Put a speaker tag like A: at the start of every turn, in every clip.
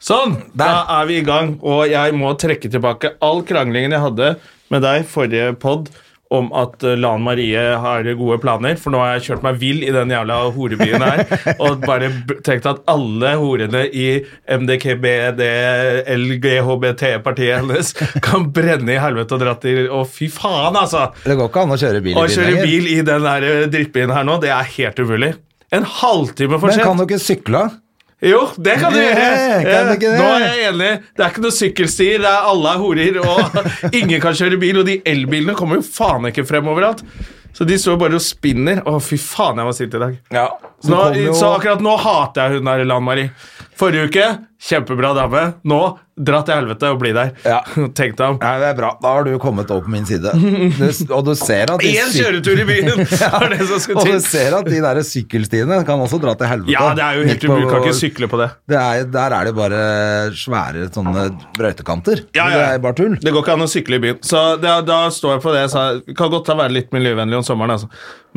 A: Sånn, da er vi i gang, og jeg må trekke tilbake all kranglingen jeg hadde med deg forrige pod om at eh, Lan Marie har gode planer, for nå har jeg kjørt meg vill i den jævla horebyen her, og bare b- tenkt at alle horene i MDKBD, LGHBT-partiet hennes kan brenne i helvete og dra til, og fy faen altså!
B: Det går ikke an å kjøre bil i
A: Å
B: byen
A: kjøre
B: lenger.
A: bil i den der eh, drittbyen her nå, det er helt umulig. En halvtime for
B: Men
A: sent.
B: kan du ikke sykle?
A: Jo, det kan du
B: Eh,
A: gjøre!
B: kan du
A: Eh,
B: ikke det?
A: Nå er jeg enig. Det er ikke noe sykkelstier, det er alle er horer, og ingen kan kjøre bil, og de elbilene kommer jo faen ikke frem overalt. Så de står bare og spinner. Å, fy faen, jeg var sint i dag. Så, nå,
B: kom jo-
A: så akkurat nå hater jeg hun der, Lan Marie. Forrige uke, kjempebra dame. Nå, dra til helvete og bli der.
B: Ja.
A: Tenk deg om.
B: Nei, det er bra. Da har du kommet over på min side. Du, og du ser at de
A: Én
B: syk-
A: kjøretur i byen! var det som skulle
B: Og du
A: til.
B: ser at de der sykkelstiene kan også dra til helvete.
A: Ja, det er jo helt
B: Midt på-
A: umulig. Kan ikke sykle på det.
B: Det er, der er det bare svære sånne brøytekanter.
A: Ja, ja.
B: Det er bare tull.
A: Det går ikke an å sykle i byen. Så da, da står jeg på det. jeg sa, det kan godt være litt miljøvennlig om sommeren, altså.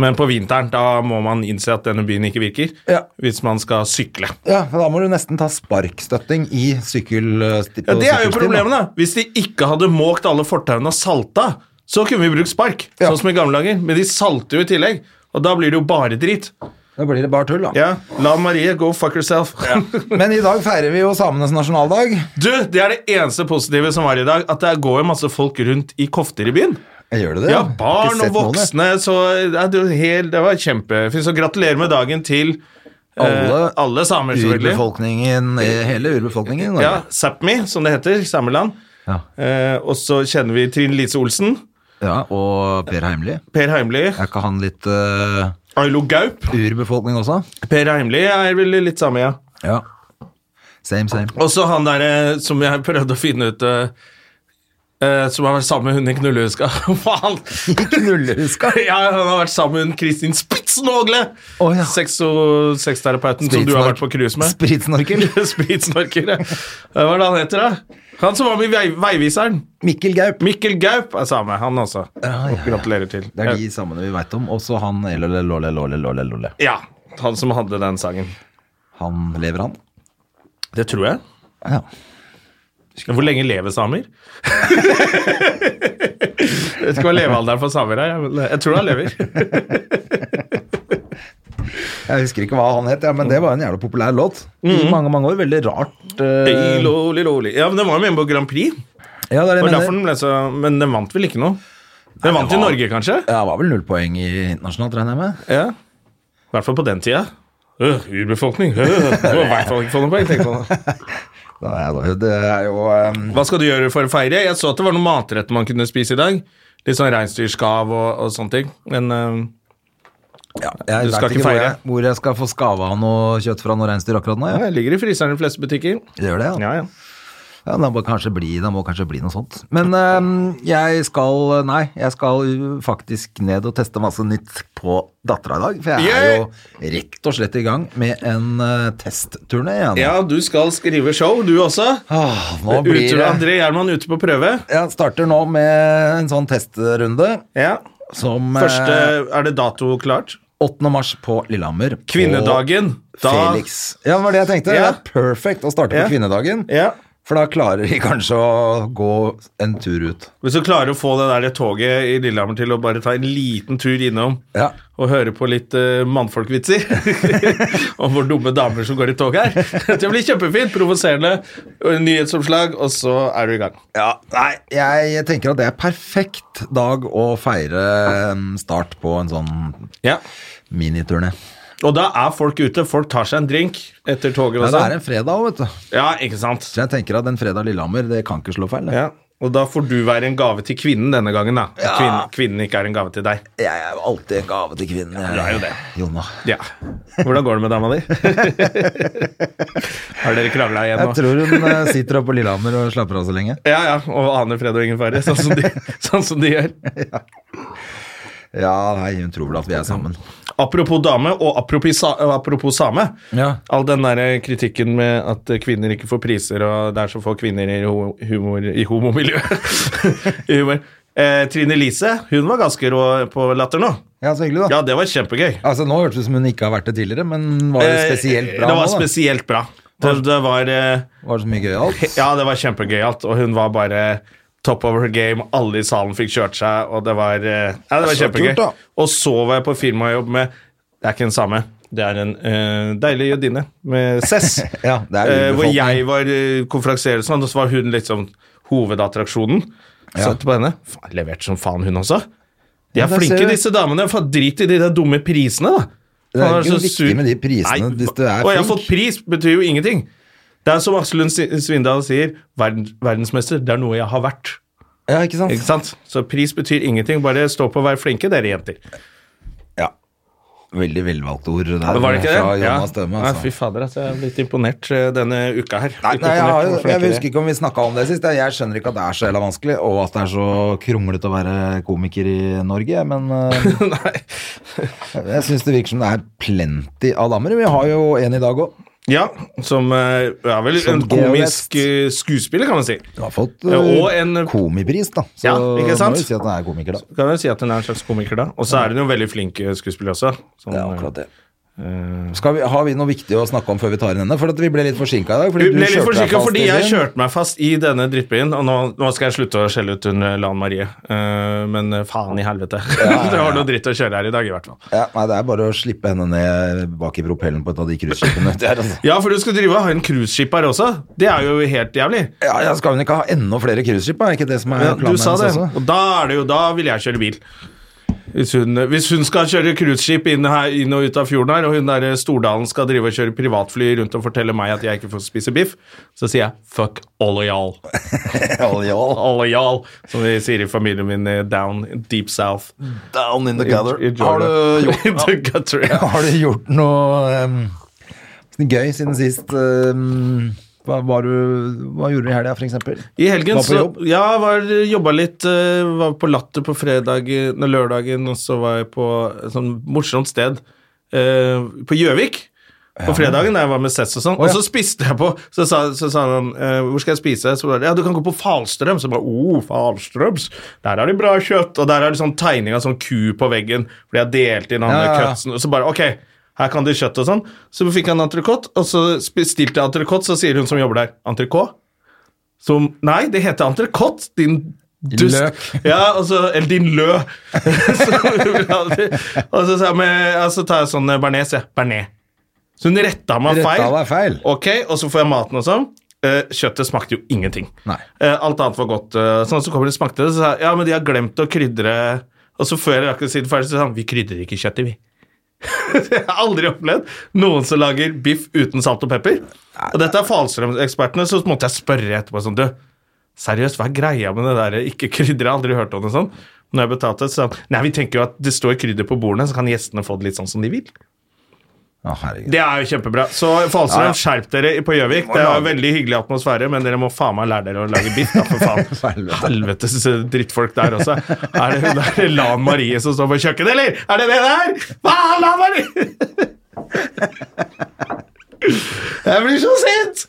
A: men på vinteren da må man innse at denne byen ikke virker.
B: Ja.
A: Hvis man skal sykle.
B: Ja, for da må du nesten ta sparkstøtting i sykkel... på
A: Ja, Det er jo
B: sykkelstien,
A: problemet, da. Hvis de ikke hadde måkt alle fortauene og salta, så kunne vi brukt spark.
B: Ja.
A: Sånn som i gamle dager. Men de salter jo i tillegg. Og da blir det jo bare drit.
B: Da blir det bare tull, da.
A: Ja, La Marie go fuck herself.
B: Men i dag feirer vi jo samenes nasjonaldag.
A: Du, Det er det eneste positive som var i dag, at det går jo masse folk rundt i kofter i byen.
B: Gjør du det?
A: Ja,
B: Jeg
A: barn
B: har ikke sett
A: og
B: noen, jeg.
A: voksne. Så ja, det, var helt, det var kjempefint. Så gratulerer med dagen til eh,
B: Alle-
A: alle samer, selvfølgelig.
B: Urbefolkningen, eh, hele urbefolkningen i Norge.
A: Ja, Sápmi, som det heter. Sameland.
B: Ja.
A: Eh, og så kjenner vi Trine Lise Olsen,
B: Ja, og Per Heimly.
A: Per Heimly,
B: Er ikke han litt eh,
A: Ailo Gaup.
B: urbefolkning også?
A: Per Heimly er vel litt same, ja.
B: Ja. Same, same.
A: Og så han derre som jeg prøvde å finne ut eh, eh, Som har vært sammen med hun i Knullehuska. Faen!
B: Knullehuska.
A: Ja, han har vært sammen med hun Kristin Spitsnogle!
B: Å, ja.
A: Sexo- Sexterapeuten som du har vært på cruise med.
B: Spritsnorkel.
A: Spritsnorker, ja. Hva er det han heter, da? Han som var med i vei, Veiviseren.
B: Mikkel Gaup.
A: Mikkel Gaup er samme, han også. Og Gratulerer til.
B: Ah, Det er de samene vi veit om. Også han Elole Lole Lole Lole Lole.
A: Ja, han som hadde den sangen.
B: Han lever, han.
A: Det tror jeg.
B: Ja.
A: Hvor lenge lever samer? jeg vet ikke hva levealderen for samer er, men jeg tror han lever.
B: Jeg husker ikke hva han het, ja, men det var en jævla populær låt.
A: Mhm.
B: I mange mange år. Veldig rart. eh,
A: Loli, loli. Ja, men Den var jo med på Grand Prix,
B: ja,
A: det
B: det er det
A: var
B: jeg
A: derfor den
B: mener.
A: ble så Men den vant vel ikke noe? Den vant i Norge, kanskje?
B: Ja, det var vel null poeng i internasjonalt, regner jeg med.
A: Ja. I hvert fall på den tida. Øh, urbefolkning. Øh, du må i hvert fall ikke få noen poeng. tenk på det.
B: Da er det jo- Det er jo eh,
A: Hva skal du gjøre for å feire? Jeg så at det var noen matretter man kunne spise i dag. Litt sånn reinsdyrskav og, og sånne ting. Men eh,
B: Jeg
A: Du skal
B: vet
A: ikke
B: ikke hvor
A: feire.
B: jeg, hvor jeg skal få skava av noe kjøtt fra noe reinsdyr akkurat nå.
A: ja,
B: Jeg.
A: jeg ligger i fryseren i de fleste butikker.
B: Det gjør det, ja.
A: Ja, ja.
B: Ja, det må kanskje bli, det må kanskje bli noe sånt. Men ehm, jeg skal Nei, jeg skal jo faktisk ned og teste masse nytt på dattera i dag. For jeg er
A: Yay!
B: jo rett og slett i gang med en uh, testturné igjen.
A: ja, du skal skrive show, du også.
B: Ah, nå blir
A: Ute,
B: det
A: André Gjerman ute på prøve.
B: Jeg starter nå med en sånn testrunde
A: Ja.
B: som eh,
A: Første, er det dato klart?
B: 8. mars på Lillehammer. på
A: Kvinnedagen. Da-
B: Felix. Ja, det var det jeg tenkte.
A: Ja.
B: Det er perfekt å starte
A: Ja.
B: på kvinnedagen.
A: Ja.
B: For da klarer vi kanskje å gå en tur ut.
A: Hvis du klarer å få det der toget i Lillehammer til å bare ta en liten tur innom
B: Ja.
A: og høre på litt eh, mannfolkvitser om hvor dumme damer som går i tog her Det blir kjempefint. Provoserende og en nyhetsoppslag, og så er du i gang.
B: Ja, nei, jeg tenker at det er perfekt dag å feire em, start på en sånn
A: Ja.
B: miniturné.
A: Og da er folk ute. Folk tar seg en drink etter toget.
B: Ja,
A: Og
B: det er
A: sånn.
B: en fredag òg, vet du.
A: Ja, ikke sant?
B: Så jeg tenker at en fredag Lillehammer, det kan ikke slå feil. det.
A: Ja. Og da får du være en gave til kvinnen denne gangen, da.
B: Ja.
A: Kvinnen, kvinnen ikke er en gave til deg.
B: Jeg er jo alltid en gave til kvinnen. eh,
A: du er jo det.
B: Jonna.
A: Ja. Hvordan går det med dama di? Har dere krangla igjen
B: Jeg
A: nå?
B: tror hun eh, sitter oppe på Lillehammer og slapper av så lenge.
A: Ja, ja. Og aner fred og ingen fare, sånn som de, sånn som de gjør.
B: Ja, nei, hun tror vel at vi er sammen.
A: Apropos dame, og apropos, sa- apropos same.
B: Ja.
A: All den der eh, kritikken med at eh, kvinner ikke får priser, og det er så få kvinner i, ho- humor, i homomiljøet. I humor. Eh, Trine Lise hun var ganske rå på latter nå.
B: Ja, så hyggelig, da.
A: Ja, det var kjempegøy.
B: Altså, Nå hørtes det ut som hun ikke har vært det tidligere, men var det spesielt
A: Eh,
B: bra
A: det var
B: nå? da?
A: spesielt bra. Det, det var eh,
B: Var det så mye gøyalt?
A: Ja, det var kjempegøyalt, og hun var bare top of her game. Alle i salen fikk kjørt seg, og det var, eh, ja, det var
B: Så
A: kjempegøy.
B: kult, da.
A: og så var jeg på firmajobb med Det er ikke den samme. Det er en eh, deilig jødinne med Cess.
B: Ja, det er
A: eh, hvor
B: urbefolkning.
A: jeg var uh, konferansier, og sånn, og så var hun liksom hovedattraksjonen. Satt på henne. Faen, leverte som faen, hun også. De
B: Ja,
A: er
B: der
A: flinke,
B: ser du.
A: disse damene. Faen, drit i de der dumme prisene, da.
B: Det er
A: Faen,
B: ikke noe
A: så
B: viktig
A: sur.
B: med de prisene hvis du er
A: Og jeg har
B: flink.
A: fått pris, betyr jo ingenting. Det er som Aksel Lund Si- Svindal sier, verden, verdensmester, det er noe jeg har vært.
B: Ja, ikke sant?
A: Ikke sant? Så pris betyr ingenting, bare stå på og vær flinke, dere jenter.
B: Ja. Veldig velvalgte ord der
A: Men var det ikke det?
B: fra
A: Ja.
B: Jonas Døme.
A: Nei, fy
B: Altså.
A: fader, altså, jeg er blitt imponert eh, denne uka her.
B: Nei,
A: Blitt
B: nei,
A: imponert
B: jeg, har,
A: over
B: jo-
A: hvor flinke
B: jeg
A: dere er.
B: husker ikke om vi snakka om det sist. Jeg- Jeg skjønner ikke at det er så jævla vanskelig, og at det er så kronglete å være komiker i Norge, men eh, jeg syns det virker som det er plenty av damer. Vi har jo en i dag òg.
A: Ja, som eh, er vel
B: Som
A: en komisk
B: geolest.
A: eh, skuespiller, kan man si.
B: Du har fått
A: Ja, og
B: eh,
A: en-
B: komipris, da. Så
A: Ja, ikke sant?
B: må vi si at den er komiker, da.
A: Kan jeg si at hun er en slags komiker, da. Og så er hun jo veldig flink eh, skuespiller også. Sånn,
B: Det er akkurat det.
A: eh,
B: Skal vi, har vi noe viktig å snakke om før vi tar inn denne? For at vi ble litt forsinka i dag. Fordi
A: Vi ble
B: du
A: litt
B: kjørte deg
A: forsinka
B: fast
A: fordi
B: i
A: jeg
B: byen.
A: kjørte meg fast i denne drittbyen. Og nå, nå skal jeg slutte å skjelle ut hun eh, Lan Marie, Eh, men eh, faen i helvete. det var noe dritt å kjøre her i dag, i hvert fall.
B: Ja, nei, det er bare å slippe henne ned bak i propellen på et av de cruiseskipene. Det er altså-
A: Ja, for du skal drive og ha en cruiseskip her også. Det er jo helt jævlig.
B: Ja, ja, skal hun ikke ha enda flere cruiseskip? da? Er ikke det som er
A: Ja,
B: planen
A: du sa det,
B: hennes også?
A: og da er det jo Da vil jeg kjøre bil. Hvis hun, hvis hun skal kjøre cruiseskip inn, her- inn og ut av fjorden her, og hun der eh, Stordalen skal drive og kjøre privatfly rundt og fortelle meg at jeg ikke får spise biff, så sier jeg fuck all of y'all.
B: All in all,
A: All of y'all, som de sier i familien min eh, down deep south.
B: down in the gutter.
A: I Georgia.
B: Har du gjort,
A: In the gutter, ja.
B: har du gjort noe em, gøy siden sist? em, hva, var du, hva gjorde du i helga, for eksempel?
A: I helgen
B: Var på
A: så
B: jobb?
A: Ja, var, jobba litt. eh, Var på Latter på fredagen, nei, lørdagen, og så var jeg på et sånn morsomt sted eh, på Gjøvik. På fredagen, da jeg var med Sess og sånn.
B: Å, ja.
A: Og så spiste jeg på Så sa, så sa han eh, 'Hvor skal jeg spise?' Så var det, 'Ja, du kan gå på Falstrøm'. Så jeg bare 'Oh, Falstrøms'. Der har de bra kjøtt. Og der er det sånn tegning av sånn ku på veggen, fordi jeg delte inn han
B: Ja,
A: ja,
B: ja, ja.
A: Og så bare, ok, her kan de kjøtt og sånn. Så fikk han entrecôte, og så bestilte jeg entrecôte, så sier hun som jobber der, entrecôte? Som, nei, det heter entrecôte, din dust.
B: løk.
A: Ja, og så- eller din lø. så, og så, sa jeg, men, ja, så tar jeg sånn eh, bearnés, jeg. Bearnés. Så hun retta meg
B: Retta
A: feil.
B: deg feil.
A: Ok, og så får jeg maten og sånn. Eh, kjøttet smakte jo ingenting.
B: Nei.
A: Eh, alt annet var godt. eh, sånn, så kommer det smakte det, så sa jeg, ja, men de har glemt å krydre Og så før jeg rakk å si det ferdig, så sa han, vi krydrer ikke kjøttet, vi. Jeg har aldri opplevd noen som lager biff uten salt og pepper. Og dette er Falstrøm-ekspertene, så måtte jeg spørre etterpå sånn, du, seriøst, hva er greia med det der ikke krydder? Jeg har aldri hørt om det sånn. Når jeg betalte, så sa han, nei, vi tenker jo at det står krydder på bordene, så kan gjestene få det litt sånn som de vil.
B: Å, herregud.
A: Det er jo kjempebra. Så Falstrøm, skjerp dere på Gjøvik. Det er veldig hyggelig atmosfære, men dere må faen meg lære dere å lage biff, da, for faen.
B: Helvete.
A: Helvetes eh, drittfolk der også. Er det hun der Lan Marie som står på kjøkkenet, eller? Er det det der? Hva er Lan Marie? Jeg blir så sint!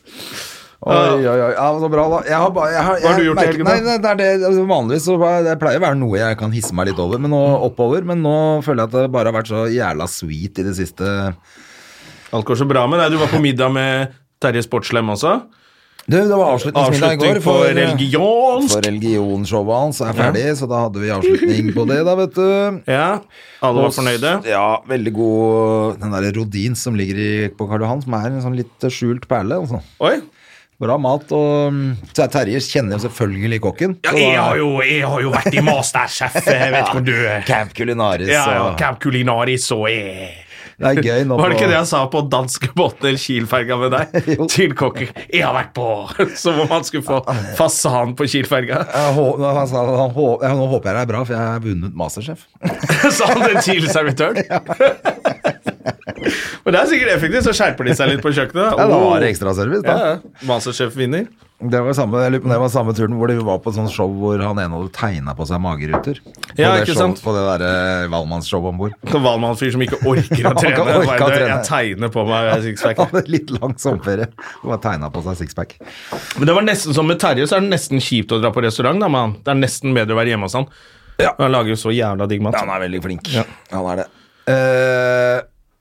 B: Oi, oi, oi. Ja, så bra, da. Jeg har bare, jeg har,
A: Hva har du
B: jeg
A: gjort i
B: merker-
A: helgen, da?
B: Nei, nei, det er det, altså, vanligvis så var- det pleier å være noe jeg kan hisse meg litt over, men
A: Mm.
B: nå, oppover. Men nå føler jeg at det bare har vært så jævla sweet i det siste.
A: Alt går så bra med deg. Du var på middag med Terje Sportslem også.
B: Du, det var avslutningsmiddag i går.
A: Avslutning
B: eh,
A: på religion.
B: For religionsshowet hans er ferdig, så da hadde vi avslutning på det, da, vet du.
A: Ja, alle var fornøyde.
B: Ja, veldig god Den derre rodin som ligger i, på Karl Johan, som er en sånn litt skjult perle. Altså.
A: Oi.
B: Bra mat, og mm, så er Terje kjenner jo selvfølgelig kokken.
A: Ja,
B: så
A: jeg
B: da-
A: har jo, jeg har jo vært i Masterchef, jeg vet ikke om du er.
B: Camp Culinaris.
A: Ja, ja,
B: og-
A: Camp Culinaris og jeg
B: Det er gøy nå
A: Var det
B: på-
A: ikke det jeg sa på danske båter Kielferga med deg?
B: Jo.
A: Til kokker. 'Jeg har vært på!' Som om han skulle få fasan på Kielferga.
B: Jeg hå- han sa, han hå- ja, nå håper jeg det er bra, for jeg har vunnet Masterchef.
A: Sa han det til servitøren? Men det er sikkert effektivt, så skjerper de seg litt på kjøkkenet.
B: Ja, da var det altså.
A: Oh.
B: ekstraservice,
A: Ja,
B: da.
A: ja. Masterchef vinner.
B: Det var samme, jeg lurer på om det var samme turen hvor de var på et sånt show hvor han ene hadde tegna på seg mageruter. På
A: Ja,
B: det
A: ikke
B: show-
A: sant?
B: På det derre Valmannsshowet om bord.
A: Så Valmann-fyr som ikke orker å
B: han
A: trene.
B: kan orke å
A: Bare, det,
B: trene.
A: jeg tegner på meg sixpack.
B: Han hadde litt lang sommerferie og bare tegna på seg sixpack.
A: Men det var nesten som med Terje, så er det nesten kjipt å dra på restaurant. da, man. Det er nesten bedre å være hjemme hos han. Han lager jo så jævla digg mat.
B: Han er veldig flink. Han er det. Eh,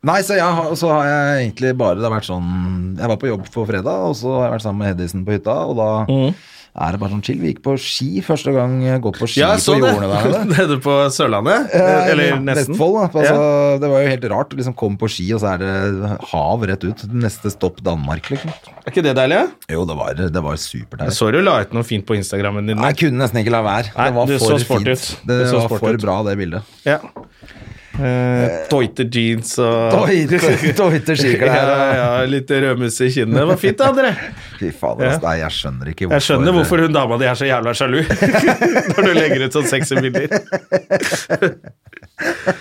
B: nei, så, jeg, har- så har jeg egentlig bare Det har vært sånn Jeg var på jobb på fredag, og så har jeg vært sammen med Hedisen på hytta, og da
A: Mm.
B: er det bare sånn chill. Vi gikk på ski første gang jeg går på ski
A: Ja, jeg
B: på
A: så det.
B: jordene der nede.
A: Nede på Sørlandet.
B: Eh,
A: Eller nesten.
B: Vestfold, da. Altså,
A: Ja.
B: Det var jo helt rart. Liksom, kom på ski, og så er det hav rett ut. Neste stopp Danmark, liksom.
A: Er ikke det deilig? ja?
B: Jo, det var, det var supert
A: Jeg
B: der.
A: så du la ut noe fint på Instagrammen din.
B: Nei, jeg kunne nesten ikke la være.
A: Nei,
B: det var
A: det
B: for
A: så sporty
B: fint.
A: ut.
B: Det,
A: Det så
B: var
A: sporty
B: for
A: ut.
B: bra, det bildet.
A: Ja. Eh, Toite jeans og
B: Toite- toite skiklær,
A: ja, ja, litt rødmuse i kinnene. Det var fint, da, dere.
B: Fy faen,
A: Ja.
B: ass. Nei, jeg skjønner ikke hvorfor
A: Jeg skjønner hvorfor hun dama di er så jævla sjalu når du legger ut sånn sexy bilder.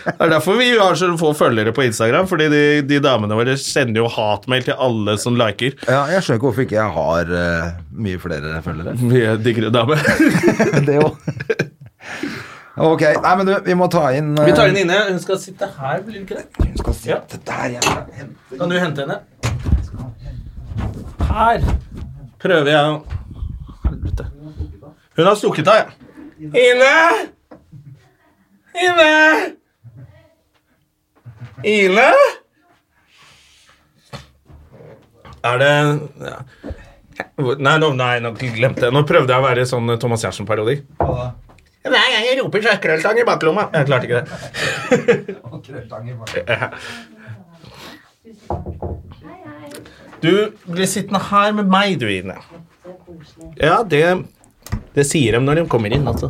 A: Det er derfor vi har så få følgere på Instagram, fordi de, de damene våre sender jo hatmail til alle som liker.
B: ja, Jeg skjønner ikke hvorfor ikke jeg har eh, mye flere følgere.
A: Mye diggere dame.
B: det jo. Ok, nei, men du, vi må ta inn eh,
A: Vi tar henne inne. Hun skal sitte her, blir det ikke det?
B: Hun skal
A: Ja.
B: sitte der, jeg.
A: Kan du hente henne? Her prøver jeg å Helvete. Hun har stukket av, ja. Ine! Ine! Ine? Er det ja. Nei, nå, nei, nå glemte jeg. Nå prøvde jeg å være sånn Thomas Giertsen-parodi. Hver gang jeg roper, så er krølltang i baklomma. Jeg klarte ikke det. Du blir sittende her med meg, du, Ine. Ja, det, det sier de når de kommer inn, altså.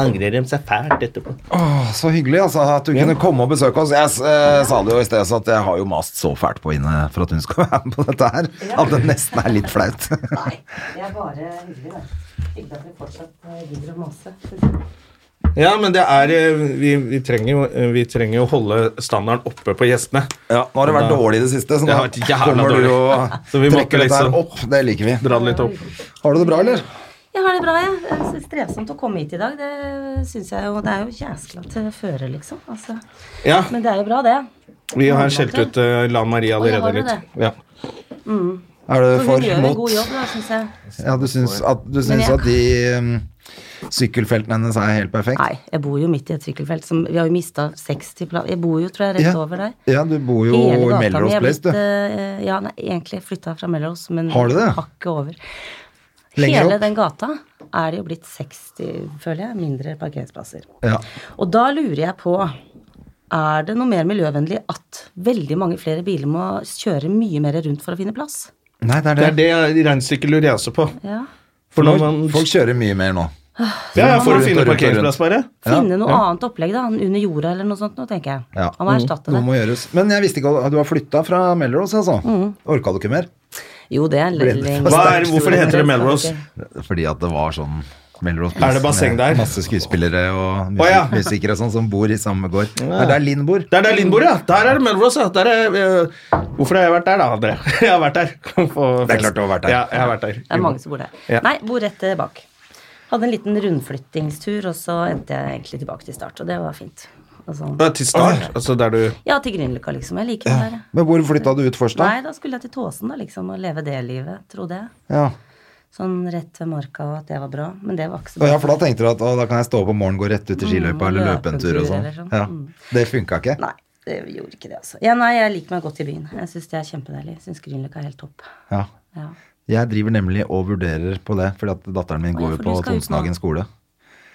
A: Angrer de seg fælt etterpå.
B: Åh, Så hyggelig altså, at du kunne komme og besøke oss. Jeg eh, sa det jo i sted, så at jeg har jo mast så fælt på Ine for at hun skal være med på dette her, at det nesten er litt flaut.
C: Jeg er bare hyggelig, da. Hyggelig at vi fortsatt eh, gidder å mase.
A: Ja, men det er eh, Vi, vi, trenger, jo, eh, vi trenger jo holde standarden oppe på gjestene.
B: Ja, nå har det vært dårlig i det siste, så
A: Det
B: nå
A: har vært jævla
B: kommer du
A: dårlig.
B: og
A: Så vi måtte
B: trekker dette her
A: liksom-
B: opp. Det liker vi.
A: Dra det litt opp.
B: Har du det bra, eller?
C: Jeg har det bra, jeg. Det er strevsomt å komme hit i dag. Det syns jeg jo. Det er jo jæskla til føre, liksom. Altså.
A: Ja,
C: Men det er jo bra, det.
A: vi har skjelt ut eh, Lan Marie
C: har
A: allerede
C: du
A: litt. Ja.
B: Er du
C: For hun
B: for
C: gjør en
B: mot
C: god jobb, da, syns jeg.
B: Ja, du syns at, du syns
C: jeg-
B: at de ehm, sykkelfeltene hennes er helt perfekt?
C: Nei, jeg bor jo midt i et sykkelfelt. Som, vi har jo mista 60 plass. Jeg bor jo, tror jeg, rett
B: Ja.
C: over der.
B: Ja, du bor jo i
C: Hele gata mi er
B: Melrose Place,
C: blitt,
B: du.
C: eh, ja, nei, egentlig flytta fra Melrose, men
B: Har du det?
C: hakket over.
B: Lenger
C: Hele
B: opp?
C: den gata er det jo blitt 60, føler jeg, mindre parkeringsplasser.
B: Ja.
C: Og da lurer jeg på er det noe mer miljøvennlig at veldig mange flere biler må kjøre mye mer rundt for å finne plass?
B: Nei, det er
A: Det
B: det.
A: er det regnestykket lurer jeg også på.
C: Ja.
A: For når man
B: Folk, folk kjører mye mer nå.
A: Ja, ja, for å
B: rundt
A: finne
B: og rundt og
A: parkeringsplass, bare.
B: Ja,
C: Finne noe annet opplegg, da. Under jorda eller noe sånt, nå, tenker jeg.
B: Ja.
C: Han må Mm. erstatte
B: Noe
C: det.
B: må gjøres. Men jeg visste ikke at du har flytta fra Melrose, altså. Orka du ikke mer?
C: Jo, det er en
B: Ble det
C: lengre-
A: Hva er, hvorfor heter det Melrose?
B: Fordi at det var sånn Melrose
A: Er det basseng
B: med
A: der?
B: Masse skuespillere og musik
A: Å, ja.
B: musikere og sånn som bor i samme gård. Det er der Linn bor.
A: Det er der Linn bor, ja. Der er det Melrose. ja. Der er, eh, hvorfor har jeg vært der, da, André? Jeg har vært der. På
B: Det er
A: fest.
B: klart du har vært der.
A: Ja, jeg har vært der.
C: Det er mange som bor der.
A: Ja.
C: Nei, bor rett eh, bak. Hadde en liten rundflyttingstur, og så endte jeg egentlig tilbake til start, og det var fint. Altså,
A: Ja, Til start, altså der du
C: ja, til Grünerløkka, liksom. Jeg liker det der. jeg.
B: Men hvor flytta du ut først, da?
C: Nei, da skulle jeg til Tåsen, da, liksom, og leve det livet, trodde jeg.
B: Ja.
C: Sånn rett ved marka, og at det var bra. Men det var ikke så
B: Og
C: bra.
B: ja, for da tenkte du at å, da kan jeg stå opp om morgenen, gå rett ut i skiløypa
C: Mm,
B: eller
C: løpe
B: løpe en
C: en
B: tur og
C: tur
B: sånn.
C: eller sånn.
B: Ja.
C: Mm.
B: Det funka ikke.
C: Nei, det gjorde ikke det, altså. Ja, nei, jeg liker meg godt i byen. Jeg syns det er kjempedeilig. Syns Grünerløkka er helt topp.
B: Ja.
C: Ja.
B: Jeg driver nemlig og vurderer på det, fordi at datteren min
C: Å,
B: går
C: ja,
B: jo
C: for
B: på
C: du skal ut nå.
B: Tonsenhagen skole.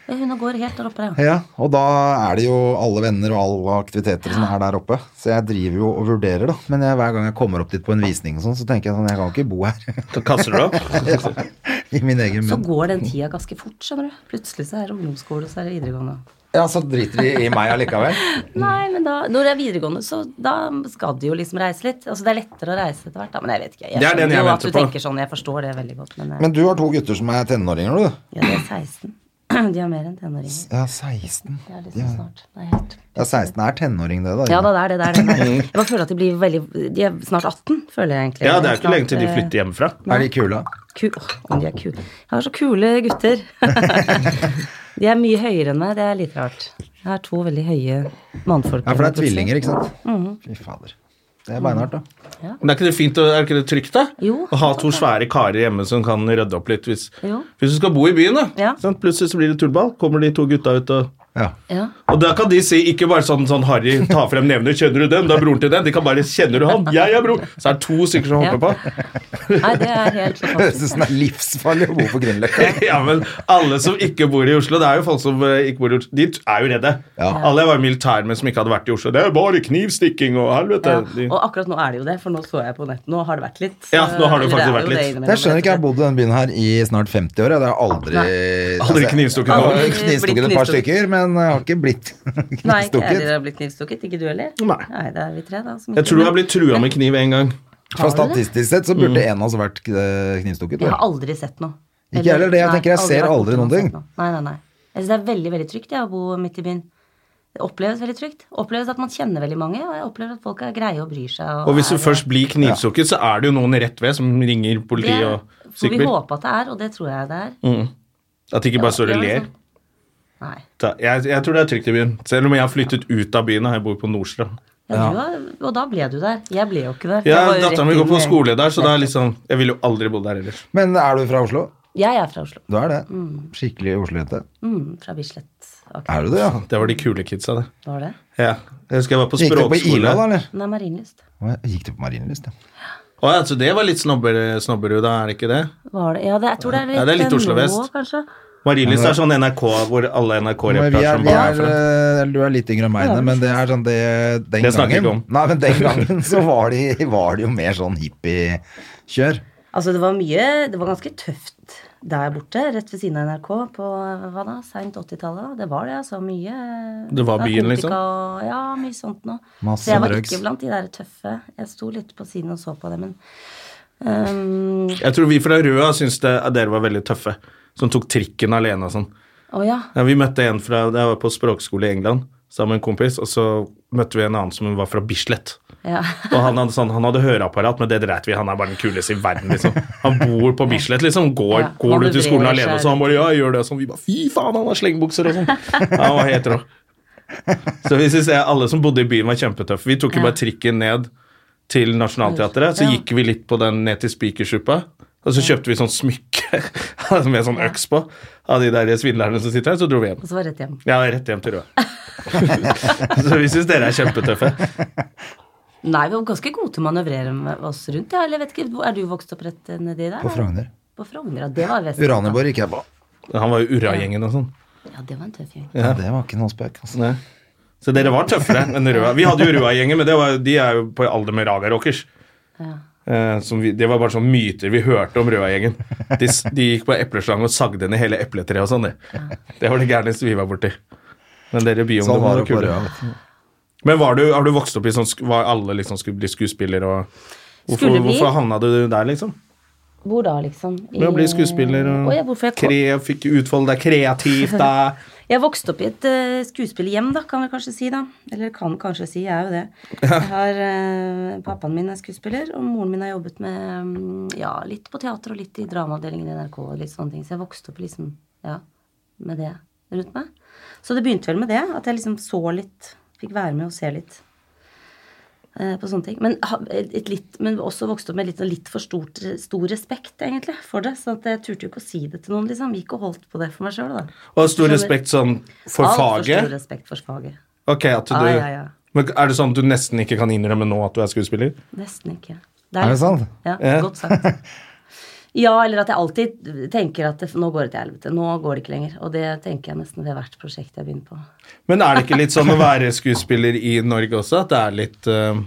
C: Ja, Hun går helt der oppe, ja.
B: Ja, og da er det jo alle venner og alle aktiviteter som er der oppe. Så jeg driver jo og vurderer, da. Men jeg, hver gang jeg kommer opp dit på en visning og sånn, så tenker jeg sånn, jeg kan ikke bo her
A: Så kaster du opp.
B: i min egen
C: Så
B: munn.
C: går den tida ganske fort, skjønner du. Plutselig så er det ungdomsskole, og så er det videregående.
B: Ja, så driter de i meg allikevel.
C: Nei, men da, når det er videregående, så da skal du jo liksom reise litt. Altså, det er lettere å reise etter hvert, da, men jeg vet ikke. Jeg
A: Det er den
C: skjønner
A: jeg
C: jo at
A: venter
C: du
A: på.
C: tenker sånn, jeg forstår det veldig godt, men, eh,
B: Men du har to gutter som er tenåringer, du.
C: ja, de er 16. De har mer enn tenåringer.
B: Ja, 16.
C: Det er liksom snart. Det er helt...
B: Ja, 16 er tenåring, det, da.
C: Ja da, det er det. det, er det. det er. Jeg bare føler at de blir veldig De er snart 18, føler jeg egentlig.
A: Ja, det er jo ikke
C: Snart,
A: lenge til de
C: eh,
A: flytter hjemmefra.
B: Er de kule?
C: Ku Åh, om de er kule. Jeg har så kule gutter. de er mye høyere enn meg, det er litt rart. Jeg har to veldig høye mannfolk.
B: Ja, for det er tvillinger, ikke sant?
C: Mm.
B: Fy fader. Det er beinhardt, da.
A: Men er ikke det fint og er ikke det trygt, da?
C: Jo.
A: Å ha to svære karer hjemme som kan rydde opp litt hvis,
C: Jo.
A: hvis du skal bo i byen, da.
C: Ja.
A: Sant? Plutselig så blir det tullball. Kommer de to gutta ut og
B: Ja.
C: Ja.
A: Og da kan de si, ikke bare sånn, sånn Harry, ta frem nevner, kjenner du dem? Det er broren til den. De kan bare kjenner du han? Jeg er bror. Så er det to stykker som hopper på.
C: Nei, det er
B: Høres ut
C: helt fantastisk.
B: som det er livsfarlig å bo på Grünerløkka.
A: Ja, men alle som ikke bor i Oslo, det er jo folk som eh, ikke bor i Oslo, de t- er jo redde.
B: Ja.
A: Alle jeg var i militær med som ikke hadde vært i Oslo. Det er jo bare knivstikking og helvete.
C: Ja.
A: De-
C: Og akkurat nå er det jo det, for nå så jeg på nett. Nå har det vært litt.
A: Ja, nå har det
C: Eller
A: faktisk
C: er
A: vært litt.
C: jo det
A: Jeg
C: innimellom,
B: Jeg skjønner ikke, jeg har
C: rett og slett.
B: bodd i denne byen her i snart 50 år. Jeg. Det har aldri
A: Aldri
B: Altså,
A: knivstukket
B: jeg har
A: noen.
B: Knivstukket et
C: Blitt
B: par stykker, men jeg har ikke blitt
C: Nei, ikke jeg
B: knivstukket.
C: har blitt knivstukket. Ikke du heller?
A: Nei.
C: det er vi tre, da. som
A: Jeg
C: ikke-
A: tror du har blitt trua med kniv en gang.
B: Fra statistisk sett så
A: Mm.
B: burde en av oss vært eh, knivstukket.
C: Jeg
B: vel?
C: har aldri sett noe.
B: Ikke jeg heller, det. Jeg
C: Nei,
B: tenker jeg ser
C: vært
B: aldri
C: borti
B: noen
C: sett
B: ting.
C: noe. Nei, nei, nei. Jeg synes det er veldig, veldig trygt jeg, å bo midt i byen. Det oppleves veldig trygt. Oppleves at man kjenner veldig mange, og jeg opplever at folk er greie og bryr seg.
A: Og hvis du
C: er-
A: først blir knivstukket, så er det jo noen rett ved som ringer politi
C: Det
A: og
C: Får vi
A: sykebil.
C: håpe at det er, og det tror jeg det er.
A: At de ikke bare står og
C: Ja,
A: ler.
C: liksom. Nei.
A: Da- Jeg, jeg tror det er trygt i byen. Selv om jeg har flyttet ut av byen og jeg bor på Nordstrand.
C: Ja, du var- og da ble du der. Jeg ble jo ikke der. Jeg
A: Ja,
C: var jo rett
A: Datteren min går
C: inn
A: på
C: i-
A: skole der, så da er liksom, jeg ville jo aldri bodd der ellers.
B: Men er du fra Oslo?
C: Jeg er fra Oslo.
B: Du er det. Skikkelig Oslo-jente.
C: Mm, fra Bislett. akkurat.
B: Er du det, ja?
A: Det var de kule kidsa, det.
C: Var det?
A: Ja. Jeg husker jeg var på
B: Gikk du på Ila,
A: språkskole.
B: da, eller?
C: Nei, Marienlyst.
B: Å, jeg Gikk du på Marienlyst, ja.
A: Å, ja, så det var litt snobber, snobberud, da, er det ikke det?
C: Var det? Ja, det, jeg tror det er litt,
A: Ja, det er litt
C: eh,
A: Oslo
C: nå,
A: Vest.
C: Kanskje.
A: Marienlyst er sånn NRK hvor alle
B: Men Vi er,
A: NRK-reportasjer
B: vi
A: bare er
B: er,
A: fra.
B: eh, du er litt yngre enn meg, men det er sånn det den
A: Det snakker vi
B: gangen,
A: ikke om.
B: Nei, men den gangen så var de, var de jo mer sånn hippiekjør.
C: Altså, det var mye Det var ganske tøft der borte, rett ved siden av NRK, på hva da, seint 80-tallet. Det var det, altså. Mye
A: Det var byen,
C: narkotika
A: liksom?
C: Og, ja, mye sånt noe.
B: Masse
C: Så jeg var
B: drugs.
C: ikke blant de der tøffe. Jeg sto litt på siden og så på det, men ehm,
A: Jeg tror vi fra Røa syns det, at dere var veldig tøffe, som tok trikken alene og sånn.
C: Å ja.
A: Ja, vi møtte en fra Jeg var på språkskole i England sammen med en kompis, og så møtte vi en annen som var fra Bislett.
C: ja.
A: Og han hadde, sånn, han hadde høreapparat, men det dreit vi i. Han er bare den kuleste i verden, liksom. Han bor på Bislett, liksom. Går,
C: Ja,
A: går du
C: manøvrerer
A: til skolen
C: seg.
A: alene, og så han bare Ja, jeg gjør det. Og sånn. Vi bare Fy faen, han har slengbukser og sånn. Han var helt rå. Så vi synes jeg, alle som bodde i byen, var kjempetøffe. Vi tok jo
C: Ja.
A: bare trikken ned til Nationaltheatret, så
C: Ja.
A: gikk vi litt på den ned til Spikersuppa. Og så kjøpte vi sånn smykke med sånn øks på av de der svindlerne som sitter her, så dro vi hjem.
C: Og så var jeg rett hjem.
A: Ja, rett hjem til Røa. så vi syns dere er kjempetøffe.
C: Nei, vi var ganske gode til å manøvrere med oss rundt, ja. Eller jeg vet ikke, hvor- er du vokst opp rett nedi der?
B: På Frogner.
C: På Frogner, ja. Det var vest.
B: Uranienborg gikk jeg på.
A: Han var jo Urra-gjengen og sånn.
C: Ja, det var en tøff gjeng.
B: Ja, det var ikke noe spøk, altså.
A: Nei. Så dere var tøffere enn Røa. Vi hadde jo Røa-gjengen, men det var, de er jo på alder med Raga-rockers.
C: Ja.
A: Eh, som vi- det var bare sånne myter vi hørte om Røa-gjengen. De, s- de gikk på epleslang og sagde ned hele epletreet og sånn. Det. det var det gærneste vi var borti. Men dere
B: Sånn var
A: byungdommer var
B: det på
A: kule.
B: Røa. vet du.
A: Men var du, har du vokst opp i sånn sk- Var alle liksom skulle bli skuespiller og Hvorfor,
C: Skulle bli.
A: hvorfor havna du der, liksom?
C: Hvor da, liksom? I-
A: Med å bli skuespiller og
C: Å, ja, hvorfor jeg kom-
A: kre, fikk utfolde deg kreativt da
C: Jeg vokste opp i et eh, skuespillerhjem, da, kan vi kanskje si. da. Eller kan kanskje si, jeg er jo det. Jeg har, eh, Pappaen min er skuespiller, og moren min har jobbet med mm, ja, litt på teater og litt i dramaavdelingen i NRK. og litt sånne ting. Så jeg vokste opp liksom, ja, med det rundt meg. Så det begynte vel med det, at jeg liksom så litt, fikk være med og se litt. eh, På sånne ting. Men, ha- et litt, men også vokste opp med litt, litt for stort, stor respekt egentlig, for det. Så at jeg turte jo ikke å si det til noen. liksom. Gikk og holdt på det for meg sjøl.
A: Og stor respekt sånn for
C: Altfor stor
A: faget.
C: respekt for faget.
A: Ok, at du...
C: Ja, ja, ja.
A: Men er det sånn at du nesten ikke kan innrømme nå at du er skuespiller?
C: Nesten ikke.
B: Er det
C: litt-
B: sant?
C: Ja,
A: Ja.
C: godt sagt. Ja, eller at jeg alltid tenker at det, nå går det til helvete. Nå går det ikke lenger. Og det tenker jeg nesten ved hvert prosjekt jeg begynner på.
A: Men er det ikke litt sånn å være skuespiller i Norge også, at det er litt eh,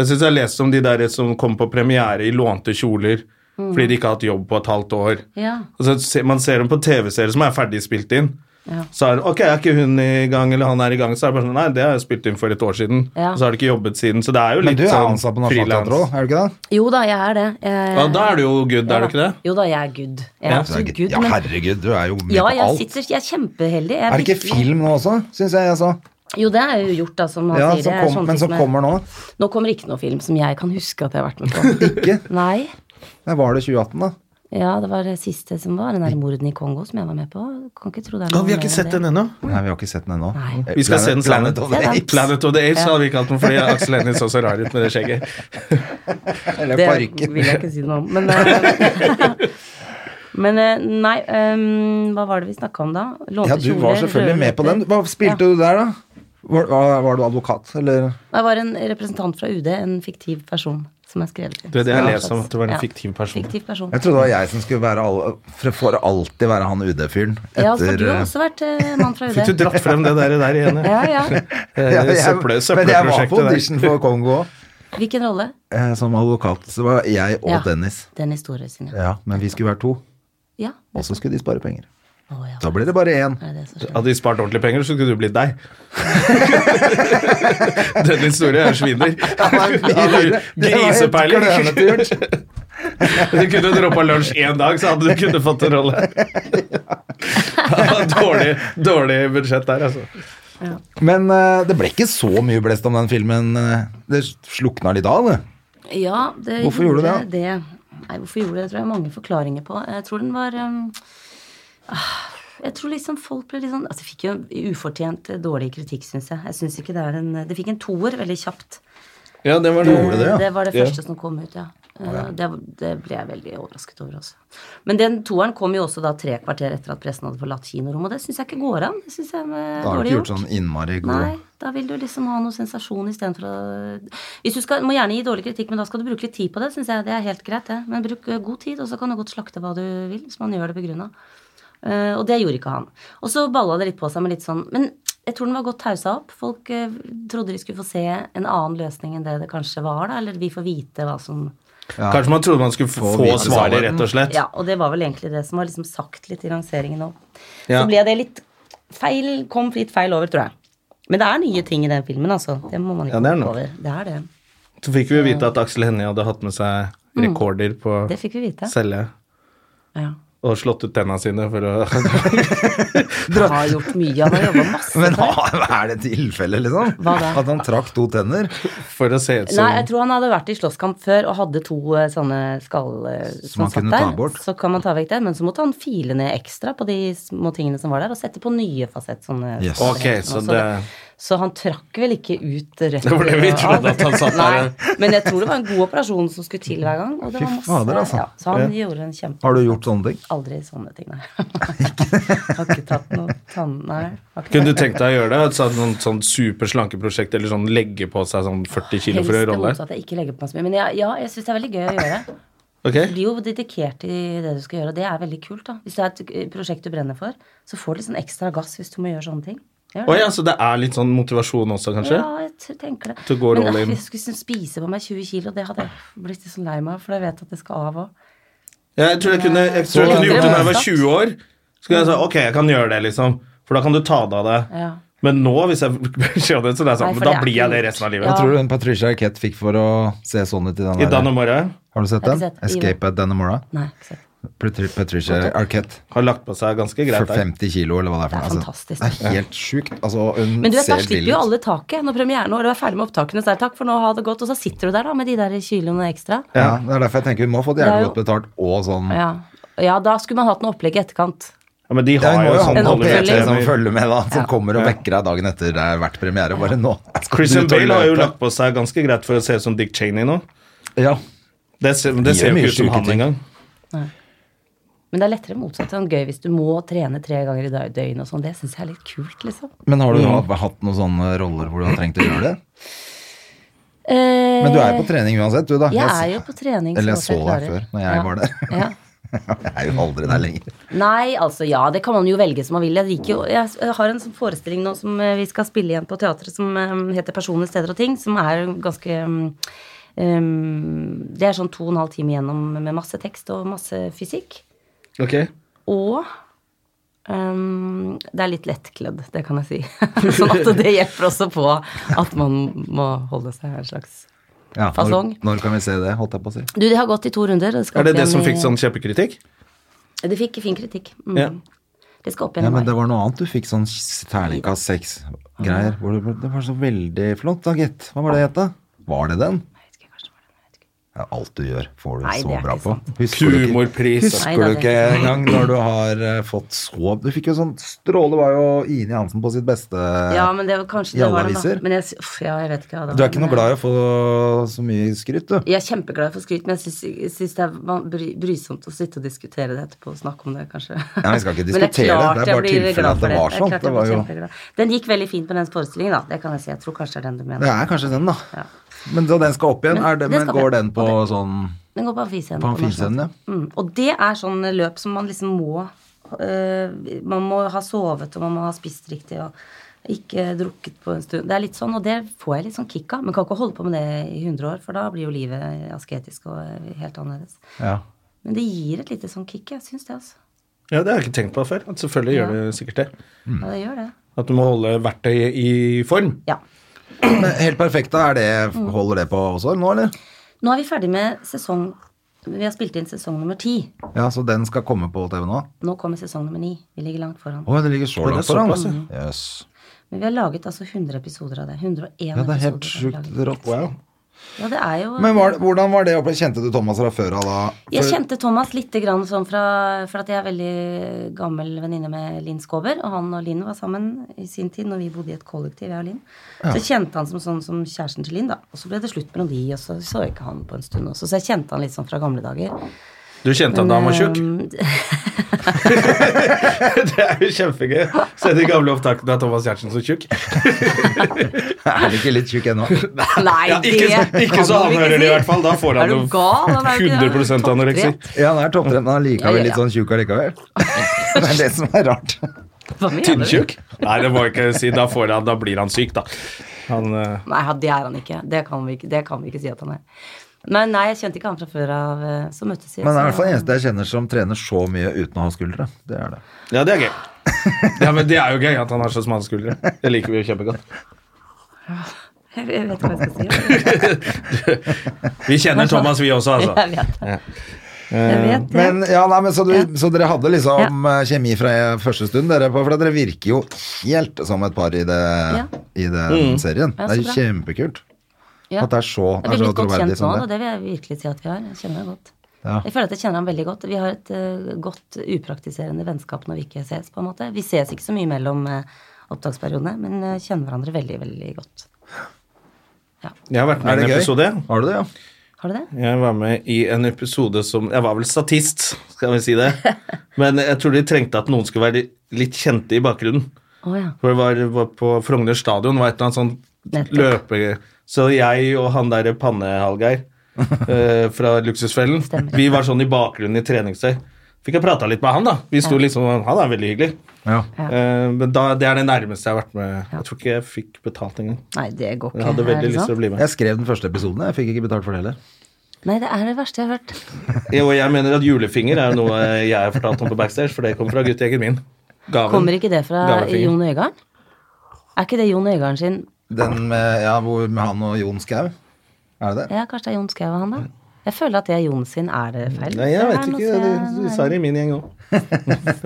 A: Jeg syns jeg leste om de der som kom på premiere i lånte kjoler fordi de ikke har hatt jobb på et halvt år.
C: Mm.
A: Altså,
C: Ja.
A: Og så se, man ser dem på TV-serier som er ferdig spilt inn,
C: Ja.
A: Så er det ok, er ikke hun i gang, eller han er i gang, så er det bare sånn Nei, det har jeg spilt inn for et år siden.
C: Ja.
A: Og så har det ikke jobbet siden. Så det er jo
B: Men
A: litt
B: du er
A: sånn
B: ansatt på Nationaltheatret
A: frilans.
B: òg, er du ikke det?
C: Jo da, jeg er det. Jeg,
A: Ja, da er du jo good, er du ikke det?
C: Jo da, jeg er good. Altså, Jeg er
A: Ja.
C: absolutt good,
B: ja,
C: men
B: herregud, du er jo med
C: ja,
B: på
C: jeg,
B: alt.
C: sitter, jeg er kjempeheldig. Jeg
B: Er det ikke
C: virkelig-
B: film nå også, syns jeg jeg så?
C: Jo, det er jo gjort, da, som han
B: Ja, som
C: sier. Det er sånn
B: kom,
C: sånne
B: men
C: ting
B: som
C: er-
B: kommer nå.
C: Nå kommer ikke noe film som jeg kan huske at jeg har vært med på.
B: Ikke?
C: Nei.
B: Nei, var det 2018, da?
C: Ja, det var det siste som var. Den der morden i Kongo som jeg var med på. Kan ikke tro det
A: Ja,
C: er noe
A: vi har
C: mer
A: ikke
C: enn
A: sett
C: det.
A: den ennå.
B: Nei, vi har ikke sett den ennå.
C: Nei.
B: Eh,
A: Vi skal
B: Planet-
A: se den sammen.
B: Planet of the
C: Ja, da.
B: Apes.
A: Planet of the Apes hadde vi kalt den fordi Aksel Hennie så så rar ut med det skjegget.
B: Eller
C: Det
B: parykken.
C: vil jeg ikke si noe om. Men, eh, men eh, nei, ehm, hva var det vi snakka om da? Lånte
B: Ja, du var
C: kjoler,
B: selvfølgelig
C: røde
B: med på
C: løper.
B: den. Hva spilte du der, da? Var, var, var du advokat, eller?
C: Jeg var en representant fra UD, en fiktiv person som er skrevet inn.
A: Du, det har jeg lest
C: Ja.
A: om, at det var en
C: Ja.
A: fiktiv person.
C: Fiktiv person.
B: Jeg trodde det var jeg som skulle være all, for- For alltid være han UD-fyren.
C: Ja, for du
B: etter,
C: har
B: eh,
C: også vært eh, mann fra
A: Fikk du
C: UD.
A: dratt frem det der, der igjen?
C: Ja, ja.
B: ja,
A: Eh,
B: jeg,
A: søpple-
B: men jeg var på
A: søppelprosjektet der.
B: audition for Kongo òg,
C: Hvilken rolle?
B: eh, som advokat. Så var jeg og
C: Ja.
B: Dennis.
C: Den historien sin, ja.
B: Ja, Men vi skulle være to,
C: ja.
B: og så skulle de spare penger.
C: Å, ja.
B: Da blir det bare én.
C: Er det så skjønt?
A: Hadde de spart ordentlige penger, så skulle du blitt deg. Den historien er sviner. Grisepeiling. Du kunne droppa lunsj én dag, så hadde du kunne fått en rolle. Ja, dårlig, dårlig budsjett der, altså.
B: Men eh, det ble ikke så mye blest om den filmen. eh, Det slukna litt av, det.
C: Ja, det
B: Hvorfor gjorde du det?
C: Nei, hvorfor gjorde det? Det tror jeg er mange forklaringer på. Jeg tror den var ehm, ah, Jeg tror liksom folk ble litt sånn Altså, det fikk jo ufortjent eh, dårlig kritikk, syns jeg. Jeg synes ikke Det er en Det fikk en toer veldig kjapt.
A: Ja, det var det.
B: Gjorde det, ja?
C: Det var det
A: Ja.
C: første som kom ut, ja. Eh, Det, det ble jeg veldig overrasket over også. Men den toeren kom jo også da tre kvarter etter at pressen hadde forlatt kinorommet, og det syns jeg ikke går an. Det synes jeg er
B: Da har
C: eh,
B: du
C: dårlig
B: ikke
C: gjort.
B: gjort sånn innmari
C: Nei,
B: god
C: da vil du liksom ha noe sensasjon istedenfor å Hvis du skal, må gjerne gi dårlig kritikk, men da skal du bruke litt tid på det, syns jeg. Det er helt greit, det. Men bruk eh, god tid, og så kan du godt slakte hva du vil, hvis man gjør det begrunna. Eh, og det gjorde ikke han. Og så balla det litt på seg med litt sånn Men jeg tror den var godt haussa opp. Folk eh, trodde de skulle få se en annen løsning enn det det kanskje var, da. Eller vi får vite hva som
A: Kanskje man trodde man skulle få,
B: Få vite
A: svaret,
B: sannheten.
A: rett og slett.
C: Ja, og det var vel egentlig det som var liksom sagt litt i lanseringen òg.
A: Ja.
C: Så ble det litt feil, kom litt feil over, tror jeg. Men det er nye ting i den filmen, altså. Det må man ikke
A: Ja, det er
C: hoppe
A: noe.
C: over. Det er det.
A: Så fikk vi jo vite at Aksel Hennie hadde hatt med seg rekorder på
C: Mm. Det fikk vi vite.
A: celle.
C: Ja.
A: Og slått ut tenna sine for å
C: Han har gjort mye, han har jobba masse.
B: Men
C: for det.
B: er det tilfelle, liksom?
C: Hva da?
B: At han trakk to tenner?
A: For å se ut
C: Nei,
A: som
C: jeg tror han hadde vært i slåsskamp før og hadde to eh, sånne skall eh, som
B: han
C: satt
B: kunne
C: der.
B: ta bort.
C: Så kan man ta vekk det, men så måtte han file ned ekstra på de små tingene som var der, og sette på nye fasett. Sånne
B: Yes.
C: skaller.
A: Ok, så
C: Og
A: det-
C: så han trakk vel ikke ut rett
A: Det var det vi trodde, at han satt der.
C: Nei, men jeg tror det var en god operasjon som skulle til hver gang. Og det
B: Fy
C: var masse,
B: fader, altså.
C: ja, så han gjorde en kjempe...
B: Har du gjort sånne ting?
C: Aldri sånne ting, nei. har ikke tatt noe tann... Nei. har ikke-
A: Kunne du tenkt deg å gjøre det? Et sånt, sånt, sånt superslankeprosjekt eller sånn legge på seg sånn 40 kilo for en
C: Helst det
A: rolle?
C: motsatte, at jeg ikke legger på meg så mye. Men ja, ja jeg syns det er veldig gøy å gjøre.
A: Ok?
C: Du blir jo dedikert i det du skal gjøre, og det er veldig kult. da. Hvis det er et eh, prosjekt du brenner for, så får du litt sånn ekstra gass hvis du må gjøre sånne ting. Gjør
A: Å
C: det.
A: ja, så det er litt sånn motivasjon også, kanskje?
C: Ja, jeg t- tenker det.
A: Du går
C: Men
A: all
C: eh,
A: in.
C: jeg skulle liksom spise på meg 20 kilo, det hadde jeg blitt litt sånn lei meg av, for jeg vet at det skal av òg.
A: Ja, jeg tror jeg kunne, jeg tror jeg
C: Så-
A: kunne gjort det da jeg var 20 år. Så kunne jeg sagt ok, jeg kan gjøre det, liksom. For da kan du ta det av deg.
C: Ja.
A: Men nå, hvis jeg skjønner det, så det er
C: Nei,
A: sånn,
C: for
A: men da
C: det er
A: blir jeg det
C: kult.
A: resten av
B: Hva
A: livet.
C: Ja.
B: tror du hun Patricia Arquette fikk for å se sånn ut i den
A: I Dan
B: der?
A: og Mora
B: Har du sett
C: Jeg har
B: den?
C: ikke sett.
B: 'Escape at Dannemora'?
C: Nei, ikke sant.
B: Patri- Patricia Arquette.
A: har lagt på seg ganske
B: For
A: greit der.
B: 50 kilo, eller hva det er.
C: Det er
B: for noe. Altså,
C: fantastisk.
B: det er helt sjukt. Altså, hun
C: Men du vet, da
B: ser
C: slipper
B: vill
C: jo
B: ut.
C: alle taket når premieren og du er ferdig med opptakene. Så er det takk for nå, ha det godt. Og så sitter du der da med de der kiloene ekstra.
B: Ja, det er derfor jeg tenker hun må få det
C: Det er
B: jævlig
C: jo-
B: godt betalt, og sånn
C: Ja. ja, da skulle man hatt noe opplegg i etterkant.
A: Ja, men de
B: Ja,
A: har
B: hun må
A: jo
B: jo ha
A: sånn
B: noen
C: oppfølging.
B: PT som
A: holdepunkter.
B: følger med, da. Som kommer og vekker deg dagen etter det er vært premiere. Bare nå.
A: Christian
B: Du tar
A: Bale har jo
B: løpet.
A: lagt på seg ganske greit for å se ut som Dick Cheney nå.
B: Ja.
A: Det ser, det
B: De
A: ser
B: gjør
A: jo
B: mye
A: ikke ut som
B: sjuke
A: han
B: ting.
A: engang.
C: Men det er lettere motsatt. Sånn gøy hvis du må trene tre ganger i dø- døgnet og sånn. Det syns jeg er litt kult, liksom.
B: Men har du ha- hatt noen sånne roller hvor du har trengt å gjøre det?
C: Eh,
B: Men du er jo på trening uansett, du, da.
C: Jeg
B: s-
C: er jo på trening.
B: Eller jeg
C: så
B: så
C: godt
B: deg
C: klarer.
B: før, når jeg
C: Ja.
B: var der.
C: Ja.
B: Jeg er jo aldri der lenger.
C: Nei, altså ja, det kan man jo velge som man vil. Jeg, liker jo, jeg s- jeg har en sånn forestilling nå som eh, vi skal spille igjen på teatret som eh, heter Personer, steder og ting, som er ganske eh, eh, Det er sånn to og en halv time igjennom med masse tekst og masse fysikk.
A: Ok.
C: Og Um, det er litt lettkledd, det kan jeg si. sånn at det hjelper også på at man må holde seg en slags
B: Ja, når,
C: Fasong.
B: når kan vi se det, holdt jeg på å si.
C: Du, det har gått i to runder. og Det skal
A: Er det
C: opp
A: det
C: igjen
A: som
C: i-
A: fikk sånn kjempekritikk?
C: Det fikk fin kritikk. Mm.
A: Ja.
C: Det skal opp igjen
B: Ja,
C: i
B: men
C: mai.
B: det var noe annet du fikk sånn terningkast seks-greier. hvor du- Det var så veldig flott, da, gitt. Hva var det het, da? Var det den?
C: Jeg vet ikke, kanskje det var det, jeg vet ikke.
B: Ja, alt du gjør, får du
C: Nei, det
B: så
C: er
B: bra
C: ikke
B: på.
C: sant.
B: Husker du ikke-
A: Humorpris.
B: Husker
C: Nei,
B: du
C: det er
B: ikke engang når du har eh, fått så Du fikk jo sånn Stråle var jo Ine Hansen på sitt beste.
C: Ja, men det var kanskje
B: i
C: det
B: alle
C: var det, da.
B: aviser.
C: Men jeg, sy- uff, ja, jeg vet ikke hva det var.
B: Du er ikke
C: men
B: noe glad i å få så mye skryt, du.
C: Jeg er kjempeglad for skryt, men jeg syns- jeg syns det er van- bry- brysomt å sitte og diskutere det etterpå og snakke om det, kanskje.
B: Ja, vi skal ikke
C: Men det er
B: diskutere det,
C: klart
B: det er
C: jeg
B: bare
C: blir
B: tilfellet
C: glad
B: at
C: for
B: det var
C: er
B: sånn,
C: klart
B: det
C: jeg
B: var
C: blir
B: jo-
C: kjempeglad. Den gikk veldig fint på den forestillingen, da. Det kan jeg si. Jeg tror kanskje det er den du mener.
B: Det er kanskje den, da. Men så den skal opp igjen.
C: Men
B: er det,
C: den
B: men
C: skal opp
B: går
C: igjen.
B: den på
C: Og
B: sånn
C: Den går på amfiscenen.
B: På amfiscenen,
C: Nasjonal- Mm. Og det er sånn løp som man liksom må øh, Man må ha sovet, og man må ha spist riktig, og ikke drukket på en stund. Det er litt sånn, og det får jeg litt sånn kick av. Men kan ikke holde på med det i 100 år, for da blir jo livet asketisk og øh, helt annerledes.
B: Ja.
C: Men det gir et lite sånn kick, jeg syns det, altså.
A: Ja, det har jeg ikke tenkt på før. At selvfølgelig gjør det sikkert det.
B: Mm.
C: Ja, det gjør det.
A: At du må holde verktøyet i form.
C: Ja.
B: Men helt perfekt, da. Er det,
C: Mm.
B: holder det på også nå, eller?
C: Nå er vi ferdig med sesong Vi har spilt inn sesong nummer ti.
B: Ja, Så den skal komme på TV nå?
C: Nå kommer sesong nummer ni. Vi ligger langt foran.
B: Å, det ligger
A: Å, det
B: så
A: er
B: langt foran.
A: såpass,
B: Jøss.
C: Men vi har laget altså 100 episoder av det. 101 episoder.
B: Ja, det er helt
C: har vi
B: sjukt
C: laget.
B: rått.
A: Wow.
C: Ja, det er jo
B: Men var, hvordan var det opplevd? Kjente du Thomas fra før av da?
C: Jeg
B: For-
C: kjente Thomas litt grann sånn fra For at jeg er veldig gammel venninne med Linn Skåber. Og han og Linn var sammen i sin tid når vi bodde i et kollektiv, jeg og Linn. Så kjente han som sånn som kjæresten til Linn, da. Og så ble det slutt mellom de, og så så jeg ikke han på en stund også. Så jeg kjente han litt sånn fra gamle dager.
A: Du kjente at han var tjukk? Det er jo kjempegøy. Se de gamle opptakene av Thomas Giertsen som tjukk.
B: Er han ikke litt tjukk ennå?
C: eh, Nei,
A: Ja, ikke, så-
C: det
A: ikke så
C: kan
A: han
C: du ikke
A: hører det, i
C: si.
A: hvert fall. Da får han
C: Er du
A: jo
C: gal? Han er jo ikke-
A: 100 anoreksi.
C: topptrent.
B: Ja, han er topptrent, men han er
C: Ja,
B: likevel
C: ja,
B: litt
C: ja.
B: sånn tjukk allikevel. Det er det som er rart.
C: Hva mener du?
A: Tynntjukk? Nei, det må jeg ikke si. Da, får han, da blir han syk, da. Han, eh,
C: Nei, han- det er han ikke. Det kan vi ikke, det kan vi ikke si at han er. Men nei, jeg kjente ikke han fra før av. eh, Så møttes vi.
B: Men han er i hvert
C: så-
B: fall den eneste jeg kjenner som trener så mye uten å ha skuldre. Det er det.
A: ja, det er gøy. Ja, men Det er jo gøy at han har så smale skuldre. Det liker vi jo kjempegodt.
C: Jeg jeg vet ikke hva jeg skal si.
A: Vi kjenner Thomas, vi også, altså.
C: Jeg vet det. Jeg vet det.
B: Men, ja, nei, men så, du, så dere hadde liksom eh, kjemi fra første stund, dere, på- for dere virker jo helt som et par i, det,
C: Ja.
B: i den serien. Det
C: Ja,
B: er
C: så bra.
B: kjempekult.
C: Ja.
B: At det er så,
C: Jeg blir litt godt
B: troverdig
C: kjent nå,
B: som
C: og
B: det.
C: det vil jeg virkelig si at vi har. Jeg kjenner ham godt.
B: Ja.
C: Jeg føler at jeg kjenner ham veldig godt. Vi har et eh, godt upraktiserende vennskap når vi ikke ses, på en måte. Vi ses ikke så mye mellom eh, opptaksperiodene, men eh, kjenner hverandre veldig, veldig godt.
A: Jeg har vært med
B: Er
A: i
B: det
A: en
B: gøy?
A: episode.
B: Har du det, ja?
C: Har du det?
A: Jeg var med i en episode som Jeg var vel statist, skal vi si det. Men jeg tror de trengte at noen skulle være litt kjente i bakgrunnen.
C: Å ja.
A: For det var, var på Frogner stadion var et eller annet sånt
C: Nettopp.
A: løpe... Så jeg og han derre Panne-Hallgeir eh, fra Luksusfellen,
C: Stemmer.
A: vi var sånn i bakgrunnen i treningstøy. Fikk jeg prata litt med han, da. Vi sto liksom, Han er veldig hyggelig.
B: Ja.
C: Ja.
A: Eh, men da, det er det nærmeste jeg har vært med. Jeg tror ikke jeg fikk betalt engang.
C: Nei, det går ikke.
A: Jeg hadde
C: Er det
A: veldig lyst
C: sant?
A: til å bli med.
B: Jeg skrev den første episoden, jeg fikk ikke betalt for det heller.
C: Nei, det er det verste jeg har hørt.
A: Jo, jeg mener at julefinger er noe jeg har fortalt om på backstage, for det kommer fra guttegjengen min. Gaven.
C: Kommer ikke det fra
A: Gavefinger.
C: Jon Øigarden? Er ikke det Jon Øigarden sin
B: Den med, ja, hvor, med han og Jon Skau. Er det det?
C: Ja, kanskje det er Jon Skau og han, da? Jeg føler at det er Jon sin. Er det feil?
A: Nei, jeg vet
C: Her, nå
A: ikke.
C: ser
A: Du,
C: jeg-
A: du sa det i min gjeng òg.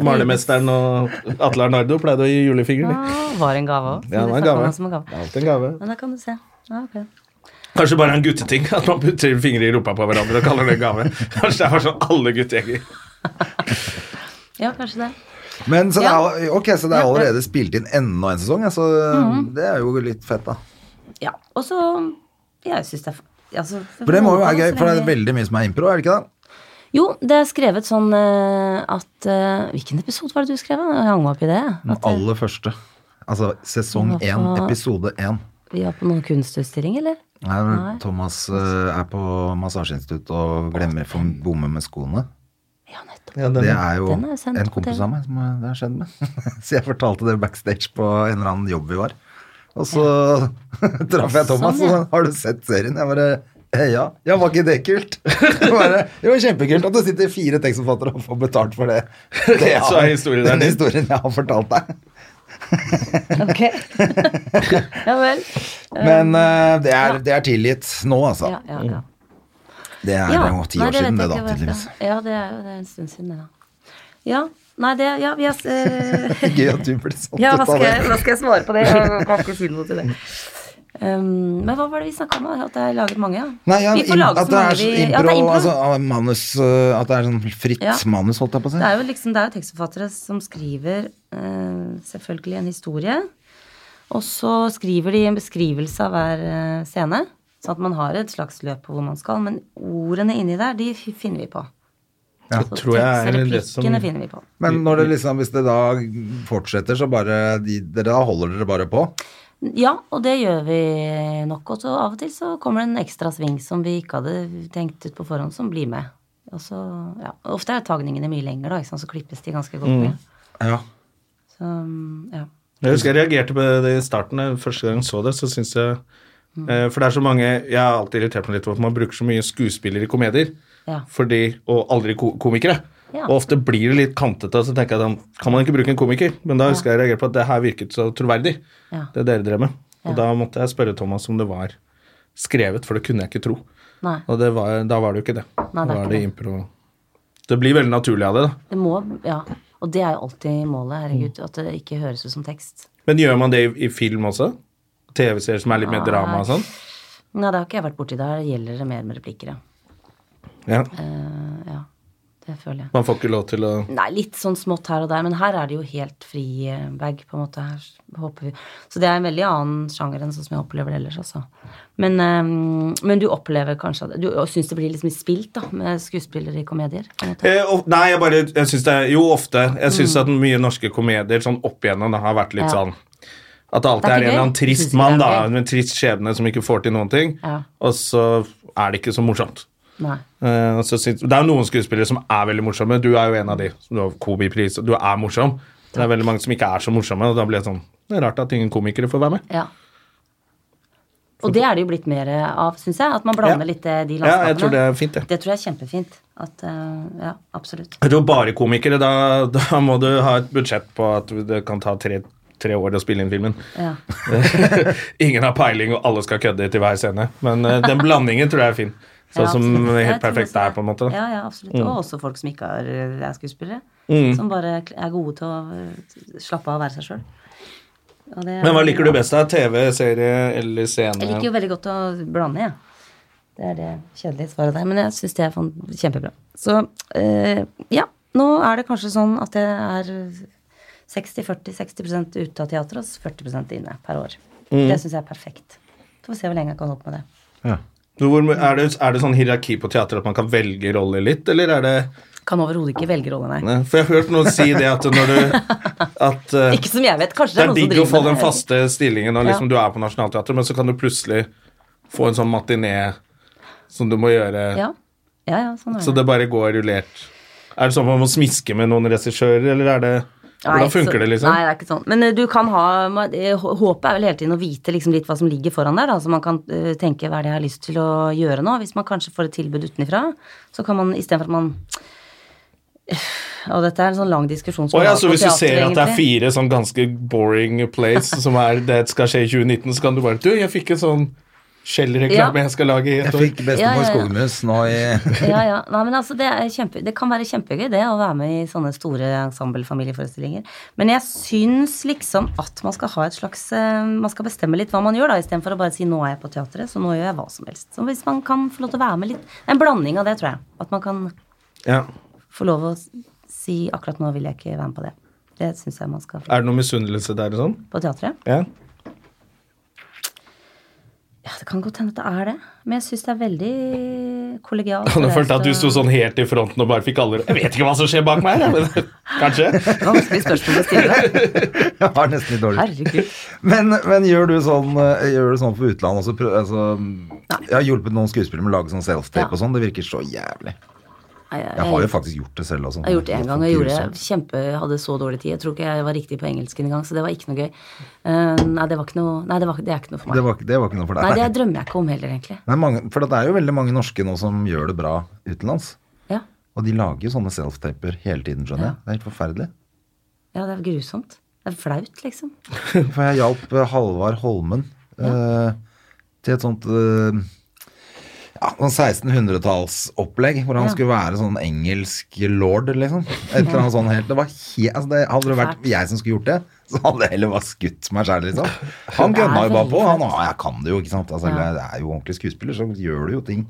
A: Malermesteren og Atle Arnardo pleide å gi julefinger. de.
C: Ja, var en gave òg.
A: Ja, det var en gave. Alltid en gave.
C: Men da kan du se. Ja, ok.
A: Kanskje bare en gutteting at man putter fingre i rumpa på hverandre og kaller det en gave. Kanskje det er bare sånn alle guttegjenger.
C: ja kanskje det.
B: Men så det
C: Ja. Mhm.
B: er, ok, så det er allerede spilt inn enda en sesong, ja, så det er jo litt fett, da.
C: Ja. Og så Jeg syns det er f- altså,
B: For det må jo være
C: så
B: gøy, for det er
C: lenge-
B: veldig mye som er impro, er det ikke det?
C: Jo, det er skrevet sånn eh, at eh, Hvilken episode var det du skrev? da? Jeg hang meg opp i det. jeg.
B: Den
C: At, eh,
B: aller første. Altså sesong
C: Hva
B: én,
C: faen?
B: episode én.
C: vi var på noen kunstutstilling, eller?
B: Nei, hvor
C: Nei.
B: Thomas eh, er på massasjeinstitutt og glemmer for bommer med skoene.
C: Ja, nettopp.
B: Det er jo
C: den er sendt
B: en
C: på
B: kompis
C: TV.
B: av meg som eh, det har skjedd med. Så jeg fortalte det backstage på en eller annen jobb vi var. Og så traff jeg Thomas,
C: Sånn, ja.
B: og så har du sett serien? Jeg bare Eh, Ja, ja var ikke det kult? Det var, det var kjempekult at det sitter fire tekstforfattere og får betalt for det. det jeg har-
A: Så er historien der.
B: den historien jeg har fortalt deg.
C: Ok. ja vel.
B: Men eh, det, er,
C: Um, ja.
B: det er tilgitt nå, altså.
C: Ja, ja, ja.
B: Det er
C: Ja,
B: jo ti
C: nei,
B: år
C: det
B: siden,
C: vet
B: det,
C: jeg
B: da,
C: ikke hva-
B: tydeligvis.
C: Ja, det er jo det er en stund siden, det, da. Ja. Nei, det Ja, vi har eh,
B: Gøy at du ble satt
C: Ja,
B: ut
C: hva
B: av
C: skal, jeg,
B: det.
C: hva skal jeg svare på det? Jeg kan ikke si noe til det. Um, men hva var det vi snakka om? da? At jeg laget mange? Ja.
B: Nei, ja,
C: vi får
B: im-
C: lage
B: at
C: så
B: det
C: mange
B: er
C: vi
B: så
C: Ja,
B: impro,
C: det er impro.
B: altså ah, manus eh, At det er sånn fritt
C: Ja.
B: manus, holdt jeg på å si.
C: Det er jo liksom, det er jo tekstforfattere som skriver eh, selvfølgelig en historie. Og så skriver de en beskrivelse av hver eh, scene. Sånn at man har et slags løp på hvor man skal. Men ordene inni der, de f- finner vi på.
B: Ja,
C: Så
A: tror jeg er
C: tekst-
A: en
C: replikkene
A: rett som-
C: finner vi på.
B: Men når det liksom, hvis det da fortsetter, så bare de, dere, Da holder dere bare på?
C: Ja, og det gjør vi nok. Og så av og til så kommer det en ekstra sving som vi ikke hadde tenkt ut på forhånd, som blir med. Og så, ja, Ofte er tagningene mye lenger, da, ikke sant? så klippes de ganske godt med.
B: Ja.
C: Så, mm, ja.
A: Jeg husker jeg reagerte på det i starten. eh, Første gang jeg så det, så syns jeg eh, For det er så mange Jeg har alltid irritert meg litt over at man bruker så mye skuespillere i komedier.
C: Ja.
A: Fordi, og aldri ko komikere.
C: Ja.
A: Og ofte blir det litt kantete, og så tenker jeg sånn Kan man ikke bruke en komiker? Men da husker jeg jeg reagerte på at det her virket så troverdig,
C: Ja.
A: det dere drev med. Og
C: Ja.
A: da måtte jeg spørre Thomas om det var skrevet, for det kunne jeg ikke tro.
C: Nei.
A: Og det var, da var det jo ikke det.
C: Nei, det
A: da
C: er
A: var
C: ikke
A: det
C: det.
A: impro. Det blir veldig naturlig av det, da.
C: Det må, ja. Og det er jo alltid målet, herregud. At det ikke høres ut som tekst.
A: Men gjør man det i, i film også? TV-serier som er litt mer
C: Nei.
A: drama og sånn?
C: Nei, det har ikke jeg vært borti. Der gjelder det mer med replikker, ja.
A: Ja.
C: Eh, ja. Det føler jeg.
A: Man får ikke lov til å
C: Nei, litt sånn smått her og der, men her er det jo helt fri eh, bag, på en måte. Her håper vi. Så det er en veldig annen sjanger enn sånn som jeg opplever det ellers, altså. Men, eh, men du opplever kanskje at Du syns det blir liksom spilt, da, med skuespillere i komedier? på en måte.
A: Eh, of- nei, jeg bare jeg synes det er, Jo, ofte. Jeg syns at mye norske komedier sånn opp igjennom det har vært litt
C: Mm. Ja.
A: sånn At det alltid
C: Det er
A: er,
C: ikke
A: en eller
C: gøy.
A: annen
C: Synes
A: trist
C: ikke
A: mann
C: det er
A: da,
C: gøy.
A: med en trist skjebne som ikke får til noen ting.
C: Ja.
A: Og så er det ikke så morsomt.
C: Nei.
A: Eh, og så syns- det er jo noen skuespillere som er veldig morsomme. Du er jo en av de. Du har Kobi-pris, og du er morsom. Det er veldig mange som ikke er så morsomme, og da blir det sånn Det er rart at ingen komikere får være med.
C: Ja. Og det er det jo blitt mer eh, av, syns jeg. At man blander
A: Ja.
C: litt eh, de
A: Ja,
C: landskapene.
A: jeg tror det er fint, det.
C: Det tror jeg er kjempefint. At, eh, ja, absolutt.
A: Jeg tror bare komikere, da, da må du ha et budsjett på at det kan ta tre, tre år å spille inn filmen.
C: Ja.
A: Ingen har peiling, og alle skal kødde til hver scene. Men eh, den blandingen tror jeg er fin. Sånn
C: Ja,
A: som
C: absolutt. Jeg
A: Helt
C: tror
A: perfekt
C: også
A: er,
C: det.
A: på en måte. Mm. da.
C: Ja, ja, absolutt. Og også folk som ikke er, er skuespillere.
A: Mm.
C: Som bare er gode til å eh, slappe av og være seg sjøl.
A: Men hva liker du best av TV, serie eller
C: Jeg liker
A: scene?
C: jo veldig godt å blande, jeg. Det er det kjedelige svaret der, men jeg syns det er fan- kjempebra. Så eh, ja, nå er det kanskje sånn at det er 60-40, 60 ute av teatret og 40 inne per år.
A: Mm.
C: Det syns jeg er perfekt. Så får vi se hvor lenge jeg kan holde på med det.
A: Hvor, er, det, er det sånn hierarki på teater at man kan velge roller litt, eller er det
C: Kan overhodet ikke velge rolle, nei.
A: Nei, For jeg har hørt noen si det at når du at, eh,
C: Ikke som jeg vet. Kanskje
A: Det
C: det
A: er
C: er,
A: digg å
C: noen som
A: få
C: driver
A: den
C: med det.
A: faste stillingen når
C: Ja.
A: liksom du er på Nationaltheatret, men så kan du plutselig få en sånn matiné som du må gjøre
C: Ja, ja, ja sånn er
A: Så det bare går rullert. Er det sånn at man må smiske med noen regissører, eller er det Hvordan
C: Nei,
A: funker
C: så-
A: det, liksom?
C: Nei, det er ikke sånn. Men eh, du kan ha ma- eh, hå- Håpet er vel hele tiden å vite liksom litt hva som ligger foran der, da. Så man kan eh, tenke hva er det jeg har lyst til å gjøre nå. Hvis man kanskje får et tilbud utenfra, så kan man istedenfor at man Og dette er en sånn lang diskusjon som
A: Å
C: vi
A: ja,
C: har
A: så
C: på
A: hvis du
C: teater,
A: ser at det er
C: egentlig.
A: fire sånn ganske boring plays som er det skal skje i 2019, så kan du bare Du, jeg fikk en sånn Shell-reklame
C: Ja.
A: jeg skal lage i et
B: Jeg
A: år.
B: fikk bestemor
C: Ja, ja, ja.
B: Skogmus nå i
C: ja, ja. Nei, men altså, det, er kjempe, det kan være kjempegøy det å være med i sånne store ensemblefamilieforestillinger. Men jeg syns liksom at man skal ha et slags eh, Man skal bestemme litt hva man gjør, da, istedenfor å bare si 'nå er jeg på teatret', så nå gjør jeg hva som helst. Så hvis man kan få lov til å være med litt En blanding av det, tror jeg. At man kan
A: Ja.
C: få lov å s- si 'akkurat nå vil jeg ikke være med på det'. Det syns jeg man skal få
A: Er det noe misunnelse der og sånn?
C: på teatret.
A: Ja.
C: Ja, det kan godt hende at det er det, men jeg syns det er veldig kollegialt.
A: Nå
C: og
A: følte jeg at du
C: raust
A: sto
C: og-
A: sånn helt i fronten og bare fikk alle Jeg vet ikke hva som skjer bak meg her, jeg, men kanskje?
C: Det var vanskelig spørsmål å stille.
B: Jeg har nesten litt dårlig
C: Herregud.
B: Men, men gjør, du sånn, eh, gjør du sånn for utlandet også? Prø- Altså, jeg har hjulpet noen skuespillere med å lage sånn self-tape
C: Ja.
B: og sånn. Det virker så jævlig.
C: Nei, jeg-
B: Jeg har jo faktisk gjort det selv. Også.
C: Jeg har gjort det én gang. Jeg gjorde
B: Grusomt.
C: det kjempe, hadde så dårlig tid. Jeg tror ikke jeg var riktig på engelsken engang, så det var ikke noe gøy. Eh, nei, det var ikke noe Nei, det, var, det er ikke noe for meg.
B: Det var, det var ikke noe for deg.
C: nei, det drømmer jeg ikke om heller, egentlig.
B: Nei, mange, for det er jo veldig mange norske nå som gjør det bra utenlands.
C: Ja,
B: Og de lager jo sånne self-taper hele tiden, skjønner jeg. Det er helt forferdelig.
C: ja det er grusomt. Det er flaut, liksom.
B: For jeg hjalp eh, Halvard Holmen eh, til et sånt eh, ja, sånn 1600-tallsopplegg, hvor han
C: Ja.
B: skulle være sånn engelsk lord, liksom. Et eller annet sånn helt, det var he- altså det, Hadde det vært
C: Fælt.
B: jeg som skulle gjort det, så hadde jeg heller bare skutt meg sjæl, liksom. Han gønna jo bare på. Han «Å, jeg kan det jo, ikke sant. Altså,
C: Ja. Mm.
B: Jeg er jo ordentlig skuespiller, så gjør du jo ting.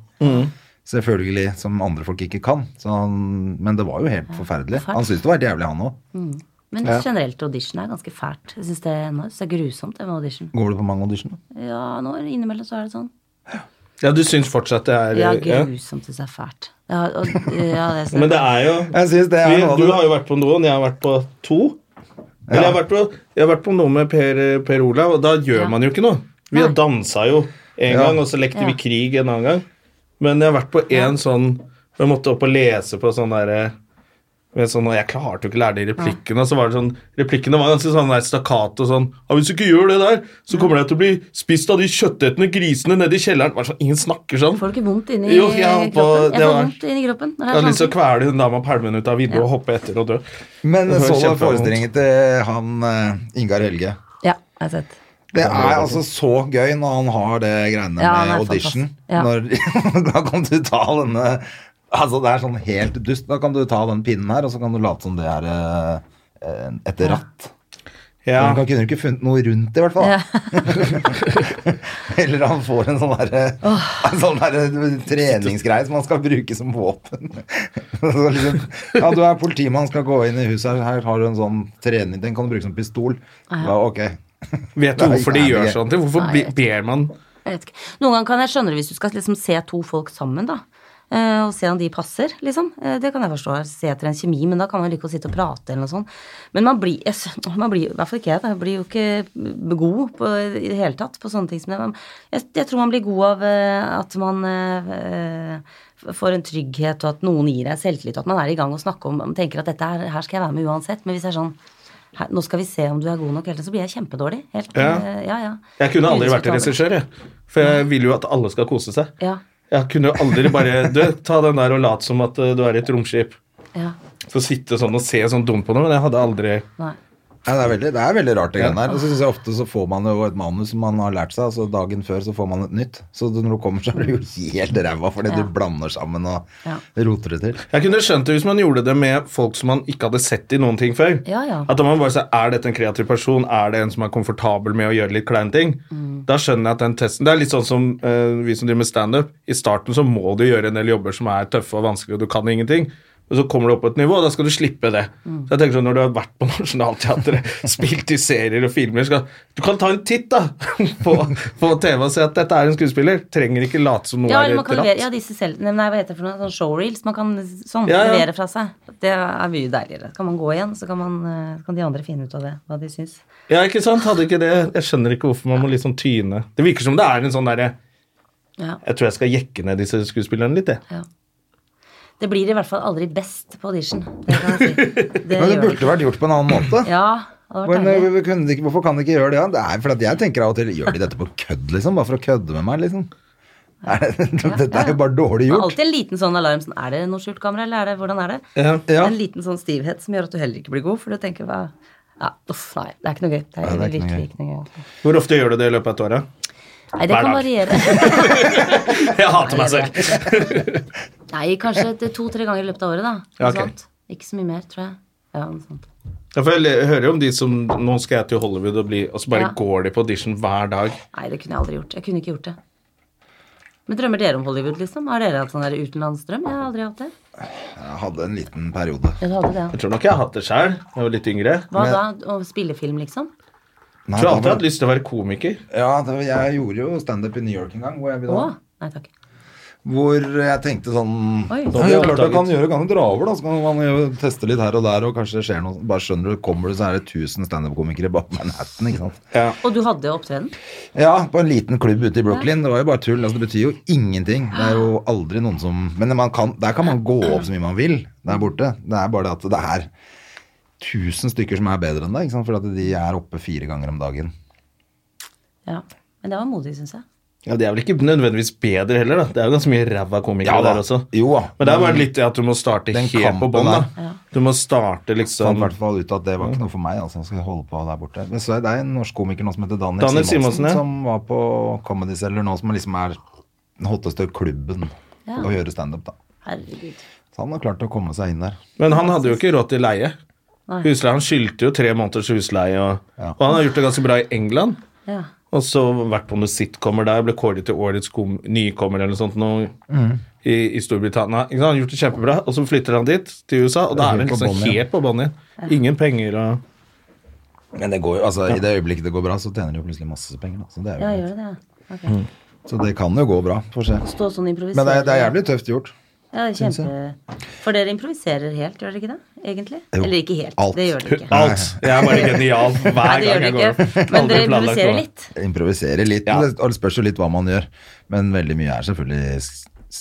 B: Selvfølgelig som andre folk ikke kan. Så han, men det var jo helt forferdelig.
C: fælt.
B: Han syntes det var helt jævlig, han òg.
C: Men generelt audition er ganske fælt. Jeg syns det, nå synes det er grusomt, det med audition.
B: Går du på mange auditioner?
C: Ja, nå innimellom så er det sånn.
A: Ja, du syns fortsatt det er eh,
C: Ja,
A: ja.
C: grusomt syns jeg er fælt. Jeg har, og, ja, det
A: Men det
C: er sånn.
A: er jo
B: Jeg synes det er
A: vi,
B: noe av
A: Du
B: det-
A: har jo vært på noen, jeg har vært på to. Eller jeg har vært på, jeg har vært på noe med per, per Olav, og da gjør
C: Ja.
A: man jo ikke noe. Vi
C: Nei.
A: har dansa jo en
B: Ja.
A: gang, og så lekte
C: Ja.
A: vi krig en annen gang. Men jeg har vært på en sånn hvor Jeg måtte opp og lese på sånn derre med sånn, og Jeg klarte jo ikke å lære de replikkene. og Så var det sånn, replikkene var ganske sånn der stakkato sånn ja, 'Hvis du ikke gjør det der, så kommer deg til å bli spist av de kjøttetende grisene nede i kjelleren.' Bare sånn, Ingen snakker sånn.
C: Får du ikke vondt inni
A: Jo, jeg har på-
C: kroppen?
A: det
C: Jeg får
A: var-
C: vondt inni kroppen. når det
A: Jeg
C: er
A: hadde lyst til å
C: sånn.
A: kvele hun dama og pælme henne ut av vinduet og hoppe etter og dø.
B: Men
A: Det var
B: så du
A: kjempevondt.
B: forestillingen til han eh, Ingar Helge?
C: Ja, jeg har sett.
B: Det er altså så gøy når han har det greiene
C: Ja, han
B: med
C: er
B: audition.
C: fantastisk. Ja.
B: Når, da kan du ta denne Altså, det er sånn helt dust. Da kan du ta den pinnen her, og så kan du late som det er eh, et ratt.
A: Ja.
B: Men Han kunne jo ikke funnet noe rundt det, i hvert fall.
C: Ja.
B: Eller han får en sånn derre en sånn derre treningsgreie som han skal bruke som våpen. Så liksom, ja, du er politimann, skal gå inn i huset her, her har du en sånn trening, den kan du bruke som pistol. Ja, ok.
A: Vet du
B: Nei,
A: hvorfor de
B: nei,
A: gjør
B: det-
A: sånne ting? Hvorfor
C: Nei,
A: be-
C: jeg-
A: ber man
C: Jeg vet ikke. Noen ganger kan jeg skjønne det hvis du skal liksom se to folk sammen, da. eh, Og se om de passer, liksom. Eh, Det kan jeg forstå. Se etter en kjemi, men da kan man like å sitte og prate eller noe sånt. Men man blir, jeg, s- man blir i hvert fall ikke jeg, da. Jeg blir jo ikke god på, i det hele tatt på sånne ting som det. Men Jeg, jeg tror man blir god av eh, at man eh, eh, får en trygghet, og at noen gir deg selvtillit, og at man er i gang og snakker om, man tenker at dette her, her skal jeg være med uansett. Men hvis jeg er sånn her, nå skal vi se om du er god nok, eller så blir jeg kjempedårlig. Helt,
A: Ja.
C: eh, ja, ja.
A: Jeg kunne aldri vært
C: Udiskutabelt.
A: regissør, jeg. For jeg vil jo at alle skal kose seg.
C: Ja.
A: Jeg kunne jo aldri bare Du, ta den der og lat som at eh, du er i et romskip.
C: Ja,
A: Så sitte sånn og se sånn dumt på noe, men jeg hadde aldri
C: nei.
B: Ja, det, er veldig, det er veldig rart, det greiene der. Og så synes jeg ofte så får man jo et manus som man har lært seg, altså dagen før så får man et nytt. Så når du kommer, så er du jo helt ræva fordi
C: Ja.
B: du blander sammen og
C: Ja.
B: roter det til.
A: Jeg kunne skjønt det hvis man gjorde det med folk som man ikke hadde sett i noen ting før.
C: Ja, ja.
A: At da man bare sier, Er dette en kreativ person? Er det en som er komfortabel med å gjøre litt kleine ting?
C: Mm.
A: Da skjønner jeg at den testen Det er litt sånn som eh, vi som driver med standup. I starten så må du gjøre en del jobber som er tøffe og vanskelige, og du kan ingenting. Og så kommer du opp på et nivå, og da skal du slippe det.
C: Mm.
A: Så jeg tenker sånn, Når du har vært på Nationaltheatret, spilt i serier og filmer skal, Du kan ta en titt da på, på TV og se at dette er en skuespiller. Trenger ikke late som noe
C: Ja,
A: er
C: eller man
A: et
C: kan levere,
A: ratt.
C: ja, disse selv, nei, hva heter det for noe, sånn showreels, man kan sånn
A: Ja, ja.
C: levere fra seg. Det er mye deiligere. Kan man gå igjen, så kan, man, eh, kan de andre finne ut av det, hva de syns.
A: Ja, ikke sant? Hadde ikke det. Jeg skjønner ikke hvorfor man må liksom tyne. Det virker som det er en sånn derre
C: Ja,
A: Jeg tror jeg skal jekke ned disse skuespillerne litt, jeg.
C: ja. Det blir i hvert fall aldri best på audition, det kan jeg si.
B: Men
C: Det
B: det
C: gjør det
B: burde vært gjort på en annen måte.
C: ikke. Ja, det hadde
B: Men,
C: vært deilig.
B: eh, kunne de ikke- hvorfor kan de ikke gjøre det? Ja? Det er fordi at jeg tenker av og til Gjør de dette på kødd, liksom? Bare for å kødde med meg, liksom? Er det, dette er jo bare dårlig
C: Det er
B: gjort.
C: alltid en liten sånn alarm, sånn, er det noe skjult kamera, eller er det, hvordan er det?
A: Ja.
B: Ja.
C: En liten sånn stivhet som gjør at du heller ikke blir god, for du tenker, hva, ja, uff, nei, det er ikke noe gøy. Det er,
B: Nei, det er ikke noe
C: virkelig ikke noe gøy.
A: Hvor ofte gjør du det i løpet av et år? da?
C: Nei, det
A: Hver
C: kan
A: dag.
C: variere.
A: Jeg hater meg selv.
C: Nei, kanskje et- to-tre ganger i løpet av året, da.
A: Ja, ok.
C: Noe sånt. Ikke så mye mer, tror jeg. Ja, noe sånt.
A: Ja, for Jeg hører jo om de som Nå skal jeg til Hollywood og bli Og så bare
C: Ja.
A: går de på audition hver dag.
C: Nei, det kunne jeg aldri gjort. Jeg kunne ikke gjort det. Men drømmer dere om Hollywood, liksom? Har dere hatt sånn der utenlandsdrøm? Jeg har aldri hatt det.
B: Jeg hadde en liten periode.
C: Ja, du hadde det, ja.
A: Jeg tror nok jeg har hatt det sjøl da jeg var litt yngre.
C: Hva da? Å spille film, liksom?
B: Nei,
A: Jeg tror alltid jeg
B: da
A: har
B: var-
A: hatt lyst til å være komiker.
B: ja, det var, jeg gjorde jo standup i New York en gang. Hvor jeg,
C: Å?
B: da,
C: Nei takk.
B: Hvor jeg tenkte sånn
C: Oi.
B: ja, det er klart jeg kan gjøre, kan du dra over, da. Så kan man jo teste litt her og der, og kanskje det skjer noe. Bare skjønner du, kommer du, så er det 1000 standup-komikere bak Manhattan, ikke sant.
C: Og du hadde opptreden?
B: Ja, på en liten klubb ute i Brooklyn. Det var jo bare tull. Altså, det betyr jo ingenting. Det er jo aldri noen som Men man kan, der kan man gå opp så mye man vil der borte. Det er bare det at det er tusen stykker som er bedre enn deg, ikke sant? for at de er oppe fire ganger om dagen.
C: Ja. Men det var modig, syns jeg.
A: Ja, De er vel ikke nødvendigvis bedre heller, da. Det er jo ganske mye ræva komikere
B: Ja da.
A: der også.
B: Jo da.
A: Men det er bare litt det at du må starte
B: Den
A: helt på
B: kampen
A: bånn,
B: der.
A: da. Du må starte
B: Så han
A: liksom
B: fant i hvert fall ut at det var ikke noe for meg. altså, skal jeg holde på der borte. Men så er det en norsk komiker nå som heter Daniel,
A: Daniel Simonsen, ja.
B: som var på Comedy Cellar nå, som liksom er den hotteste klubben
C: Ja.
B: å gjøre standup, da.
C: Herregud.
B: Så han har klart å komme seg inn der.
A: Men han hadde jo ikke råd til leie.
C: Nei.
A: Husleie, Han skyldte jo tre måneders husleie, og, og han har gjort det ganske bra i England.
C: Ja.
A: Og så vært på noen sitcomer der, ble kåret til årets kom nykommer eller noe sånt nå, i, i Storbritannia. Ikke sant? Han har gjort det kjempebra, og så flytter han dit, til USA, og da er
B: helt
A: han
B: på
A: liksom
B: bånn igjen.
A: helt på bånn igjen. Ingen penger og
B: Men det går jo, altså i det øyeblikket det går bra, så tjener de jo plutselig masse penger. Da. Så, det er jo
C: ja,
B: greit.
C: gjør det det? Ok.
B: så det kan jo gå bra. Får se.
C: Stå sånn og improvisere.
B: Men det er, det er jævlig tøft gjort.
C: Ja, det er
B: synes
C: kjempe... For dere improviserer helt, gjør dere ikke det? Egentlig?
B: Jo.
C: Eller ikke helt.
B: Alt.
C: Det gjør dere ikke.
A: alt. Jeg er bare genial hver
C: Nei, det
A: gang
C: gjør
A: jeg
C: dere
A: går opp.
C: ikke. Men
A: Aldri
C: dere
A: planlagt
C: improviserer
A: noe.
C: litt.
B: Improvisere litt.
A: Ja.
B: men Det det spørs jo litt hva man gjør. Men veldig mye er selvfølgelig s-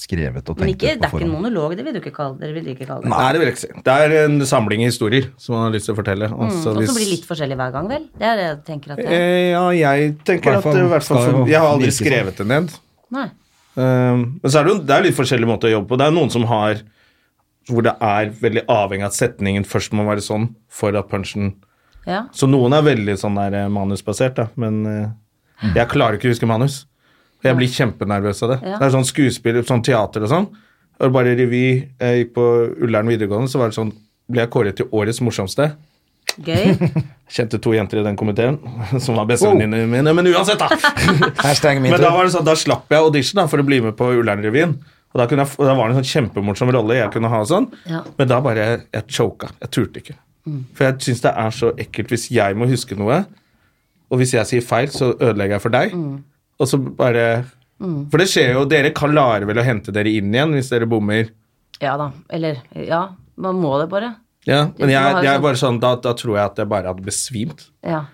B: skrevet og
C: Men
B: tenkt ut på
C: ikke, det er ikke en
B: forhånd.
C: monolog, det vil du ikke kalle det. Dere vil ikke kalle det.
A: Nei, det vil jeg ikke si. Det er en samling historier som man har lyst til å fortelle. Og
C: Mm,
A: så
C: Og
A: hvis-
C: så blir det litt forskjellig hver gang, vel? Det er det jeg tenker at det er.
A: Eh, Ja, jeg tenker at
B: Hvertfall
A: eh, i hvert fall
B: skal
A: for-
B: jo
A: Jeg har aldri
B: virke sånn.
A: skrevet det ned.
C: Nei.
A: Um, men så er det jo det er litt forskjellige måter å jobbe på. Det er noen som har Hvor det er veldig avhengig av at setningen først må være sånn for at punchen
C: Ja.
A: Så noen er veldig sånn der eh, manusbasert, da. Men eh, jeg klarer ikke å huske manus. Jeg blir kjempenervøs av det.
C: Ja.
A: Det er sånn skuespill, sånn teater og sånn. Og bare revy. Jeg gikk på Ullern videregående, så var det sånn Ble jeg kåret til årets morsomste?
C: Gøy.
A: Kjente to jenter i den komiteen som var bestevenninnene mine. Men uansett, da!
B: Hashtag min
A: Men da,
B: tur.
A: var det sånn, da slapp jeg audition da, for å bli med på Ullern-revyen. Og da, kunne jeg, og da var det en sånn kjempemorsom rolle jeg kunne ha. og sånn.
C: Ja. Mm.
A: Men da bare Jeg choka. Jeg turte ikke. For jeg syns det er så ekkelt hvis jeg må huske noe, og hvis jeg sier feil, så ødelegger jeg for deg.
C: Mm.
A: Og så bare For det skjer jo, dere klarer vel å hente dere inn igjen hvis dere bommer.
C: Ja da. Eller Ja. Man må det bare.
A: Ja,
C: Du
A: Men jeg,
C: har jo
A: jeg er
C: sånn-
A: bare sånn, da, da tror jeg at jeg bare hadde besvimt.
C: Ja.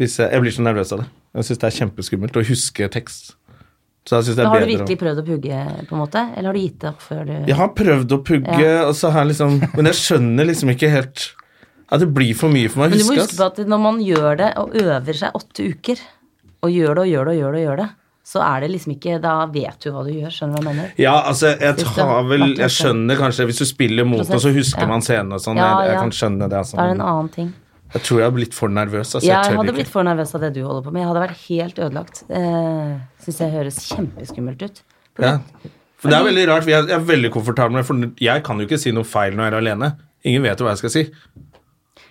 A: Hvis jeg, jeg blir så nervøs av det. Jeg syns det er kjempeskummelt å huske tekst. Så jeg synes det er
C: Men har du
A: bedre å-
C: virkelig prøvd å pugge, på en måte? Eller har du gitt opp før du
A: Jeg har prøvd å pugge, og så har jeg liksom, men jeg skjønner liksom ikke helt at det blir for mye for meg å
C: Men du må
A: huske.
C: huske på
A: ass.
C: at når man gjør det og øver seg åtte uker, og gjør det og gjør det og gjør det, og gjør det så er det liksom ikke Da vet du hva du gjør. Skjønner du hva jeg mener?
A: Ja, altså, jeg
C: Husk det.
A: tar vel
C: Hvert
A: Jeg
C: prosent.
A: skjønner kanskje Hvis du spiller mot noe,
C: Prosent.
A: så husker
C: Ja.
A: man scenen og sånn.
C: Ja,
A: jeg, jeg
C: ja.
A: kan skjønne det. altså,
C: Da er det en
A: men
C: annen ting.
A: Jeg tror jeg har blitt for nervøs. Altså, jeg
C: Jeg
A: tør
C: hadde
A: ikke.
C: blitt for nervøs av det du holder på med. Jeg hadde vært helt ødelagt. Eh, Syns jeg høres kjempeskummelt ut.
A: Ja. For det er veldig rart. for Jeg jeg er veldig komfortabel med det, for jeg kan jo ikke si noe feil når jeg er alene. Ingen vet jo hva jeg skal si.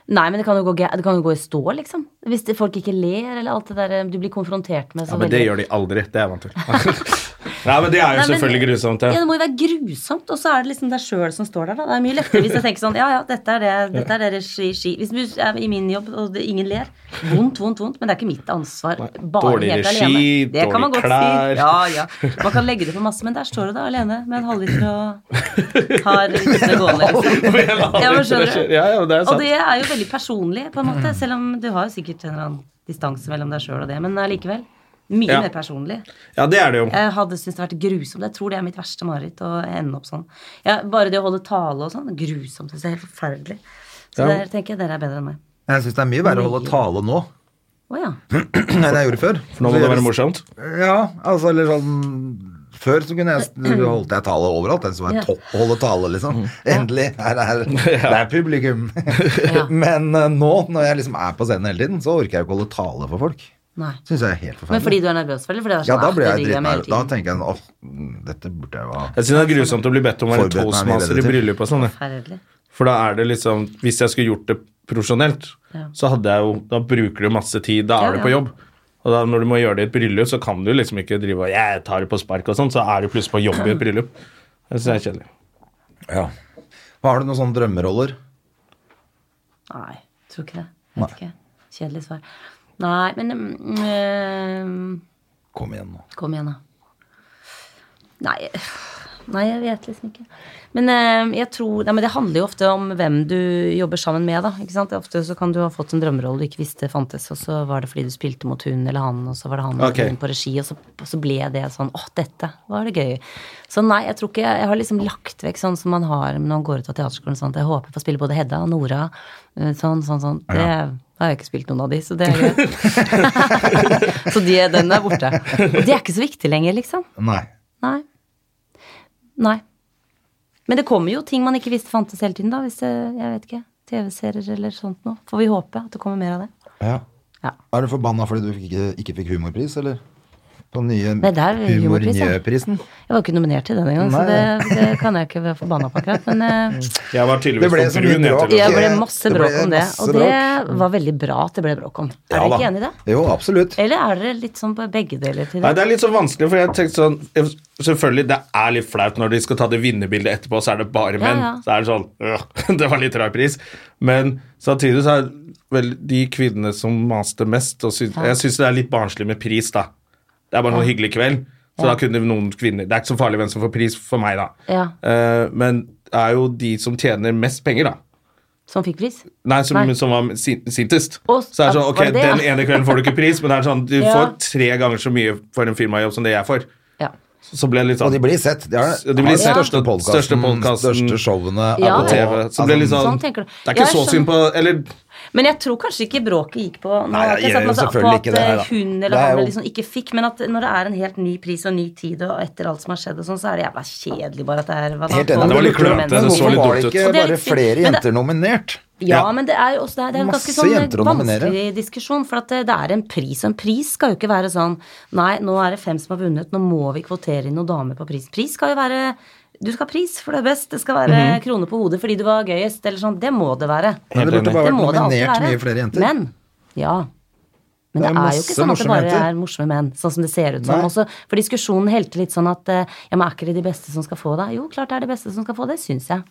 C: Nei, men det kan jo gå, gæ- det kan jo gå i stå, liksom. Hvis det, folk ikke ler, eller alt det der eh, du blir konfrontert med. så
A: Ja, men det
C: veldig-
A: gjør de aldri. Det er jeg vant til. Nei, men det er jo
C: Nei, men-
A: selvfølgelig grusomt.
C: Ja,
A: Ja.
C: det må jo være grusomt, og så er det liksom deg sjøl som står der, da. Det er mye lettere hvis jeg tenker sånn, ja ja, dette er det, dette er det regi, ski. Hvis du er i min jobb, og det, ingen ler. Vondt, vondt, vondt, men det er ikke mitt ansvar. Bare
A: dårlig
C: helt
A: regi,
C: alene. Det kan man
A: dårlige
C: godt
A: klær.
C: si. Ja, ja. Man kan legge det på masse, men der står du da alene med en halvliter og har uten gående, liksom. Ja, men skjønner du?
A: Ja, ja, det er
C: Og
A: sant.
C: det er jo veldig personlig, på en måte, selv om du har jo sikkert en eller annen distanse mellom deg sjøl og det, men allikevel. Mye
A: Ja.
C: mer personlig.
A: Ja, det er det jo.
C: Jeg hadde syntes det vært grusomt. Jeg tror det er mitt verste mareritt å ende opp sånn. Ja, bare det å holde tale og sånn. Grusomt. Det er helt forferdelig. Så
A: Ja.
C: der tenker jeg dere er bedre enn meg.
B: Jeg syns det er mye verre å holde tale nå
C: Å ja.
B: enn jeg gjorde før.
A: Nå må det være morsomt.
B: Ja, altså eller sånn før så kunne jeg holdt jeg tale overalt. Den som var
C: Ja.
B: topp å holde tale, liksom.
A: Mm.
B: Endelig! Her er, det er publikum.
C: Ja.
B: Men eh, nå, når jeg liksom er på scenen hele tiden, så orker jeg jo ikke holde tale for folk.
C: Nei.
B: Syns jeg er helt forferdelig.
C: Men fordi du er nervøs for det? Fordi det er
B: Ja,
C: sånn,
B: da
C: ah,
B: ble
C: det
B: jeg
C: driver med hele
B: dritnervøs. Da
C: tiden.
B: tenker jeg åh, dette burde jeg jo ha
A: Jeg synes det er grusomt å bli bedt om å være
B: Forberedt meg mye
A: toastmaster i
B: bedre til.
A: bryllup og sånn. jeg.
C: Forferdelig.
A: For da er det liksom Hvis jeg skulle gjort det profesjonelt,
C: Ja.
A: så hadde jeg jo Da bruker du masse tid. Da
C: Ja,
A: er du
C: ja.
A: på jobb. Og da når du må gjøre det i et bryllup, så kan du liksom ikke drive og Jeg tar det på spark og sånn, så er du plutselig på jobb i et bryllup. Det synes jeg er kjedelig.
B: ja. Har du noen sånne drømmeroller?
C: Nei, tror ikke det. Vet ikke. Kjedelig svar. Nei, men mm, eh,
B: Kom igjen, nå.
C: Kom igjen, da. Nei, nei, jeg vet liksom ikke. Men eh, jeg tror, nei, men det handler jo ofte om hvem du jobber sammen med, da. ikke sant? Ofte så kan du ha fått en drømmerolle du ikke visste fantes, og så var det fordi du spilte mot hun eller han, og så var det han
A: Ok.
C: eller hun på regi, og så, og så ble det sånn åh, dette var det gøy. Så nei, jeg tror ikke, jeg har liksom lagt vekk sånn som man har når man går ut av teaterskolen, sånn at jeg håper jeg får spille både Hedda og Nora, eh, sånn, sånn, sånn. Det har jeg ikke spilt noen av de, så det er greit. så de, den er borte. Og det er ikke så viktig lenger, liksom.
B: Nei.
C: Nei. Nei. Men det kommer jo ting man ikke visste fantes hele tiden, da. Hvis det, jeg vet ikke, TV-serier eller sånt noe. Får vi håpe at det kommer mer av det.
B: Ja.
C: Ja.
B: Er du forbanna fordi du ikke, ikke fikk humorpris, eller? På den nye
C: Nei, det er humorpris, ja.
B: Humornjø-prisen?
C: Jeg var ikke nominert til den engang, så det,
B: Nei.
C: det kan jeg ikke være forbanna på akkurat. Men eh,
A: Jeg var
B: Det
A: tydeligvis
B: ble
A: for
B: så mye
A: brun. Jeg,
B: bråk.
A: til
C: jeg
A: det.
C: ble masse
B: Det ble
C: bråk om det.
B: masse
C: Og det var veldig bra at det ble bråk om. Er dere ikke enig i det?
B: Jo, absolutt.
C: Eller er dere litt sånn på begge deler til
A: Nei,
C: det?
A: det er litt så vanskelig, for jeg tenkte sånn jeg- Selvfølgelig, det er litt flaut når de skal ta det vinnerbildet etterpå, så er det bare menn.
C: ja.
A: Så er det sånn øh, Det var litt rar pris. Men samtidig så er vel de kvinnene som maste mest og syns- Jeg syns det er litt barnslig med pris, da. Det er bare noen hyggelig kveld. Så da kunne noen kvinner Det er ikke så farlig hvem som får pris for meg, da.
C: Ja.
A: Eh, men det er jo de som tjener mest penger, da.
C: Som fikk pris?
A: Nei, som,
C: Nei.
A: som var sin- sintest.
C: Å,
A: så er det sånn,
C: at-
A: ok,
C: var det det,
A: Den
C: ja?
A: ene kvelden får du ikke pris, men det er sånn, du
C: Ja.
A: får tre ganger så mye for en firmajobb som det jeg får.
C: Ja.
A: Så ble det litt sånn
B: Og de blir sett. De er
A: Ja, de blir
B: har
A: sett.
B: største
A: Ja.
B: podkasten,
A: Største podcasten.
B: største showene er
C: Ja.
A: på TV. Så ble det litt sånn,
C: Sånn tenker du.
A: Det er ikke
C: Jeg
A: så
C: skjønner.
A: synd på Eller
C: Men jeg tror kanskje ikke bråket gikk på Nå
B: Nei,
C: har
B: jeg
C: jeg ikke
B: gjør
C: satt
B: jo
C: masse på
B: selvfølgelig
C: at
B: ikke det her, da.
C: eh, hun
B: Det
C: eller
B: er
C: han
B: jo-
C: eller liksom ikke fikk, men at når det er en helt ny pris og ny tid og etter alt som har skjedd og sånn, så er det jævla kjedelig bare at det er hva da,
B: Helt enig.
C: tolv
A: Det var litt
C: hundre
A: klønete,
C: mennesker.
A: det så
B: Hvorfor
A: litt
B: var
A: dumt
B: det
A: ut.
B: ikke
C: Og det er
B: bare
C: litt fint,
B: flere
C: men det-
B: jenter nominert?
C: Ja,
A: Ja.
C: men det er jo også det er, det er en ganske
B: Masse
C: sånn
B: jenter å nominere.
C: vanskelig diskusjon. For at eh, det, det er en pris, og en pris skal jo ikke være sånn Nei, nå er det fem som har vunnet, nå må vi kvotere inn noen damer på pris. Pris skal jo være Du skal ha pris, for det er best. Det skal være kroner på hodet fordi du var gøyest, eller sånn. Det må det være.
B: Mhm. Men det burde
A: enig.
B: bare
C: Det
B: vært
C: må det alltid
B: nominert
C: være.
B: mye flere jenter.
C: Men, ja. Men det
B: Det
C: er,
B: er
C: jo
B: masse
C: ikke sånn at det
B: morsomme
C: bare
B: jenter.
C: er morsomme menn, sånn som det ser ut som.
B: Nei.
C: Også, for diskusjonen helte litt sånn at eh, ja, men er ikke det de beste som skal få det? Jo, klart det er de beste som skal få det, syns jeg.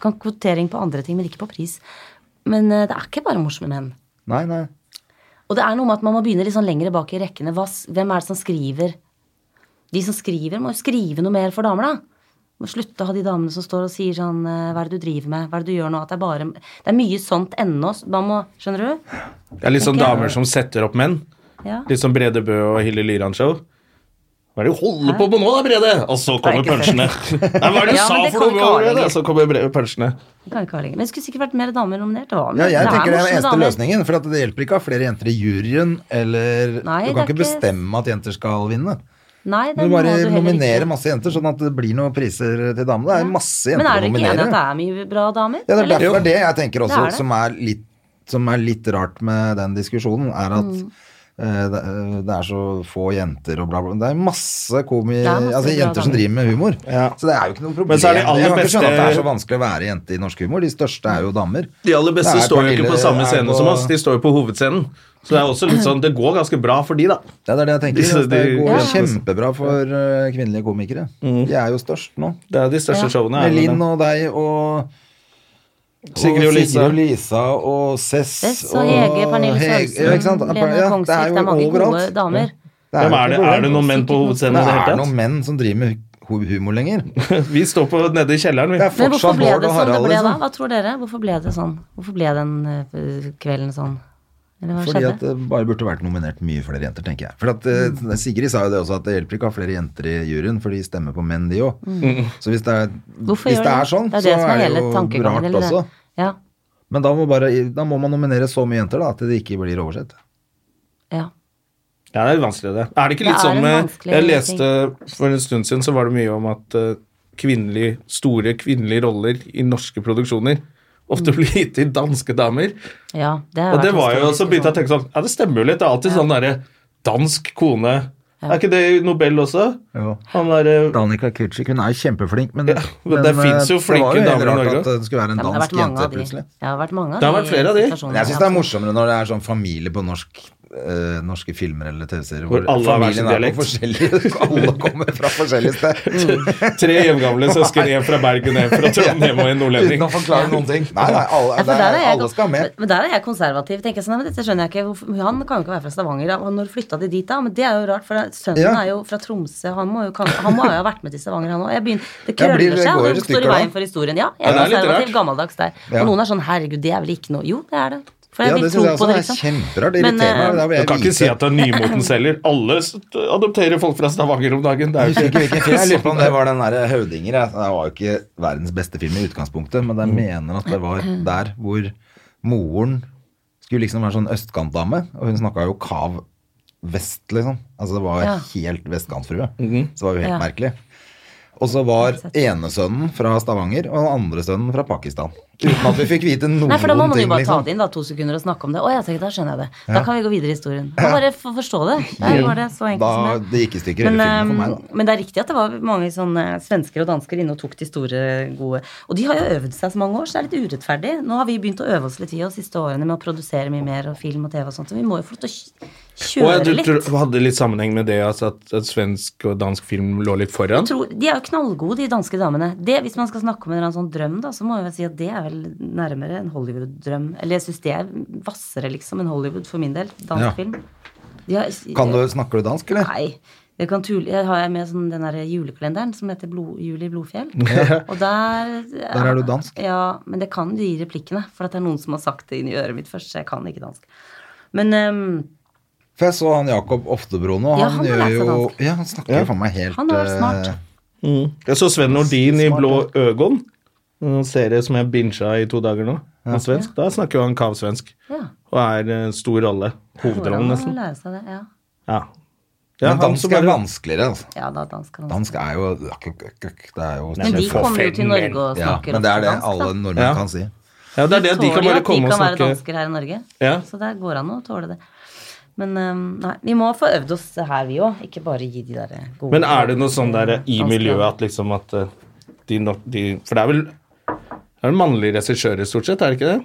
C: Kan kvotering på andre ting, men ikke på pris. Men eh, det er ikke bare morsomme menn.
B: Nei, nei.
C: Og det er noe med at man må begynne litt sånn lengre bak i rekkene. Hva, s- hvem er det som skriver? De som skriver, må jo skrive noe mer for damer, da. Må slutte å ha de damene som står og sier sånn eh, Hva er det du driver med? Hva er det du gjør nå? At det er bare Det er mye sånt ennå. så Man må Skjønner du?
A: Det er litt sånn
C: Ok.
A: damer som setter opp menn.
C: Ja.
A: Litt som Brede Bø og Hilde Lyran-show. Hva er det du holder på med nå, da, Brede? Og så kommer
C: Det er ikke
A: punchene. Nei, hva er det du
C: Ja,
A: sa
C: men det
A: for
C: kommer ikke
A: noe,
C: av
A: Brede?
C: lenger.
A: Og så kommer Bre- punchene.
C: Det kan vi ikke ha lenger. Men det skulle sikkert vært mer damer nominert. Det var
B: Ja, jeg
C: det er
B: tenker det er den
C: morsomme
B: eneste
C: damer.
B: løsningen. For at det hjelper ikke å ha flere jenter i juryen, eller Du
C: Nei, det
B: kan
C: er
B: ikke
C: ikke-
B: bestemme at jenter skal vinne.
C: Nei,
B: Du
C: det må
B: bare
C: heller
B: nominerer
C: ikke.
B: masse jenter, sånn at det blir noen priser til damene. Det er masse jenter å
C: Men er dere ikke enig i
B: nominere.
C: at det er mye bra damer?
B: Ja, det er
C: Eller?
B: derfor det jeg tenker også,
C: Det er det.
B: Som, er litt, som er litt rart med den diskusjonen, er at
C: Mm.
B: eh, det, eh, det er så få jenter og bla, bla. Det er masse komi...
C: Det er masse
B: altså
C: bra
B: jenter som
C: damer.
B: driver med humor.
A: Ja.
B: Så det er jo ikke noe problem.
A: Men så er de aller
B: jeg kan ikke skjønne at det
A: beste-
B: er så vanskelig å være jente i norsk humor. De største er jo damer.
A: De aller beste
B: Det er
A: står jo ikke
B: Pernille-
A: på samme
B: er
A: scene
B: på-
A: som oss, de står jo på hovedscenen. Så det er også litt sånn, det går ganske bra for de, da.
B: Ja, det er det jeg tenker.
A: Disse-
B: at det
A: de-
B: går
A: Ja.
B: kjempebra for eh, kvinnelige komikere.
A: Mm.
B: De er jo størst nå.
A: Det er de største showene. er
B: Med
A: vel
B: Linn
A: det.
B: og deg og
A: Sigrid og Lisa.
B: Sigrid og Lisa og Cess
C: Sess og Hege, Pernille
B: Heg-
C: Sørensen,
B: ja, ikke sant?
C: Lene
B: Ja,
C: Kongsvik. Det er, mange gode
A: Hvem
B: jo
C: damer.
A: er det?
B: ikke
A: Er det noen menn på
B: Det
A: hovedscenen i det
B: er
A: hele tatt?
B: noen menn som driver med hu- humor lenger. Det
A: Vi står på nede i kjelleren, vi.
B: er
C: Men hvorfor
B: fortsatt
C: ble
B: Bård
C: det
B: og
C: sånn det
B: Harald,
C: ble da?
B: liksom.
C: Hva tror dere? Hvorfor ble det sånn? Hvorfor ble den eh, kvelden sånn? Eller hva
B: Fordi
C: skjedde? Mm.
B: at eh, det bare burde vært nominert mye flere jenter, tenker jeg. For at eh, Sigrid sa jo det også, at det hjelper ikke å ha flere jenter i juryen, for de stemmer på menn, de òg.
A: Mm.
B: Så hvis det er,
C: Mm. Hvorfor
B: hvis
C: gjør
B: det
C: den?
B: er sånn,
C: det er
B: så
C: det som er
B: er det
C: hele
B: jo
C: tankegangen,
B: rart
C: eller det-
B: også.
C: Ja,
B: Men da må, bare, da må man nominere så mye jenter da, at det ikke blir oversett.
C: ja.
A: Ja, det er litt vanskelig, det. Er det ikke
C: Det
A: litt
C: er
A: sånn
C: en
A: med
C: vanskelig
A: Jeg leste for en stund siden, så var det mye om at eh, kvinnelig, store kvinnelige roller i norske produksjoner ofte blir gitt til danske damer.
C: ja Mm. det har
A: Og det
C: vært liksom. en
A: var
C: stor
A: jo, så begynte jeg å
C: diskusjon.
A: tenke sånn Ja, det stemmer jo litt. Det er alltid sånn derre dansk kone Er ikke det i Nobel også?
B: Jo.
A: Han derre
B: Danica Kitschik, hun er jo kjempeflink, men,
A: Ja, men det
B: eh,
A: finnes jo flinke
B: Det
A: damer i
B: var jo helt
A: Norge
B: rart at det skulle være en
C: Ja, men det har vært
B: dansk
C: mange
B: jente
C: av de.
B: plutselig.
C: Det har vært mange av
A: Det har vært flere av de.
C: situasjonene,
B: Men jeg syns
C: ja.
B: det er morsommere når det er sånn familie på norsk eh, norske filmer eller TV-serier
A: Hvor alle har hver sin
B: familien er på forskjellige Alle kommer fra forskjellige steder.
A: Tre jevngamle søsken, en fra Bergen, en fra Trondheim og en nordlending.
B: Uten å forklare noen ting. Nei, nei, alle,
C: Ja, for
B: det
C: der
B: er-
C: er jeg,
B: alle skal med.
C: men- Men der er jeg konservativ. tenker jeg sånn, «Nei, men dette skjønner jeg ikke. Hvorfor- Han kan jo ikke være fra Stavanger. da. Og når flytta de dit, da? Men det er jo rart, for da- sønnen
B: Ja.
C: er jo fra Tromsø. Han må jo, kan, han må jo ha vært med til Stavanger, han òg. Det
B: Ja,
C: krøller
B: blir- det
C: seg,
B: går i
C: og det står
B: stykker
C: i
B: da.
C: veien for historien. Ja,
A: Ja,
C: jeg er
A: det er litt
C: konservativ,
A: rart.
C: gammeldags der.
B: Ja.
C: Og noen er sånn herregud, det er vel ikke noe Jo, det er det. For jeg
B: Ja,
C: vil
B: det
C: tro
B: syns jeg
C: på
B: også
C: det,
B: er
C: liksom.
B: kjemperart. Det
C: Men,
B: irriterer meg.
C: eh,
B: men Da vil
A: Du kan
B: jeg
A: ikke
B: vite
A: si at det er nymotens heller. Alle s- adopterer folk fra Stavanger om dagen. Det er
B: Jeg
A: jo
B: husker ikke hvilken film. Jeg lurer på om
A: sånn.
B: det var den der Høvdinger. jeg. Det var jo ikke verdens beste film i utgangspunktet, men
C: Mm.
B: jeg mener at det var der hvor moren skulle liksom være sånn østkantdame, og hun snakka jo kav vest, liksom. Altså det var
C: Ja. Mhm.
B: helt vestkantfrue. Så det var jo helt
C: Ja.
B: merkelig. Og så var ene sønnen fra Stavanger og den andre sønnen fra Pakistan. Uten at vi fikk vite noen ting.
C: Nei, for da må man jo bare ta
B: liksom.
C: det inn da, to sekunder og snakke om det. Å, jeg tenker, da skjønner jeg det. Da kan vi gå videre i historien. Da bare for, forstå det. Det er bare så enkelt
B: Da
C: som
B: det gikk i stykker hele
C: Men,
B: filmen for
C: ehm,
B: meg, da.
C: men det er riktig at det var mange sånne svensker og dansker inne og tok de store, gode Og de har jo øvd seg så mange år, så det er litt urettferdig. Nå har vi begynt å øve oss litt, vi òg, siste årene med å produsere mye mer og film og TV og sånt, så vi må jo få lov til å kj-
A: Og
C: kjøre
A: jeg, du
C: litt.
A: tror- hadde litt sammenheng med det altså, at, at svensk og dansk film lå litt foran?
C: tror, de er jo knallgode, de danske damene. Det, hvis man skal snakke om en eller annen sånn drøm, da, så må jeg vel si at det er vel nærmere en Hollywood-drøm. Eller jeg syns det er hvassere, liksom, enn Hollywood for min del. Dansk
B: Ja.
C: film. De har,
B: Kan du, snakker du dansk, eller?
C: Nei. Jeg, kan tule, jeg har jeg med sånn, den der julekalenderen som heter Blod, Jul i Blodfjell. Og der
B: Der er du dansk.
C: Ja, men det kan du gi replikkene. For at det er noen som har sagt det inn i øret mitt først, så jeg kan ikke dansk. Men ehm,
B: For jeg så han Jakob Oftebro nå.
C: Ja,
B: han,
C: han har
B: gjør
C: lært seg
B: jo
C: dansk.
B: Ja, han snakker jo for meg helt
C: han er
B: eh,
C: smart.
A: Jeg så Sven Nordin i Blå Øgon. En serie som jeg bincha i to dager nå. Han er svensk. Da snakker jo han kavsvensk.
C: Ja.
A: Og er eh, stor rolle. Hovedrollen,
C: Hvordan
A: nesten.
C: lære seg det? Ja,
A: Ja. Ja,
B: Men
A: han som
B: dansk er
A: bare-
B: vanskeligere, altså.
C: ja da, dansk kan
B: Dansk er jo Det er jo
C: Men de
B: kjempe-
C: kommer jo til Norge og
B: ja,
C: snakker
B: Men det er
C: også
B: det
C: dansk,
B: alle
C: da.
B: nordmenn
A: Ja.
B: kan si.
A: Ja, det er det. De kan bare komme og
C: De tåler jo at de kan være
A: snakke
C: dansker her i Norge.
A: Ja.
C: Så der går an å tåle det. Men ehm, nei, vi må få øvd oss her, vi òg. Ikke bare gi de der gode
A: Men er det noe sånn der i
C: Dansker.
A: miljøet at liksom at eh, de, nok- de For det er vel det er vel mannlige regissører, stort sett, er det ikke det?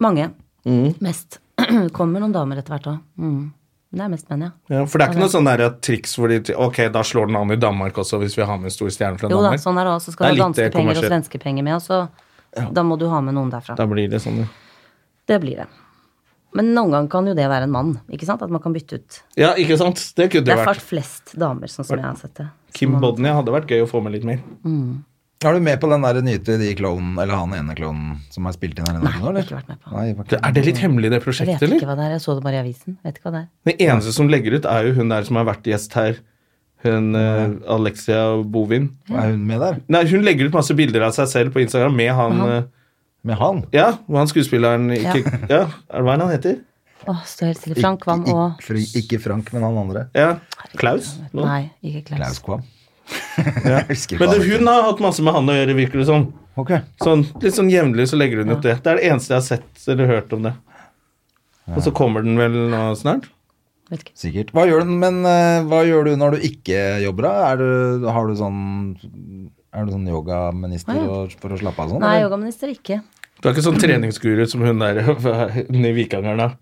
C: Mange.
A: Mm.
C: Mest. Kommer noen damer etter hvert òg. Mm. Det er mest menn, ja.
A: Ja, for det er ikke noe sånn der at triks hvor de Ok, da slår den an i Danmark også, hvis vi har med en stor stjerne fra
C: Jo da,
A: Danmark.
C: sånn er det
A: Det
C: også. Så
A: er
C: skal
A: litt, eh,
C: du ha danske penger og
A: kommersielt.
C: svenske penger med, og så Da må du ha med noen derfra.
A: Da blir det sånn, ja.
C: Det blir det. Men noen gang kan jo det være en mann. ikke sant? At man kan bytte ut.
A: Ja, ikke sant? Det kunne
C: Det
A: det
C: er
A: vært.
C: faktisk flest damer, sånn som jeg har sett det.
A: Kim Bodnia hadde vært gøy å få med litt mer.
B: Er du med på den der nye til de klonen, eller han ene klonen som er spilt inn her i Norge nå,
C: Nei,
B: eller?
C: ikke vært med på.
B: Nei, var ikke-
A: Er det litt hemmelig, det
C: Mm. Jeg
A: prosjektet,
C: vet ikke
A: eller?
C: hva det er. Jeg så det bare i avisen. Vet ikke hva det er.
A: Den eneste som legger ut, er jo hun der som har vært gjest her. Hun eh, Alexia Bovin.
B: Er hun med der?
A: Nei, hun legger ut masse bilder av seg selv på Instagram med han eh,
B: Med han?
A: Ja, og han skuespilleren ikke, ja. er det Hva er det han heter?
C: Åh, stå helt stille. Frank Kvam
B: Ikke-
C: og
B: ikke, Fri- ikke Frank, men han andre.
A: Ja, Klaus? nå?
C: Nei, ikke
B: Klaus
C: Klaus.
B: Kvam. Jeg husker ikke
A: Men
B: hva
A: det,
B: han
A: hun
B: heter.
A: har hatt masse med han å gjøre, virker det som.
B: Ok.
A: Sånn, litt sånn jevnlig så legger hun ut det. Det er det eneste jeg har sett eller hørt om det. Og så kommer den vel nå snart?
C: Vet ikke.
B: Sikkert. Hva gjør du, men eh, hva gjør du når du ikke jobber, da? Er du, har du sånn er du sånn yogaminister og- for å slappe av sånn?
C: Nei,
B: eller?
C: yogaminister ikke.
A: Du er ikke sånn treningsguru som hun der hun i Vikangeren, da?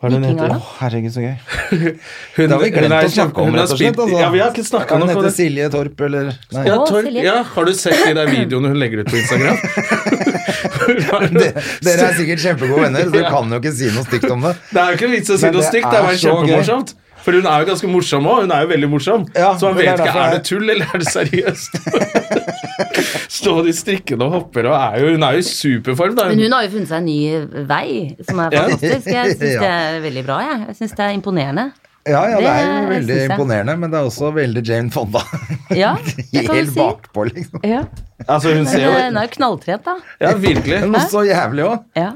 A: Hva er det hun heter?
C: Vikingarna?
B: Å, herregud, så gøy.
A: Hun,
B: Det har vi
A: hun
B: glemt
A: er
B: å snakke
A: kjempe- hun har
B: om, rett og slett.
A: spilt-
B: Altså.
A: Ja, vi har ikke snakka
B: Kan
A: nok om
B: hete
A: det.
B: Silje Torp, eller Nei.
A: Ja,
C: Å,
A: Tor,
C: Silje.
A: ja, har du sett de der videoene hun legger ut på Instagram?
B: Dere er sikkert kjempegode venner, så dere kan jo ikke si noe stygt om det.
A: Det er jo ikke vits å si
B: Men
A: noe
B: det
A: stygt. Det er
B: er
A: bare
B: så gøy.
A: kjempemorsomt. For hun er jo ganske morsom òg. Hun er jo veldig morsom.
B: Ja,
A: så man
B: men
A: vet
B: det er
A: ikke
B: derfor
A: er det
B: jeg-
A: tull eller er det seriøst. Står de strikkende og hopper og er jo Hun er jo i superform, da.
C: Men hun har jo funnet seg en ny vei, som er
A: Ja.
C: fantastisk. Jeg syns
B: Ja.
C: det er veldig bra, jeg. Jeg syns det er imponerende.
B: Ja, ja, det er jo
C: Det
B: veldig
C: synes jeg.
B: imponerende, men det er også veldig Jane Fonda.
C: Ja, det kan du
B: Helt
C: si.
B: bakpå, liksom.
C: Ja.
A: Altså, hun ser
C: Men
A: jo
C: eh, hun er jo knalltrent, da.
A: Ja, virkelig.
B: Men også jævlig òg.
C: Ja.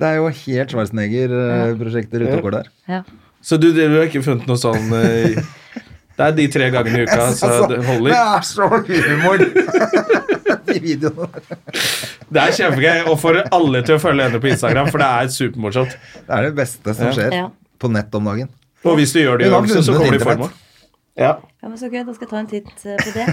B: Det er jo helt Schwarzenegger-prosjekter ute og går der.
C: ja.
A: Så du, du har ikke funnet noe sånn eh, Det er de tre gangene i uka, så
B: Altså,
A: det
B: det
A: holder.
B: er så humor! De videoene.
A: Det er kjempegøy. Og får alle til å følge henne på Instagram, for det er supermorsomt.
B: Det er det beste som skjer
C: Ja.
B: på nett om dagen.
A: Og hvis du gjør det i
B: Hun har
A: øvelse, så
B: vunnet
A: kommer du i
B: internett.
A: form òg. Ja.
C: Ja, men Så gøy, da skal jeg ta en titt eh, på det.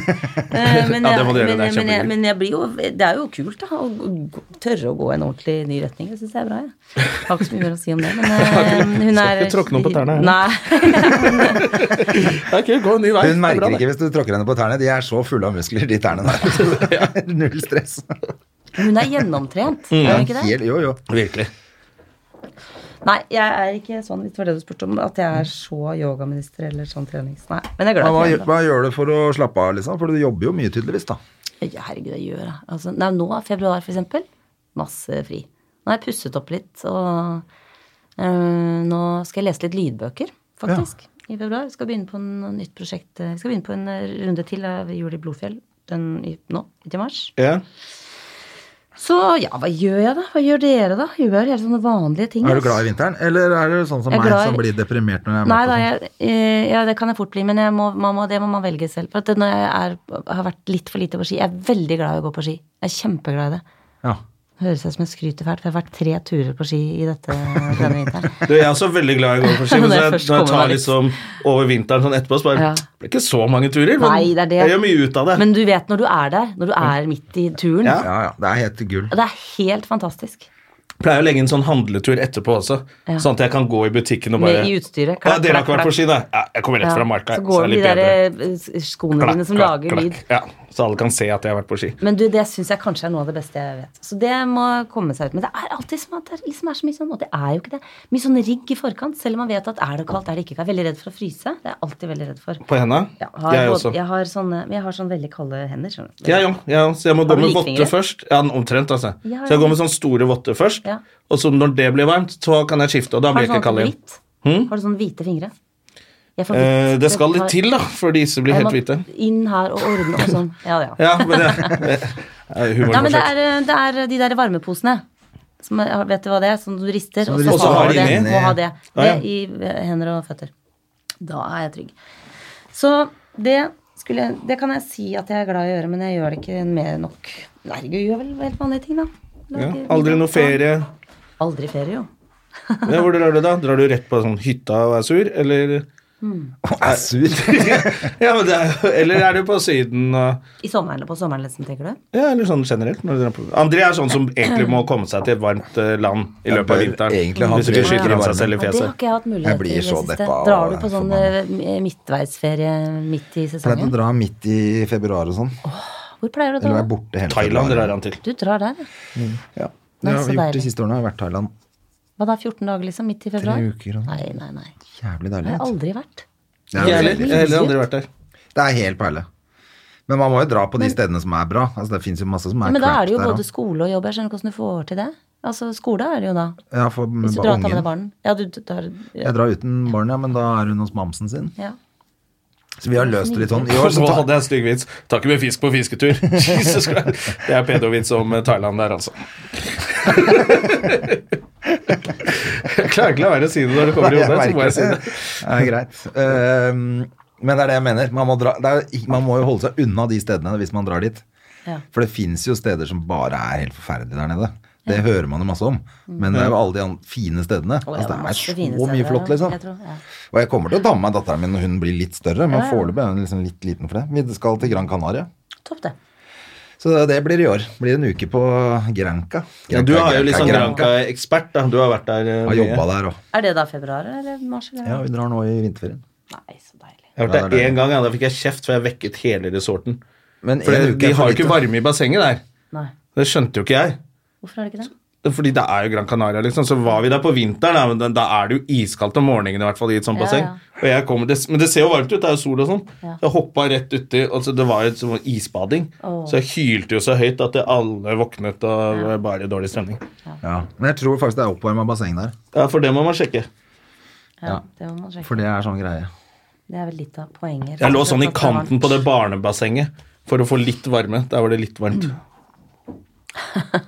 C: Eh, Men,
A: Ja, det
C: jeg-
A: må du gjøre, det er
C: men, jeg- men, jeg,
A: kjempegøy.
C: men jeg blir jo Det er jo kult, da. Å gå- tørre å gå i en ordentlig ny retning. Det syns jeg er bra, jeg. Har ikke så mye mer å si om det, men eh, hun
A: Skal
C: er
A: ikke tråkke noen på tærne her.
C: Nei.
A: Ok, gå en ny vei.
B: Hun merker
A: det.
B: ikke hvis du tråkker henne på tærne. De er så fulle av muskler, de tærne der. Null stress.
C: Hun er gjennomtrent, er hun ikke det?
B: Helt, jo, jo.
A: Virkelig.
C: Nei, jeg er ikke sånn, hvis det var det du spurte om, at jeg er så yogaminister eller sånn trenings... Nei, men jeg
B: Men
C: er
B: hva,
C: glad for
B: gjør-
C: det.
B: hva gjør du for å slappe av, liksom? For du jobber jo mye, tydeligvis, da.
C: Ja, Herregud, jeg gjør det. Altså, nei, nå, februar for eksempel, masse fri. Nå har jeg pusset opp litt, og øh, nå skal jeg lese litt lydbøker, faktisk, i februar. Skal begynne på en nytt prosjekt. eh, Skal begynne på en eh, runde til av Juli Blodfjell den, i, nå, til mars.
A: Ja.
C: Så ja, hva gjør jeg da? Hva gjør dere da? Gjør helt sånne vanlige ting.
B: Er du
C: ass.
B: glad i vinteren, eller er du sånn som
C: Jeg er
B: meg
C: glad i-
B: som blir deprimert når jeg er
C: Nei,
B: mørk
C: da,
B: og sånn?
C: jeg, eh, ja, det kan jeg fort bli, men jeg må, man må, det må man velge selv. For at når jeg er, har vært litt for lite på ski Jeg er veldig glad i å gå på ski. Jeg er kjempeglad i det.
B: Ja.
C: Høres ut som jeg skryter fælt, for jeg har vært tre turer på ski i dette denne vinteren.
A: Du, jeg er også veldig glad i å gå på ski, men
C: Når
A: så
C: jeg
A: jeg,
C: først
A: når jeg
C: kommer
A: tar
C: meg litt.
A: liksom over vinteren sånn etterpå, så bare
C: Ja.
A: Det blir ikke så mange turer, men
C: Nei, det er det.
A: jeg gjør mye ut av det.
C: Men du vet når du er der, når du er midt i turen.
A: Ja.
B: ja, ja. Det er helt gull.
C: Det er helt fantastisk.
A: Pleier å legge en sånn handletur etterpå også,
C: Ja.
A: sånn at jeg kan gå i butikken og bare
C: Med, I utstyret.
A: ja, dere har ikke vært på ski, nei? Ja, jeg kommer rett
C: Ja.
A: fra marka.
C: Så
A: er
C: går de
A: litt
C: der
A: bedre.
C: eh, skoene
A: Klakk,
C: dine som
A: klakk,
C: lager
A: klakk.
C: lyd.
A: Ja, så alle kan se at jeg har vært på ski.
C: Men du, det syns jeg kanskje er noe av det beste jeg vet. Så det må komme seg ut. Men det er alltid som at det liksom er så mye sånn, og det er jo ikke det. Mye sånn rigg i forkant, selv om man vet at er det kaldt, er det ikke kaldt. Jeg er veldig redd for å fryse. Det er jeg alltid veldig redd for.
A: På henda?
C: Ja, har
A: jeg
C: både-
A: også.
C: Jeg har, sånne, men jeg har sånn veldig kalde hender. skjønner du.
A: Ja, ja, ja, så jeg må gå
C: Har du
A: med votter
C: likfingre?
A: først. Ja, omtrent, altså.
C: Ja,
A: Så jeg
C: ja.
A: går med sånne store votter først,
C: Ja.
A: og så når det blir varmt, så kan jeg skifte, og da
C: Har
A: blir
C: du
A: jeg ikke
C: sånn
A: kald igjen.
C: hvitt? Har du sånn hvite fingre? Jeg får
A: Hm? Eh,
C: hvitt.
A: det skal
C: Jeg
A: litt
C: har-
A: til, da, for disse blir
C: Jeg må
A: helt hvite.
C: Inn her og ordne og sånn. Ja, ja.
A: Ja, men det, det er
C: Nei, men det
A: humorforsøk.
C: er, det er de der varmeposene. Som er, vet du hva det er? Som du rister,
B: Som
C: og
B: du
C: så
B: rister,
A: og så
C: har
A: har
C: du det.
A: inni.
C: Må ha det.
A: Ja, ja.
C: Det i eh, hender og føtter. Da er jeg trygg. Så det skulle jeg, Det kan jeg si at jeg er glad i å gjøre, men jeg gjør det ikke mer nok. Herregud, jeg gjør vel helt vanlige ting, da.
A: Ja,
C: Lager
A: aldri
C: middag.
A: noe ferie.
C: Aldri ferie, jo.
A: Ja, hvor drar du da? Drar du rett på sånn hytta og er sur, eller
B: Jeg er sur.
A: ja, men det er, jo- Eller er du på Syden og
C: I sommeren eller på sommeren, liksom, tenker du?
A: Ja, eller sånn generelt. Når du drar på. André er sånn som egentlig må komme seg til et varmt eh, land i løpet av
B: bør
A: vinteren.
B: egentlig ha
A: Hvis ikke
B: tre uker
A: skyter han
B: i varmen.
A: seg selv i
C: Ja, det har
A: fjeset.
C: ikke jeg hatt mulighet
B: Jeg blir
C: til i det
B: så
C: siste.
B: deppa og
C: Drar du
B: er
C: på sånn eh, midtveisferie midt i
B: Pleide å
C: sesongen?
B: dra midt i februar og sånn.
C: Hvor pleier du å
B: Eller
C: dra?
B: være borte hele
A: Thailand
B: februar.
A: drar han til.
C: Du drar der, ja.
B: Ja.
C: Nei,
B: Det har
C: så
B: vi gjort de
C: deilig.
B: siste årene. Jeg har vært i Thailand.
C: Hva da, 14 dager liksom, midt i februar?
B: Tre uker og sånn.
C: Nei, nei, nei.
B: Jævlig
C: Det
B: deilig.
C: har jeg aldri vært.
B: Det
A: Jeg
B: er,
A: heller,
B: veldig-
A: jeg heller aldri vært der.
B: det er helt perle. Men man må jo dra på de stedene som er bra. Altså, det fins jo masse som er
C: Men da
B: crap
C: er det jo
B: der
C: både
B: også.
C: skole og jobb. Jeg skjønner ikke hvordan du får til det. Altså, skole er det jo da.
B: Ja, for med
C: Hvis du drar og tar med
B: ungen.
C: deg barn. Ja, du tar ja.
B: Jeg drar uten barn, ja, men da er hun hos mamsen sin.
C: ja.
B: Så vi har løst det litt sånn. I
A: Og
B: år
A: så
B: så tar-
A: hadde jeg en stygg vits. Tar ikke med fisk på fisketur. Jesus Christ. Det er pedovits om eh, Thailand der, altså. Jeg klarer ikke la være å si det når det kommer i hodet. Så
B: Jeg
A: må
B: merker
A: jeg si det.
B: det. Ja, greit. Ehm, men det er det jeg mener. Man må, dra, det er, jo- man må jo holde seg unna de stedene hvis man drar dit.
C: Ja.
B: For det fins jo steder som bare er helt forferdelige der nede. Det hører man jo masse om. Men det er jo alle de an- fine stedene.
C: Mm. Å, ja,
B: Altså, det er
C: masse
B: så
C: fine steder
B: mye
C: der,
B: flott,
C: ja.
B: liksom.
C: Jeg tror, ja.
B: Og jeg kommer til å ta med meg datteren min når hun blir litt større, men
C: Ja, ja.
B: foreløpig er hun liksom litt liten for det. Vi skal til Gran Canaria.
C: Topp, det.
B: Så det blir i år. Blir en uke på Granca.
A: Ja, du er jo litt sånn
B: Granca.
A: Granca-ekspert. da. Du har vært der eh,
B: Har jobba
A: mye.
B: der òg.
C: Er det da februar eller mars? Eller?
B: Ja, vi drar nå i vinterferien.
C: Nei, så deilig.
A: Jeg har
B: Ja,
A: vært
B: det
A: der
B: er det.
A: én gang, ja, da fikk jeg kjeft, for jeg vekket hele resorten.
B: Men
A: For
B: en
A: det-
B: uke
A: de
B: er for
A: har jo ikke
B: lite.
A: varme i bassenget der.
C: Nei.
A: Det skjønte jo ikke jeg.
C: Hvorfor er det ikke det?
A: Fordi det er jo Gran Canaria, liksom. Så var vi der på vinteren, da, men da- da er det jo iskaldt om morgenen, i hvert fall, i et sånt
C: Ja,
A: basseng.
C: ja.
A: Og jeg kom, det, men det ser jo varmt ut, det er jo sol og sånn.
C: Ja.
A: Så jeg hoppa rett uti, og så det var jo et sånt isbading.
C: Åh.
A: Så jeg hylte jo så høyt at det alle våknet og var bare dårlig stemning.
B: Ja. Men jeg tror faktisk det er oppvarma basseng der.
A: Ja, For det må man sjekke.
C: Ja, Det må man sjekke.
B: For det er sånn greie.
C: Det er vel litt av poenget.
A: Jeg lå sånn i kanten på det barnebassenget for å få litt varme. Der var det litt
C: Mm.
A: varmt.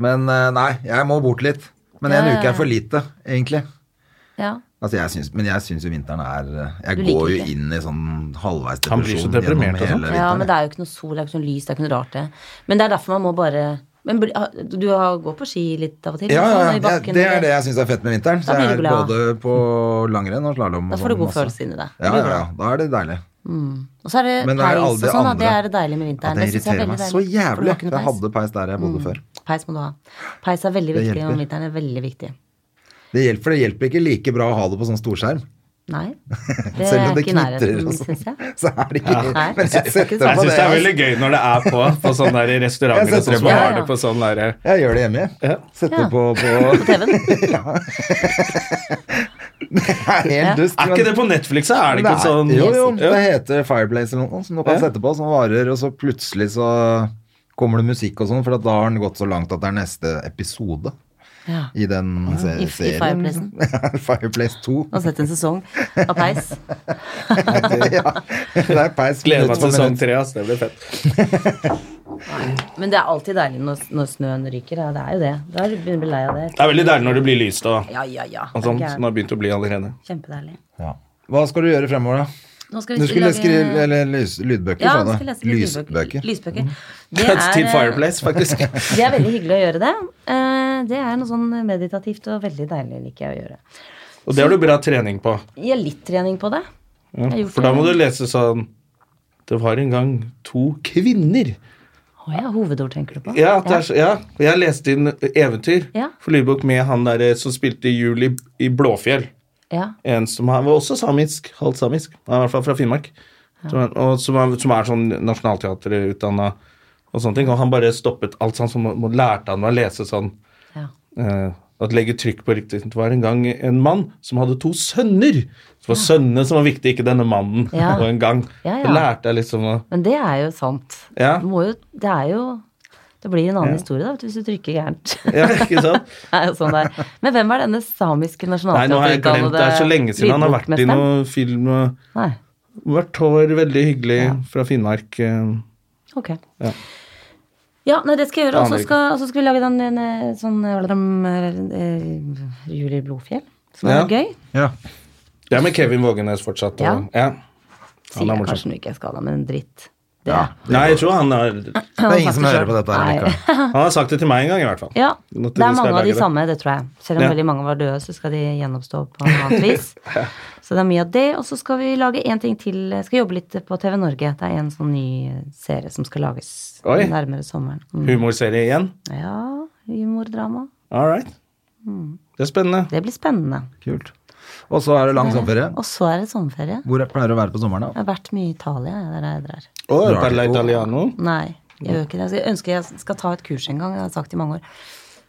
B: Men eh, nei, jeg må bort litt. Men
C: Ja,
B: en
C: ja,
B: uke
C: ja.
B: er for lite, egentlig.
C: Ja.
B: Altså, jeg syns, men jeg syns jo vinteren er eh,
C: Du
B: Jeg
C: liker
B: går jo
C: ikke.
B: inn i sånn halvveis
A: Han blir så
B: depresjon
A: deprimert
B: gjennom
A: og
B: hele
A: sånn.
B: vinteren.
C: ja, men det er jo ikke noe sol, det er ikke noe lys, det er ikke noe rart, det. Men det er derfor man må bare Men bli- ha- du har- går på ski litt av og til?
B: Ja,
C: liksom,
B: ja, ja.
C: i bakken,
B: det er
C: eller-
B: det jeg syns er fett med vinteren. Så
C: Da blir
B: jeg
C: du
B: er
C: glad.
B: både på langrenn og slalåm.
C: Da får du god følelse inni deg.
B: Ja, ja, ja. Da er det deilig.
C: Og så er det
B: Men det er
C: peis og
B: alle de
C: sånn, da. Det
B: andre.
C: er det deilige med
B: Ja,
C: vinteren.
B: det
C: synes jeg er
B: irriterer
C: veldig
B: meg så
C: deilig, for du
B: jævlig.
C: har ikke noe Mm.
B: Jeg hadde peis der jeg bodde før.
C: Peis må du ha. Peis er veldig
B: Det
C: viktig om
B: hjelper.
C: vinteren. er veldig viktig.
B: Det hjelper, for det hjelper ikke like bra å ha det på sånn storskjerm.
C: Nei. Det
B: Selv
C: er
B: om det
C: ikke i
B: knitrer
C: nærheten,
B: og sånn.
C: syns jeg.
B: Så er det ikke
C: Nei.
B: Men jeg setter
C: Jeg
B: på
A: Jeg syns det er
B: altså.
A: veldig gøy når det er på på sånne der restauranter og
B: Jeg setter
A: sånn som har
B: på.
C: Ja, ja.
A: det på sånn derre
B: Jeg gjør det hjemme.
A: Ja.
B: Setter
C: Ja.
B: på på
C: På TV-en.
B: Det er helt dust.
A: Er ikke det på Netflix, da? Er det ikke en sånn
B: Jo, jo.
A: Ja.
B: Det heter Fireplace eller noe som du kan
A: Ja.
B: sette på, som varer, og så plutselig så kommer det musikk og sånn, for at da har den gått så langt at det er neste episode
C: Ja.
B: i den se
C: i- i
B: serien. liksom.
C: Fireplacen.
B: Fireplace 2.
C: Man har sett en sesong av peis.
B: ja. Det er peis
A: Gleder meg
B: minutt for
A: til sesong
B: minutt.
A: tre, ass. Det blir fett.
C: Men det er alltid deilig når, når snøen ryker. Ja, det er jo det. Da er du begynner å bli lei av det.
A: Det er veldig deilig når det blir lyst og,
C: Ja, ja, ja.
B: Altså,
A: og sånn,
C: Det er
A: som det har begynt å bli allerede.
C: Kjempedeilig.
B: Ja. Hva skal du gjøre fremover, da?
C: Nå skal
B: Du skulle
C: lage-
B: skrive eller lys, lydbøker,
C: ja,
B: sa du.
C: nå skal jeg lese lysbøker. lysbøker.
B: Mm.
C: Det
A: Cuts til
C: er, eh,
A: Fireplace, faktisk.
C: det er veldig hyggelig å gjøre det. Eh, Det er noe sånn meditativt og veldig deilig liker jeg å gjøre.
A: Og det har du bra trening på.
C: Jeg har litt trening på det. Jeg har gjort
A: For da må du
C: det.
A: lese sånn Det var en gang to kvinner.
C: Å ja, hovedord tenker du på?
A: Ja, at det er, så- ja. Og jeg leste inn eventyr
C: Ja.
A: for lydbok med han der eh, som spilte jul i, i Blåfjell.
C: Ja.
A: En som har- var også samisk, halvt samisk. Han er i hvert fall fra Finnmark. Som, er- og som, er, som er sånn nasjonalteaterutdanna og sånne ting. Og han bare stoppet alt sånn, så må, må, lærte han meg å lese sånn
C: ja.
A: eh, at legge trykk på riktig Det var en gang en mann som hadde to sønner. Det var sønnene som var viktig, ikke denne mannen.
C: Ja.
A: Og en gang.
C: Ja, ja.
A: Det lærte jeg liksom å
C: Men det er jo sant.
A: Ja.
C: Du må jo, det er jo Det blir en annen historie da, vet du, hvis du trykker gærent.
A: Ja, ikke sant?
C: det er jo sånn det er. Men hvem er denne samiske
A: Nei, nå har jeg glemt.
C: nasjonalteaterutdannede
A: Det er så lenge siden han har vært i
C: lydbokmesteren?
A: noe film. og
C: Nei.
A: Mørkt hår, veldig hyggelig fra Finnmark. eh.
C: Ok.
A: Ja.
C: Ja. nei, det skal jeg gjøre. Og så
A: Aner
C: skal, og så skal vi lage den en, eh, sånn eh, hva heter den, eh, eh, Jul i Blodfjell, som
A: Ja.
C: er gøy.
B: Ja.
A: Det er med Kevin Vågenes fortsatt. Og, ja.
C: Sier
A: er
C: jeg
A: morsom.
C: kanskje nå ikke jeg skal da, men dritt. Det.
B: Ja.
A: Nei, jeg tror han har,
B: Det er ingen som hører på dette her
C: Nei.
B: likevel.
A: han har sagt det til meg en gang, i hvert fall.
C: Ja,
A: Nå til
C: det er
A: vi skal
C: mange av de
A: lage det.
C: samme, det tror jeg. Selv om
A: Ja.
C: veldig mange var døde, så skal de gjenoppstå på noe annet vis. Så det er mye av det. Og så skal vi lage en ting til. Jeg skal jobbe litt på TV Norge. Det er en sånn ny serie som skal lages
A: Oi.
C: nærmere sommeren. Mm.
A: Humorserie igjen.
C: Ja, humordrama.
A: All right.
C: Mm.
A: Det er spennende.
C: Det blir spennende.
B: Kult. Og så er det lang sommerferie.
C: Og så er det sommerferie.
B: Hvor pleier du å være på sommeren, da?
C: Jeg har vært mye i Italia, jeg, der jeg drar.
A: Og
B: Drar til-
A: Perla Italiano.
C: Nei, jeg gjør ikke det. Jeg ønsker jeg skal ta et kurs en gang, jeg har sagt i mange år.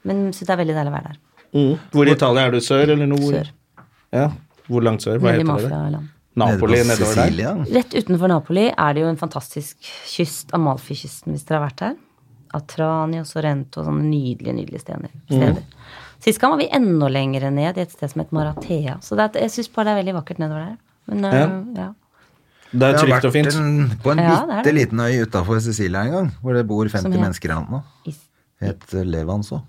C: Men syns det er veldig deilig å være der.
A: Hvor i Italia er du? Sør eller nord?
C: Sør.
A: Ja. Hvor langt sør? Hva
C: Veldig
A: heter det?
C: mafialand.
A: Napoli nedover der?
C: Rett utenfor Napoli er det jo en fantastisk kyst, Amalfi-kysten, hvis dere har vært der. Atrani og Sorrento og sånne nydelige, nydelige steder.
B: Mm.
C: steder. Sist gang var vi enda lenger ned, i et sted som het Maratea. Så det er, jeg syns bare det er veldig vakkert nedover der. Men øh, ja.
A: Det er
B: Jeg har
A: trygt og
B: vært
A: fint.
B: en, på en
C: Ja, det er det.
B: bitte liten øy utafor Sicilia en gang, hvor det bor 50
C: Som het-
B: mennesker eller noe.
C: Is
B: Het Levanso.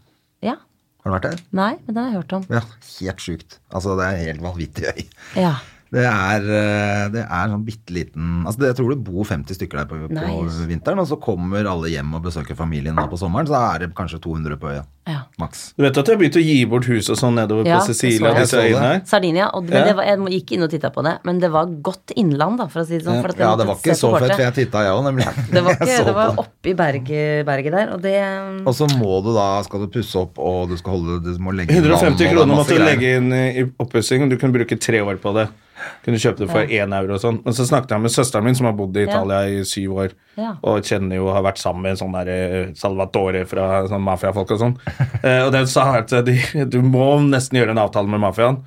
C: ja.
B: Har du vært der?
C: Nei, men den har jeg hørt om.
B: Ja, helt sjukt. Altså, det er en helt vanvittig øy.
C: Ja.
B: Det er, eh, det er sånn bitte liten altså, det- Jeg tror det bor 50 stykker der på,
C: Nice.
B: på vinteren, og så kommer alle hjem og besøker familien da på sommeren, så da er det kanskje 200 på øya.
C: ja.
B: Maks.
A: Du vet at jeg har begynt å gi bort hus og sånn nedover
C: Ja,
A: på Cecilia
C: jeg
A: og
B: så
A: disse
B: det.
A: øyene her?
C: Sardinia. Og, men
A: Ja.
C: det var, jeg gikk inn og titta på det, men det var godt innland, da, for å si det sånn. For at jeg
B: Ja, det
C: måtte
B: var ikke
C: se
B: så
C: på
B: fett,
C: kortet.
B: for jeg titta jeg òg, nemlig.
C: Det var,
B: Jeg
C: ikke,
B: så på
C: det var oppe i berget, berget der, og det mm.
B: Og så må du da, skal du pusse opp, og du skal holde du må legge inn vann, og
A: 150
B: det er
A: kroner
B: masse
A: måtte du
B: greier.
A: legge inn i i oppussing, og du kunne bruke tre år på det. Kunne kjøpe det for én euro og sånn. Men så snakket jeg med søsteren min, som har bodd i Italia i syv år,
C: Ja.
A: og kjenner jo har vært sammen med en sånn der eh, Salvatore fra sånn mafiafolk og sånn. Eh, og den sa at de, du må nesten gjøre en avtale med mafiaen.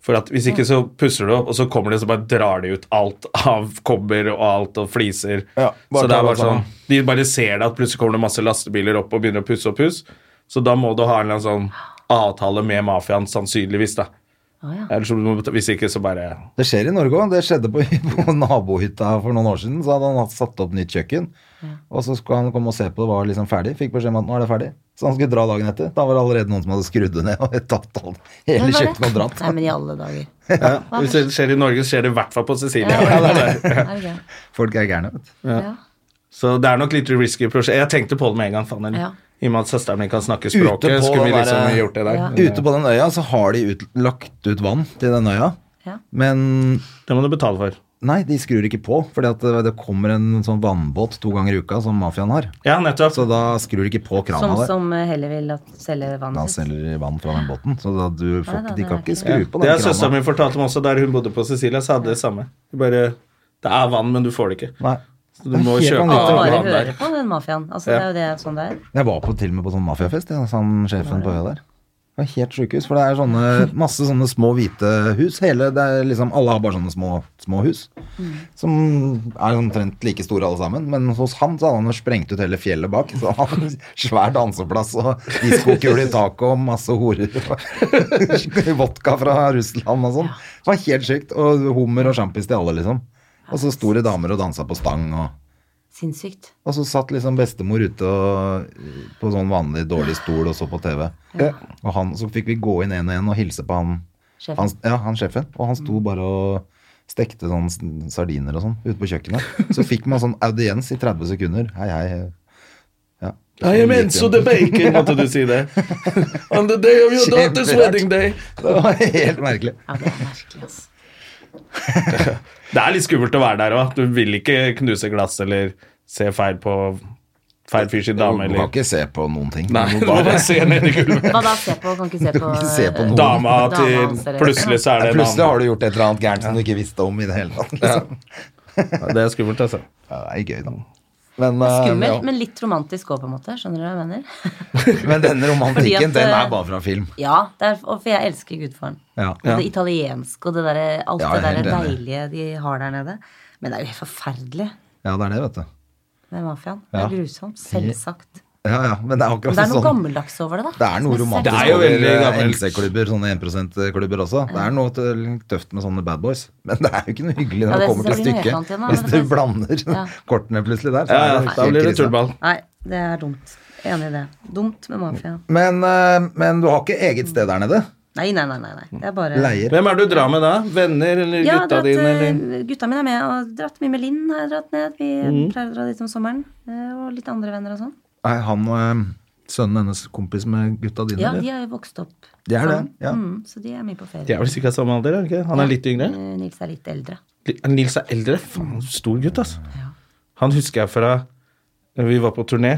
A: For at Hvis ikke så pusser du opp, og så kommer det så bare drar de ut alt av kobber og alt og fliser.
B: Ja, bare
A: så det er
B: ta det
A: bare sånn,
B: sammen.
A: De bare ser det at plutselig kommer det masse lastebiler opp og begynner å pusse opp hus. Så da må du ha en eller annen sånn avtale med mafiaen, sannsynligvis. da.
C: Å ja.
A: Ellers, så må du betale- hvis ikke, så bare
B: Det skjer i Norge òg. Det skjedde på, på nabohytta for noen år siden. Så hadde han hatt- satt opp nytt kjøkken. Og så skulle han komme og se på det, var liksom ferdig. Fikk beskjed om at nå er det ferdig. Så han skulle dra dagen etter. Da var det allerede noen som hadde skrudd det ned og tatt all, hele
C: Hvem var det?
B: kjøkkenet og dratt.
C: Nei, men i alle dager.
A: ja. Hvis det skjer i Norge, så skjer det i hvert fall på Sicilia.
C: Er det gøy?
B: Folk er gærne, vet du.
C: Ja.
A: Så det er nok litt risky prosjekt. Jeg tenkte på det med en gang. faen.
C: Ja.
A: I og med at søsteren min kan snakke språket,
B: på
A: skulle vi
B: den
A: liksom
B: der-
A: gjort det der.
C: Ja.
B: Ute på den øya så har de ut, lagt ut vann til den øya,
C: Ja.
B: men
A: Det må du betale for.
B: nei, de skrur ikke på, fordi at det, det kommer en sånn vannbåt to ganger i uka som mafiaen har.
A: Ja, nettopp.
B: Så da skrur de ikke på krana
C: Sånn
B: der.
C: som eh, Helle vil at selge
B: Han
C: vannet sitt.
B: selger vann fra den båten, så da du får,
C: Nei
B: de
C: da, det
B: kan
C: er
B: ikke
C: ikke-
B: skru på
A: Det
B: den
A: har søsteren
B: krana.
A: min fortalt meg også, der hun bodde på Sicilia, så hadde det samme. De Bare, det er vann, men du får det ikke.
B: Nei.
A: Så
B: Det
A: du
B: er
A: må
B: helt
A: kjøpe
B: vanvittig.
A: av
C: Bare
A: vann der.
C: høre på den mafiaen. Altså,
A: Ja.
C: Det er jo det sånn det er.
B: Jeg var på, til og med på sånn mafiafest, ja, sa han sjefen på øya der. Det var helt sjukehus, for det er sånne, masse sånne små hvite hus. Hele, det er liksom, alle har bare sånne små, små hus, som er omtrent like store alle sammen. Men hos han så hadde han jo sprengt ut hele fjellet bak. Så han hadde svær danseplass og diskokule i taket og masse horer. og Vodka fra Russland og sånn. Det var helt sjukt. Og hummer og sjampis til alle, liksom. Og så store damer og dansa på stang og
C: Sinnssykt.
B: og så satt liksom bestemor ute og, på sånn vanlig dårlig stol og så på TV. Og han, så fikk vi gå inn en og en og hilse på han
C: Sjefen.
B: Han, ja, han sjefen. Og han sto bare og stekte sånn s- sardiner og sånn ute på kjøkkenet. Så fikk man sånn audiens i 30 sekunder. Hei, hei. Ja.
A: I am Enzo the Bacon, måtte du si det. On the day of your daughter's
B: Kjemperart.
A: wedding day.
B: Det var helt merkelig.
C: Ja, det er merkelig, altså.
A: Det er litt skummelt å være der òg. Du vil ikke knuse glass eller se feil på feil fyr sin
B: Du
A: dame
B: kan
A: eller
B: ikke se på noen ting.
A: Nei,
B: Du
A: du
B: må
A: må
B: bare-
A: bare se ned i gulvet.
C: Hva da? Se på? Kan ikke se på, eh,
B: Ikke se på noen.
A: Dama
C: dama
A: til
C: hans, eller-
A: Plutselig så er det en
B: Plutselig har
A: annen.
B: du gjort et eller annet gærent som du ikke visste om i det hele tatt. Liksom.
A: Det er skummelt, altså.
B: Ja, det er gøy, da. Men, eh, ja.
C: Skummelt, men litt romantisk òg, på en måte. Skjønner du hva jeg mener?
B: men denne
C: Fordi
B: romantikken,
C: at,
B: den er
C: eh,
B: bare fra film.
C: Ja, det er, og for jeg elsker gudfaren.
B: Ja.
C: Og det italienske og det derre- alt
B: Ja, jeg er
C: det
B: helt
C: der
B: enig.
C: deilige de har der nede. Men det er jo helt forferdelig
B: Ja, det er det, vet du.
C: med mafiaen. Det er
B: Ja.
C: grusomt. Selvsagt.
B: Ja, ja, men det er akkurat
C: Men det er noe
B: sånn.
C: gammeldags over det, da.
B: Det er noe
C: Som sexy.
B: romantisk
A: Det er jo
B: over
A: veldig
B: eh,
A: gammelt.
B: NC-klubber, sånne 1 %-klubber også. Det er noe tø- tøft med sånne bad boys, men det er jo ikke noe hyggelig når
C: Ja,
B: det
C: det
B: kommer til
C: synes jeg blir noe helt
B: stykket.
C: annet igjen, da,
B: Hvis du
C: men det er-
B: blander
C: Ja.
B: kortene plutselig der, så
A: Ja, ja,
B: er
A: da
B: det helt
A: blir det
B: krise.
A: tullball.
C: Nei, det er dumt. Enig i det. Dumt med mafiaen.
B: Men, eh, men du har ikke eget sted der nede?
C: Nei, nei, nei. nei, nei. Det er bare
B: Leier?
A: Hvem er det du drar med da? Venner eller
C: Ja,
A: gutta
C: dratt,
A: dine? Eller? Mm.
C: eh, gutta mine er med. Og dratt mye med Linn har jeg dratt ned. Vi pleier å dra dit om sommeren. eh, Og litt andre venner og sånn.
B: Nei, han og eh, sønnen hennes kompis med gutta dine,
C: Ja,
B: eller?
C: de har jo vokst opp.
B: De er det,
C: sammen.
B: ja.
C: Mm, så de er mye på
A: De
C: ferie.
A: er vel sikkert samme alder? er de ikke? Han er litt yngre?
C: Eh, Nils er litt eldre.
A: Li- Nils er eldre. Faen, stor gutt, altså.
C: Ja.
A: Han husker jeg fra Vi var på turné,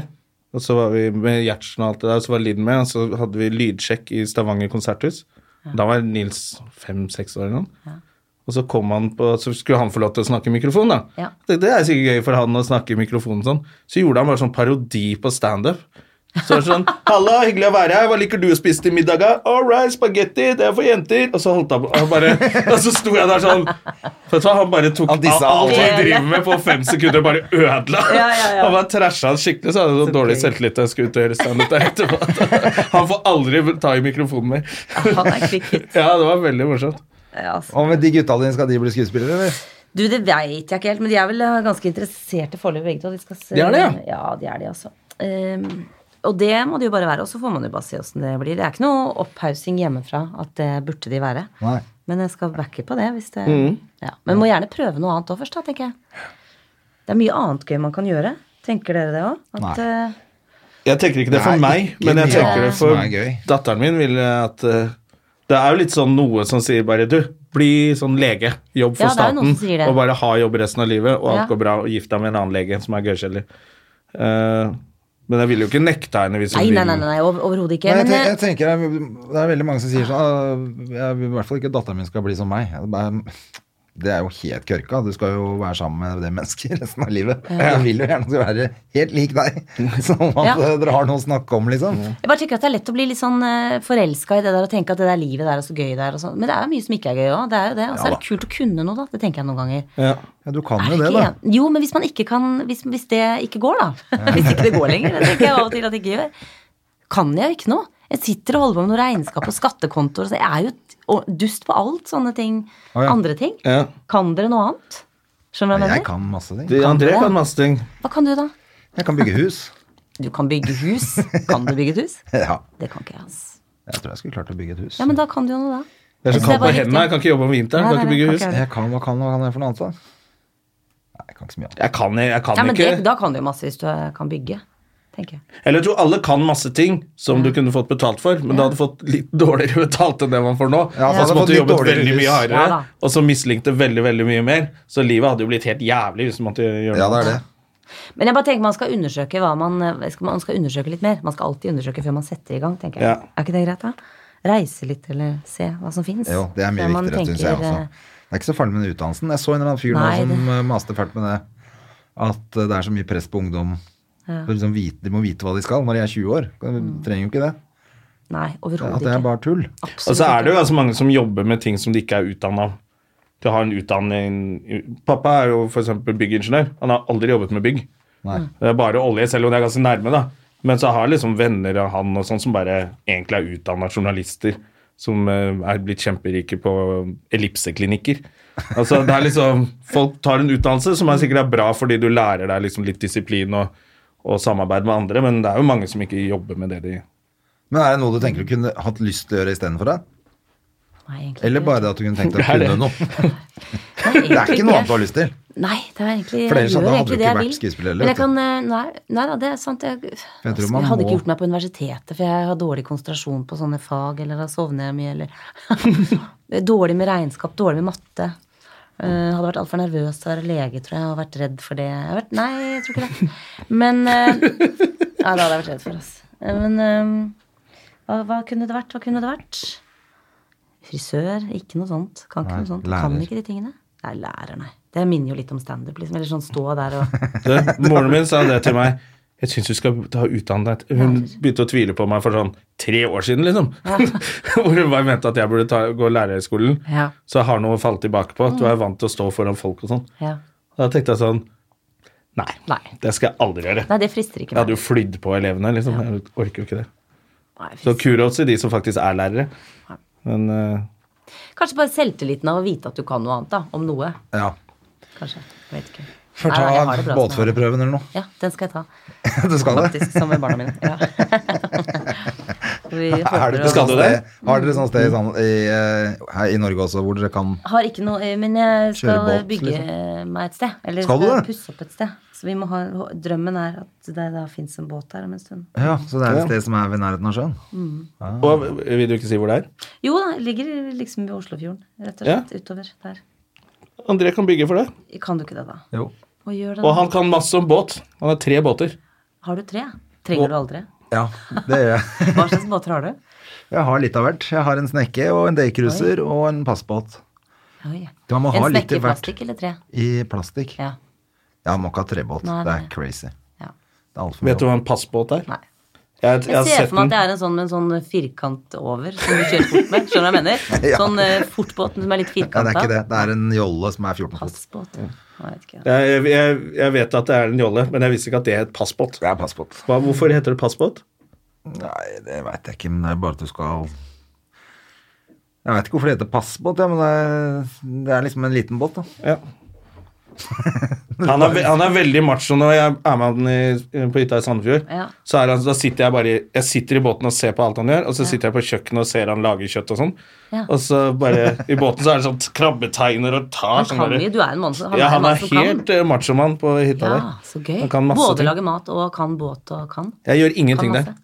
A: og så var vi med Gjertsen og alt det der, og så var Linn med, og så hadde vi lydsjekk i Stavanger konserthus. Da var Nils fem-seks år eller noe. Og så kom han på, så skulle han få lov til å snakke i mikrofon, da.
C: Ja.
A: Det, det er sikkert gøy for han å snakke i mikrofonen sånn. Så gjorde han bare sånn parodi på standup. Så var det sånn 'Halla, hyggelig å være her. Hva liker du å spise til middag?' da? 'All right, spagetti. Det er for jenter.' Og så holdt han på og bare Og så sto jeg der sånn Vet du hva, han bare tok
B: Han dissa
A: alt jeg
C: alle.
A: driver med på fem sekunder, og bare ødela.
C: Ja, ja, ja.
A: Han bare trasha han skikkelig, så hadde han sånn dårlig
C: gøy.
A: selvtillit da jeg skulle ut og gjøre standup der etterpå. Han får aldri ta i mikrofonen mer.
C: Han er quick hit.
A: Ja, det var veldig morsomt.
C: Ja, altså.
B: Og med de gutta dine, skal de bli skuespillere, eller?
C: Du, det veit jeg ikke helt, men de er vel eh, ganske interesserte foreløpig, begge to. De, skal se,
A: De er det, ja.
C: Ja, de er det, altså. Ehm, og det må det jo bare være, og så får man jo bare se åssen det blir. Det er ikke noe opphaussing hjemmefra at det burde de være.
B: Nei.
C: Men jeg skal backe på det. hvis det...
B: Mm.
C: Ja. Men må gjerne prøve noe annet òg først, da, tenker jeg. Det er mye annet gøy man kan gjøre. Tenker dere det òg? At eh,
A: Jeg tenker ikke det for
B: Nei,
A: meg,
B: ikke
A: men jeg
B: mye
A: tenker det
B: annet
A: for
B: som er gøy.
A: datteren min. Vil jeg at eh, Det er jo litt sånn noe som sier bare Du, bli sånn lege. Jobb for
C: Ja, det er jo noen
A: staten.
C: som sier det.
A: Og bare ha jobb resten av livet, og alt
C: Ja.
A: går bra. Og gift deg med en annen lege som er gørrkjedelig. Eh, men jeg ville jo ikke nekta henne hvis hun
C: Nei, nei,
A: vil.
C: nei, nei, nei over- overhodet ikke.
B: Nei, jeg,
C: Men,
B: tenker, jeg tenker det
C: eh,
B: er- Det er veldig mange som sier sånn «Ah, Jeg vil i hvert fall ikke at datteren min skal bli som meg. Jeg bare, Det er jo helt kørka. Du skal jo være sammen med det mennesket resten av livet. Jeg vil jo gjerne at du skal være helt lik deg, sånn at
C: Ja.
B: eh, dere har noe å snakke om, liksom.
C: jeg bare tenker at det er lett å bli litt sånn forelska i det der og tenke at det der livet der er så gøy der og sånn. Men det er jo mye som ikke er gøy òg. Det er jo det. Og så er det kult å kunne noe, da. Det tenker jeg noen ganger.
A: Ja.
B: Ja, du kan
C: Er
B: jo
C: det
B: det, da.
C: ikke en- Jo, men hvis man ikke kan Hvis, hvis det ikke går, da. hvis ikke det går lenger. Det tenker jeg av og til at det ikke gjør. Kan jeg jo ikke noe. Jeg sitter og holder på med noe regnskap og skattekontoer. Så jeg er jo et- og dust på alt sånne ting.
B: Å, ja.
C: Andre ting.
A: Ja.
C: Kan dere noe annet? Skjønner du hva
B: Jeg
C: jeg mener?
B: kan masse ting.
A: Du, André
C: det?
A: kan masse ting.
C: Hva kan du, da?
B: Jeg kan bygge hus.
C: Du kan bygge hus. Kan du bygge et hus?
B: Ja,
C: Det kan ikke jeg, altså.
B: jeg tror jeg skulle klart å bygge et hus.
C: Ja, men da kan du jo noe,
A: Jeg er
C: da.
A: så
C: Jeg synes Altså, det
A: kald på
C: var riktig.
A: hendene. Jeg kan ikke jobbe om vinteren.
C: Nei,
A: kan
C: nei,
A: ikke bygge
C: nei,
A: hus.
C: kan ikke
B: Jeg kan, hva kan, hva kan jeg for noe annet, da? Nei, jeg kan ikke så mye annet.
A: Jeg kan, jeg kan
C: Ja, men
A: ikke.
C: det, Da kan du jo masse hvis du eh, kan bygge. tenker jeg.
A: Eller jeg tror alle kan masse ting som du kunne fått betalt for, men du hadde fått litt dårligere betalt enn det man får nå.
B: Ja,
A: og
B: så
A: så
B: hadde fått
A: måtte du
B: litt
A: jobbet
B: dårligere
A: veldig
B: hus.
A: mye
C: Ja,
A: hardere,
C: da.
A: og så mislingte veldig, veldig mye mer. Så livet hadde jo blitt helt jævlig hvis du måtte gjøre
B: Ja, det er det.
C: Men jeg bare tenker man skal undersøke hva man eh, skal, Man skal undersøke litt mer. Man skal alltid undersøke før man setter i gang, tenker jeg.
A: Ja.
C: Er ikke det greit, da? Reise litt, eller se hva som fins.
B: Jo, det er mye viktigere, syns jeg
C: eh,
B: også. Det er ikke så farlig med den utdannelsen. Jeg så en eller annen fyr nå
C: Nei,
B: som
C: det-
B: eh, maste fælt med det. At eh, det er så mye press på ungdom. For liksom vite, de må vite hva de skal når de er 20 år. De trenger jo ikke det.
C: Nei,
B: At
C: overhodet
B: det
C: Mm. ikke.
B: er bare tull.
C: Absolutt
A: Og så er det jo
C: ikke.
A: ganske mange som jobber med ting som de ikke er utdanna av. Du har en utdanning Pappa er jo f.eks. byggingeniør. Han har aldri jobbet med bygg.
B: Nei.
C: Mm.
A: Det er bare olje, selv om det er ganske nærme, da. Men så har jeg liksom venner av han og sånn som bare egentlig er utdanna journalister. Som eh, er blitt kjemperike på ellipseklinikker. Altså, det er liksom Folk tar en utdannelse som er sikkert er bra fordi du lærer deg liksom litt disiplin og, og samarbeid med andre, men det er jo mange som ikke jobber med det de
B: Men er det noe du tenker du kunne hatt lyst til å gjøre istedenfor det?
C: Nei, egentlig
B: Eller
C: ikke.
B: bare det at du kunne tenkt deg
A: Det er
B: å
A: det.
B: kunne noe?
C: Nei,
B: Det er
C: egentlig
B: ikke noe annet du har lyst til.
C: Nei, det er egentlig
B: For
C: jeg
B: ellers hadde-
C: gjør
B: hadde
C: egentlig
B: du
C: det
B: ikke
C: jeg
B: vært
C: vil.
B: skuespiller,
C: Men jeg
B: vet du.
C: kan, eh, nei, nei da, det er sant. Jeg,
B: jeg tror
C: altså,
B: man
C: jeg hadde
B: må-
C: ikke gjort meg på universitetet, for jeg har dårlig konsentrasjon på sånne fag, eller da sovner jeg mye, eller Dårlig med regnskap, dårlig med matte. Eh, hadde vært altfor nervøs til å være lege, tror jeg, og vært redd for det. Jeg har vært, nei, jeg tror ikke det. Men eh, Nei, det hadde jeg vært redd for, altså. Eh, Men eh, hva, hva kunne det vært? Hva kunne det vært? Frisør? Ikke noe sånt. Kan ikke
B: Nei,
C: noe sånt.
B: lærer.
C: Kan ikke de tingene. Nei, lærer, nei. Det minner jo litt om standup, liksom. Eller sånn stå der og
A: Det, moren min sa det til meg. Jeg syns du skal ta utdannet Hun begynte å tvile på meg for sånn tre år siden, liksom. Hvor hun bare mente at jeg burde ta, gå lærerskolen.
C: Ja.
A: Så jeg har noe å falle tilbake på. At du er vant til å stå foran folk og sånn.
C: Ja.
A: Og Da tenkte jeg sånn Nei,
C: Nei.
A: det skal jeg aldri gjøre.
C: Nei, det frister ikke
A: Jeg hadde
C: meg.
A: jo flydd på elevene, liksom. Jeg orker jo ikke det.
C: Nei,
A: Så
C: frister.
A: kuros til de som faktisk er lærere. Men eh,
C: Kanskje bare selvtilliten av å vite at du kan noe annet, da. Om noe.
B: Ja.
C: Kanskje. Jeg vet ikke.
B: Får
C: Nei, nei, jeg
B: ta
C: har det bra som jeg har det.
B: båtførerprøven eller noe.
C: Ja, den skal jeg ta.
B: Du skal det?
C: Faktisk. Sammen med barna mine. Ja. Vi
B: Er
C: håper
B: det
C: å-
B: ikke
A: Skal
B: sånn
A: du
B: sted,
A: det?
B: har dere sånn sted i, sånn- i, eh, her i Norge også hvor dere kan
C: Har ikke noe, eh, men jeg skal
B: Kjøre båt, liksom?
C: bygge eh, meg et sted. Eller
B: Skal du det?
C: pusse opp et sted. Så vi må ha, drømmen er at det da fins en båt der om en stund.
B: Ja, så det er et sted som er ved nærheten av sjøen?
A: og, Vil du ikke si hvor det er?
C: Jo da, ligger liksom ved Oslofjorden, rett og
A: Ja.
C: slett. Utover der.
A: André kan bygge for deg.
C: Kan du ikke det, da?
B: Jo.
C: Og gjør
A: Og
C: det, da.
A: han kan masse om båt. Han har tre båter.
C: Har du tre? Trenger du aldri?
B: Ja, det gjør jeg.
C: Hva slags båter har du?
B: Jeg har litt av hvert. Jeg har en snekke og en daycruiser og en passbåt.
C: Oi.
B: Ja, man må
C: en
B: ha litt
C: snekke i
B: av hvert.
C: plastikk eller tre?
B: I plastikk.
C: Ja.
B: Ja, man må ikke ha trebåt.
C: Nei,
B: Det
C: nei.
B: er crazy.
C: ja.
B: Det er altfor mye.
A: Vet du hva en passbåt er?
C: Nei.
A: Jeg, jeg
C: Jeg
A: har
C: ser
A: sett
C: for meg
A: den.
C: at det er en sånn med en sånn firkant over som du kjører fort med. Skjønner du hva jeg mener?
B: Ja.
C: Sånn eh, fortbåten som er litt
B: Nei, det
C: firkanta.
B: er ikke det. Det er en jolle som er 14 fot.
C: Passbåt. Jeg vet ikke.
A: Jeg, jeg- jeg, jeg vet at det er en jolle, men jeg visste ikke at det het passbåt.
B: Det er passbåt.
A: Hva, hvorfor heter det passbåt?
B: Nei, det veit jeg ikke, men det er bare at du skal Jeg veit ikke hvorfor det heter passbåt, ja, men det er, det er liksom en liten båt, da.
A: Ja. Han er, ve- han er veldig macho når jeg er med han i, på hytta i Sandefjord.
C: Ja.
A: Så er han, da sitter jeg bare i- jeg sitter i båten og ser på alt han gjør, og så sitter jeg på kjøkkenet og ser han lage kjøtt og sånn.
C: Ja.
A: Og så bare I båten så er det sånn krabbetegner og tar
C: Han
A: sånn
C: kan
A: bare-
C: jo, du er en mann som han
A: Ja,
C: er, en
A: han er
C: mann som kan.
A: helt eh, machomann på hytta
C: Ja,
A: der.
C: så gøy.
A: Han kan masse
C: Både
A: ting.
C: lage mat og kan båt og kan.
A: Jeg gjør
C: kan
A: ingenting der.
C: masse.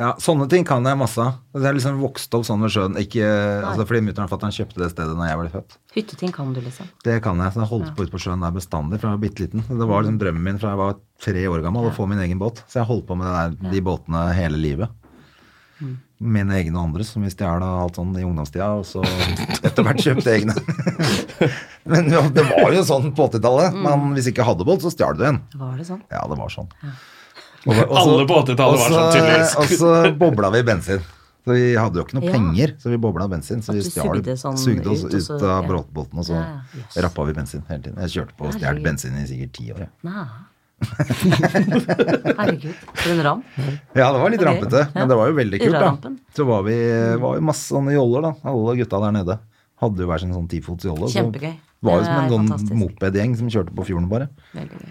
B: Ja, Sånne ting kan jeg masse av. Jeg er liksom vokst opp sånn ved sjøen. Ikke, altså, fordi mutter'n og fatter'n kjøpte det stedet når jeg ble født.
C: Hytteting kan du, liksom.
B: Det kan jeg. så Jeg holdt på ute på sjøen der bestandig fra jeg var bitte liten. Det var liksom drømmen min fra jeg var tre år gammel å få min egen båt. Så jeg holdt på med det der, de båtene hele livet. Mine egne og andres, som vi stjal og alt sånn i ungdomstida. Og så etter hvert kjøpte egne. Men jo, det var jo sånn på 80-tallet. Man hvis ikke hadde båt, så stjal du en.
C: Var det sånn?
B: Ja, det var sånn.
A: Alle på 80-tallet var sånn, tydeligvis.
B: Og så bobla vi bensin. Så vi hadde jo ikke noe
C: Ja.
B: penger, så vi bobla bensin. Så
C: At
B: vi
C: du
B: stjal,
C: sugde sånn
B: sugde oss
C: ut,
B: ut,
C: og så-
B: av
C: ja.
B: bråtbåten, og så
C: Ja, ja. Yes.
B: rappa vi bensin hele tiden. Jeg kjørte på og stjal
C: Herregud.
B: bensin i sikkert ti år. jeg.
C: Nei. Herregud, for en ram.
B: Ja, det var litt
C: Ok.
B: rampete,
C: Ja. Mm.
B: men det var jo veldig kult, da.
C: Urrarampen.
B: Så var vi var jo masse sånne joller, da. Alle gutta der nede hadde jo hver sin sånn tifots jolle. så
C: Kjempegøy.
B: Var jo
C: Det
B: som en
C: er
B: sånn
C: fantastisk.
B: mopedgjeng som kjørte på fjorden, bare.
C: Veldig gøy.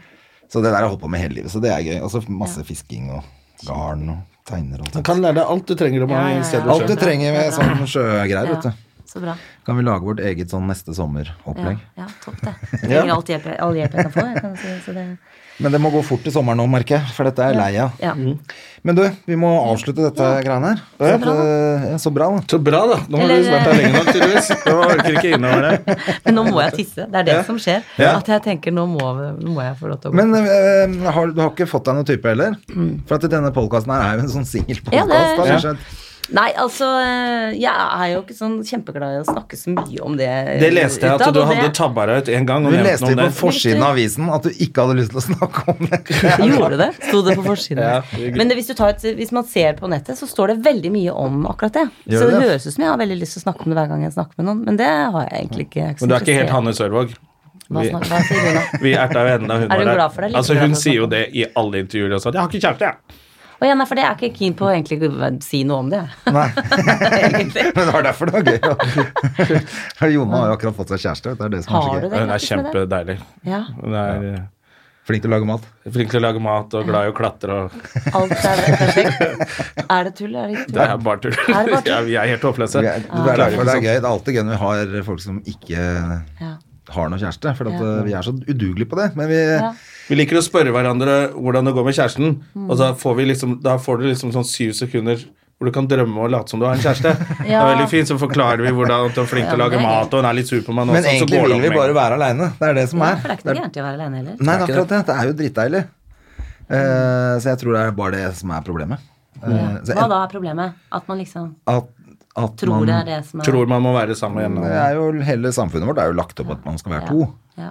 B: Så det der har jeg holdt på med hele livet, så det er gøy. Og så masse fisking og garn og teiner og alt
A: Du kan lære deg alt du trenger om
C: Ja, ja, ja.
A: han i stedet
B: Alt du
A: selv.
B: trenger med sånn sjøgreier,
C: Ja.
B: vet du.
C: Så bra.
B: Kan vi lage vårt eget sånn neste
C: Ja,
B: sommer-opplegg?
C: ja topp det. Jeg trenger alt hjelp, jeg- all hjelp jeg kan få. Jeg kan si, så det,
B: Men det må gå fort til sommeren nå, merker jeg, for dette er lei av.
C: ja.
A: Mm.
B: Men du, vi må avslutte dette greiene her. Så bra, ja, så bra da.
A: Så bra, da. Nå har
C: Eller-
A: du vært her lenge nok, tydeligvis. Jeg orker ikke innover det.
C: Men nå må jeg tisse. Det er det som skjer.
A: Ja.
C: At jeg tenker nå må, nå må jeg få lov til å gå.
B: Men eh, har, du har ikke fått deg noen type heller? For at denne podkasten her er jo en sånn
C: Ja,
B: singelpodkast.
C: det-
B: har vi
A: Ja.
B: skjønt.
C: Nei, altså eh, Jeg er jo ikke sånn kjempeglad i å snakke så mye om det.
A: Det leste jeg
C: utad,
A: at du
C: og det-
A: hadde tabba deg ut en gang. Og
B: Du
A: nevnte
B: leste
A: noe om
B: jo på
A: det.
B: forsiden av avisen at du ikke hadde lyst til å snakke om det.
C: Gjorde det? Sto det på forsiden?
A: Ja, det er gøy.
C: Men det, hvis, du tar et, hvis man ser på nettet, så står det veldig mye om akkurat det.
B: Gjør
C: så det,
B: det?
C: høres ut som jeg har veldig lyst til å snakke om det hver gang jeg snakker med noen, men det har jeg egentlig ikke. jeg
A: Men du er ikke helt
C: interessert.
A: Hanne Sørvåg.
C: Hva
A: Vi-
C: snakker- hva sier du nå?
A: Vi erta jo henne da hun
C: Er
A: var
C: hun
A: der.
C: glad for det, eller
A: Altså,
C: ikke
A: hun
C: glad for
A: sier jo
C: det?
A: det i alle intervjuer også. at 'Jeg har ikke kjæreste, jeg'.
C: Å ja, nei, for det er jeg ikke keen på å egentlig si noe om det.
B: Nei.
C: Egentlig.
B: Men det var derfor det var gøy. å- Jona har jo akkurat fått seg kjæreste. Det er det som er
C: Har
B: så gøy.
C: du det?
A: Hun er
C: Grattis med det.
A: kjempedeilig.
C: Ja,
A: Hun er eh,
B: Flink til å lage mat.
A: flink til å lage mat og glad i å klatre og
C: alt er perfekt. Er det tull, er det ikke
A: Det er
C: tull?
A: bare tull.
C: Er det bare tull?
A: Ja, Vi er helt håpløse. liksom
B: Det er det er derfor det er gøy. Det er alltid gøy når vi har folk som ikke
C: Ja.
B: har noen kjæreste. For at
C: Ja.
B: eh, vi er så udugelige på det. Men vi
C: Ja.
A: Vi liker å spørre hverandre hvordan det går med kjæresten, og da får, vi liksom, da får du liksom sånn syv sekunder hvor du kan drømme og late som du har en kjæreste. Det er
C: Ja.
A: veldig fint, så forklarer vi hvordan at du er flink til å
C: Ja,
A: lage
C: det er
A: mat, og hun er litt supermann også,
B: Men egentlig
A: sånn, så går det
B: vil vi
A: opp med en
B: bare være aleine. Det er det som
C: Ja,
B: er.
C: for det er ikke noe gærent i å være alene heller.
B: Nei, det er akkurat det. Det er jo dritdeilig. Eh, så jeg tror det er bare det som er problemet. Eh, så
C: Hva
B: en-
C: da er problemet? At man liksom
B: At, at
C: tror
B: man,
C: det er det som
A: gang.
C: er
A: Tror man må være sammen igjen.
B: Det er jo, hele samfunnet vårt er jo lagt opp at man skal være to.
C: Ja. ja.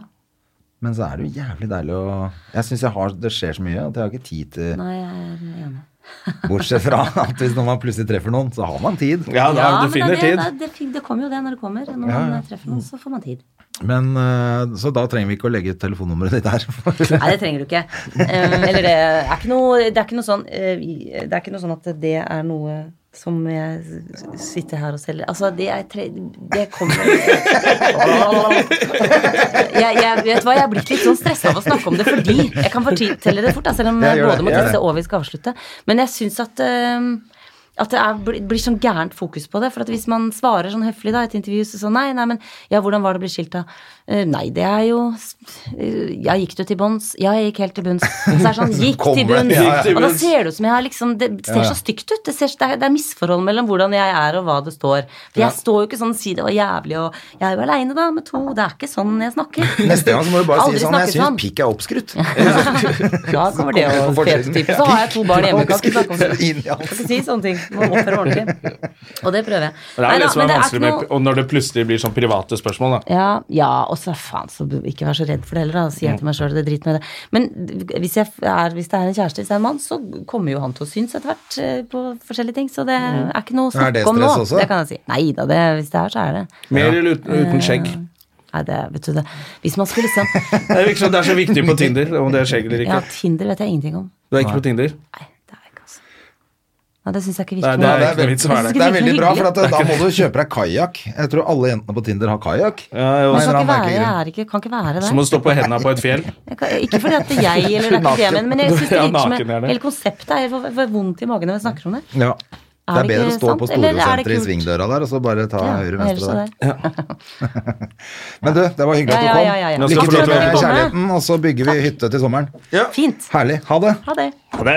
B: Men så er det jo jævlig deilig å Jeg syns det skjer så mye at jeg har ikke tid til
C: Nei, jeg er enig.
B: Bortsett fra at hvis når man plutselig treffer noen, så har man tid.
A: Ja, da,
C: Ja,
A: du
C: men
A: finner
C: det, er det,
A: tid.
C: Det, er fint, det kommer jo det når det kommer. Når man eh, treffer noen, så får man tid.
B: Men, eh, så da trenger vi ikke å legge ut telefonnummeret ditt her.
C: Nei, det trenger du ikke. Eh, Eller det er ikke noe, det er ikke noe sånn eh, vi- Det er ikke noe sånn at det er noe som jeg s- sitter her og selger Altså, det er tre... Det kommer jeg, jeg, Vet du hva, jeg er blitt litt sånn stressa av å snakke om det fordi Jeg kan fortelle det fort, da, selv om
B: Ja,
C: jeg
B: gjør det,
C: både må
B: gjør det.
C: tisse og vi skal avslutte. Men jeg syns at eh, at det er, bli- blir sånn gærent fokus på det. For at hvis man svarer sånn høflig da, i et intervju så sånn Nei, nei, men ja, hvordan var det å bli skilt, da? Eh, nei, det er jo eh, Ja, gikk du til bunns? Ja, jeg gikk helt til bunns. Og så er det sånn Gikk
B: Kommer
C: til
B: det,
C: bunns!
B: ja, ja.
A: Gikk til
C: Og da
A: bunns.
C: ser det ut som jeg har liksom Det ser så stygt ut. Det, ser, det, er, det er misforhold mellom hvordan jeg er, og hva det står. For jeg står jo ikke sånn Si det var jævlig, og Jeg er jo aleine, da, med to. Det er ikke sånn jeg snakker.
B: Neste gang så må du bare si
C: Aldri
B: sånn Jeg
C: snakke
B: syns pikk er oppskrutt.
C: Da kommer det å fete typer. Så har jeg to barn hjemme. Kan ikke snakke om det.
B: Inn i alt.
C: Kan ikke si sånne ting. Må oppføre meg ordentlig. Og det prøver jeg.
A: Det er jo
C: Neida,
A: det som er
C: men det er
A: vanskelig
C: ikke
A: med,
C: noe-
A: og når det plutselig blir sånn private spørsmål, da.
C: Ja, ja og så faen, så bu- ikke vær så redd for det heller, da. Sier jeg til meg sjøl, det driter med det. Men d- hvis, jeg f- er, hvis det er en kjæreste, hvis det er en mann, så kommer jo han til å synes etter hvert eh, på forskjellige ting. Så det er ikke noe å
B: Er det
C: snakke om nå.
B: stress også?
C: Det kan jeg si. Nei da, det, hvis det er, så er det.
A: Mer eller uten, uten skjegg.
C: Nei, det vet du det. Hvis man skulle liksom
A: Det virker som det er så viktig på Tinder, om det er skjegg eller
C: Ja,
A: ikke.
C: Tinder vet jeg ingenting om.
A: Du er ikke på Tinder?
C: Nei, det er ikke altså. Nei, det syns jeg ikke
A: Nei,
C: virker
A: det
C: noe.
A: er
B: det
A: ikke
B: er
A: noe vits å være der.
C: veldig-
B: Det er veldig bra, for
C: hyggelig.
B: at eh, da må du kjøpe deg kajakk. Jeg tror alle jentene på Tinder har kajakk.
A: Ja, jeg
C: Men
A: også.
C: jeg kan ikke
B: Nei,
C: være,
B: det er
C: jeg
B: merkelig.
C: er ikke, kan ikke være der.
A: Så må du stå på hendene på et fjell.
C: Jeg kan, ikke fordi at det er jeg eller det er ikke det, men, men jeg synes det
A: Ja,
C: virker som
A: naken er det.
C: hele konseptet er for, for vondt i magen når vi snakker om det.
B: Ja. Det
C: Er
B: er
C: det
B: bedre å
C: ikke
B: stå
C: sant,
B: på
C: eller er det
B: Storosenteret i
C: kult?
B: svingdøra der, og så bare ta
C: Ja, og ellers
B: høyre-venstre
C: så
B: der. Men du, det var hyggelig at du
C: Ja,
B: kom.
C: ja, ja, ja.
A: Nå skal
B: Lykke
A: du få lov
B: til
A: til å
B: med
A: komme.
B: kjærligheten, og så bygger vi hytte til sommeren.
C: Fint.
B: Herlig. Ha det.
C: Ha det.
A: Ha det!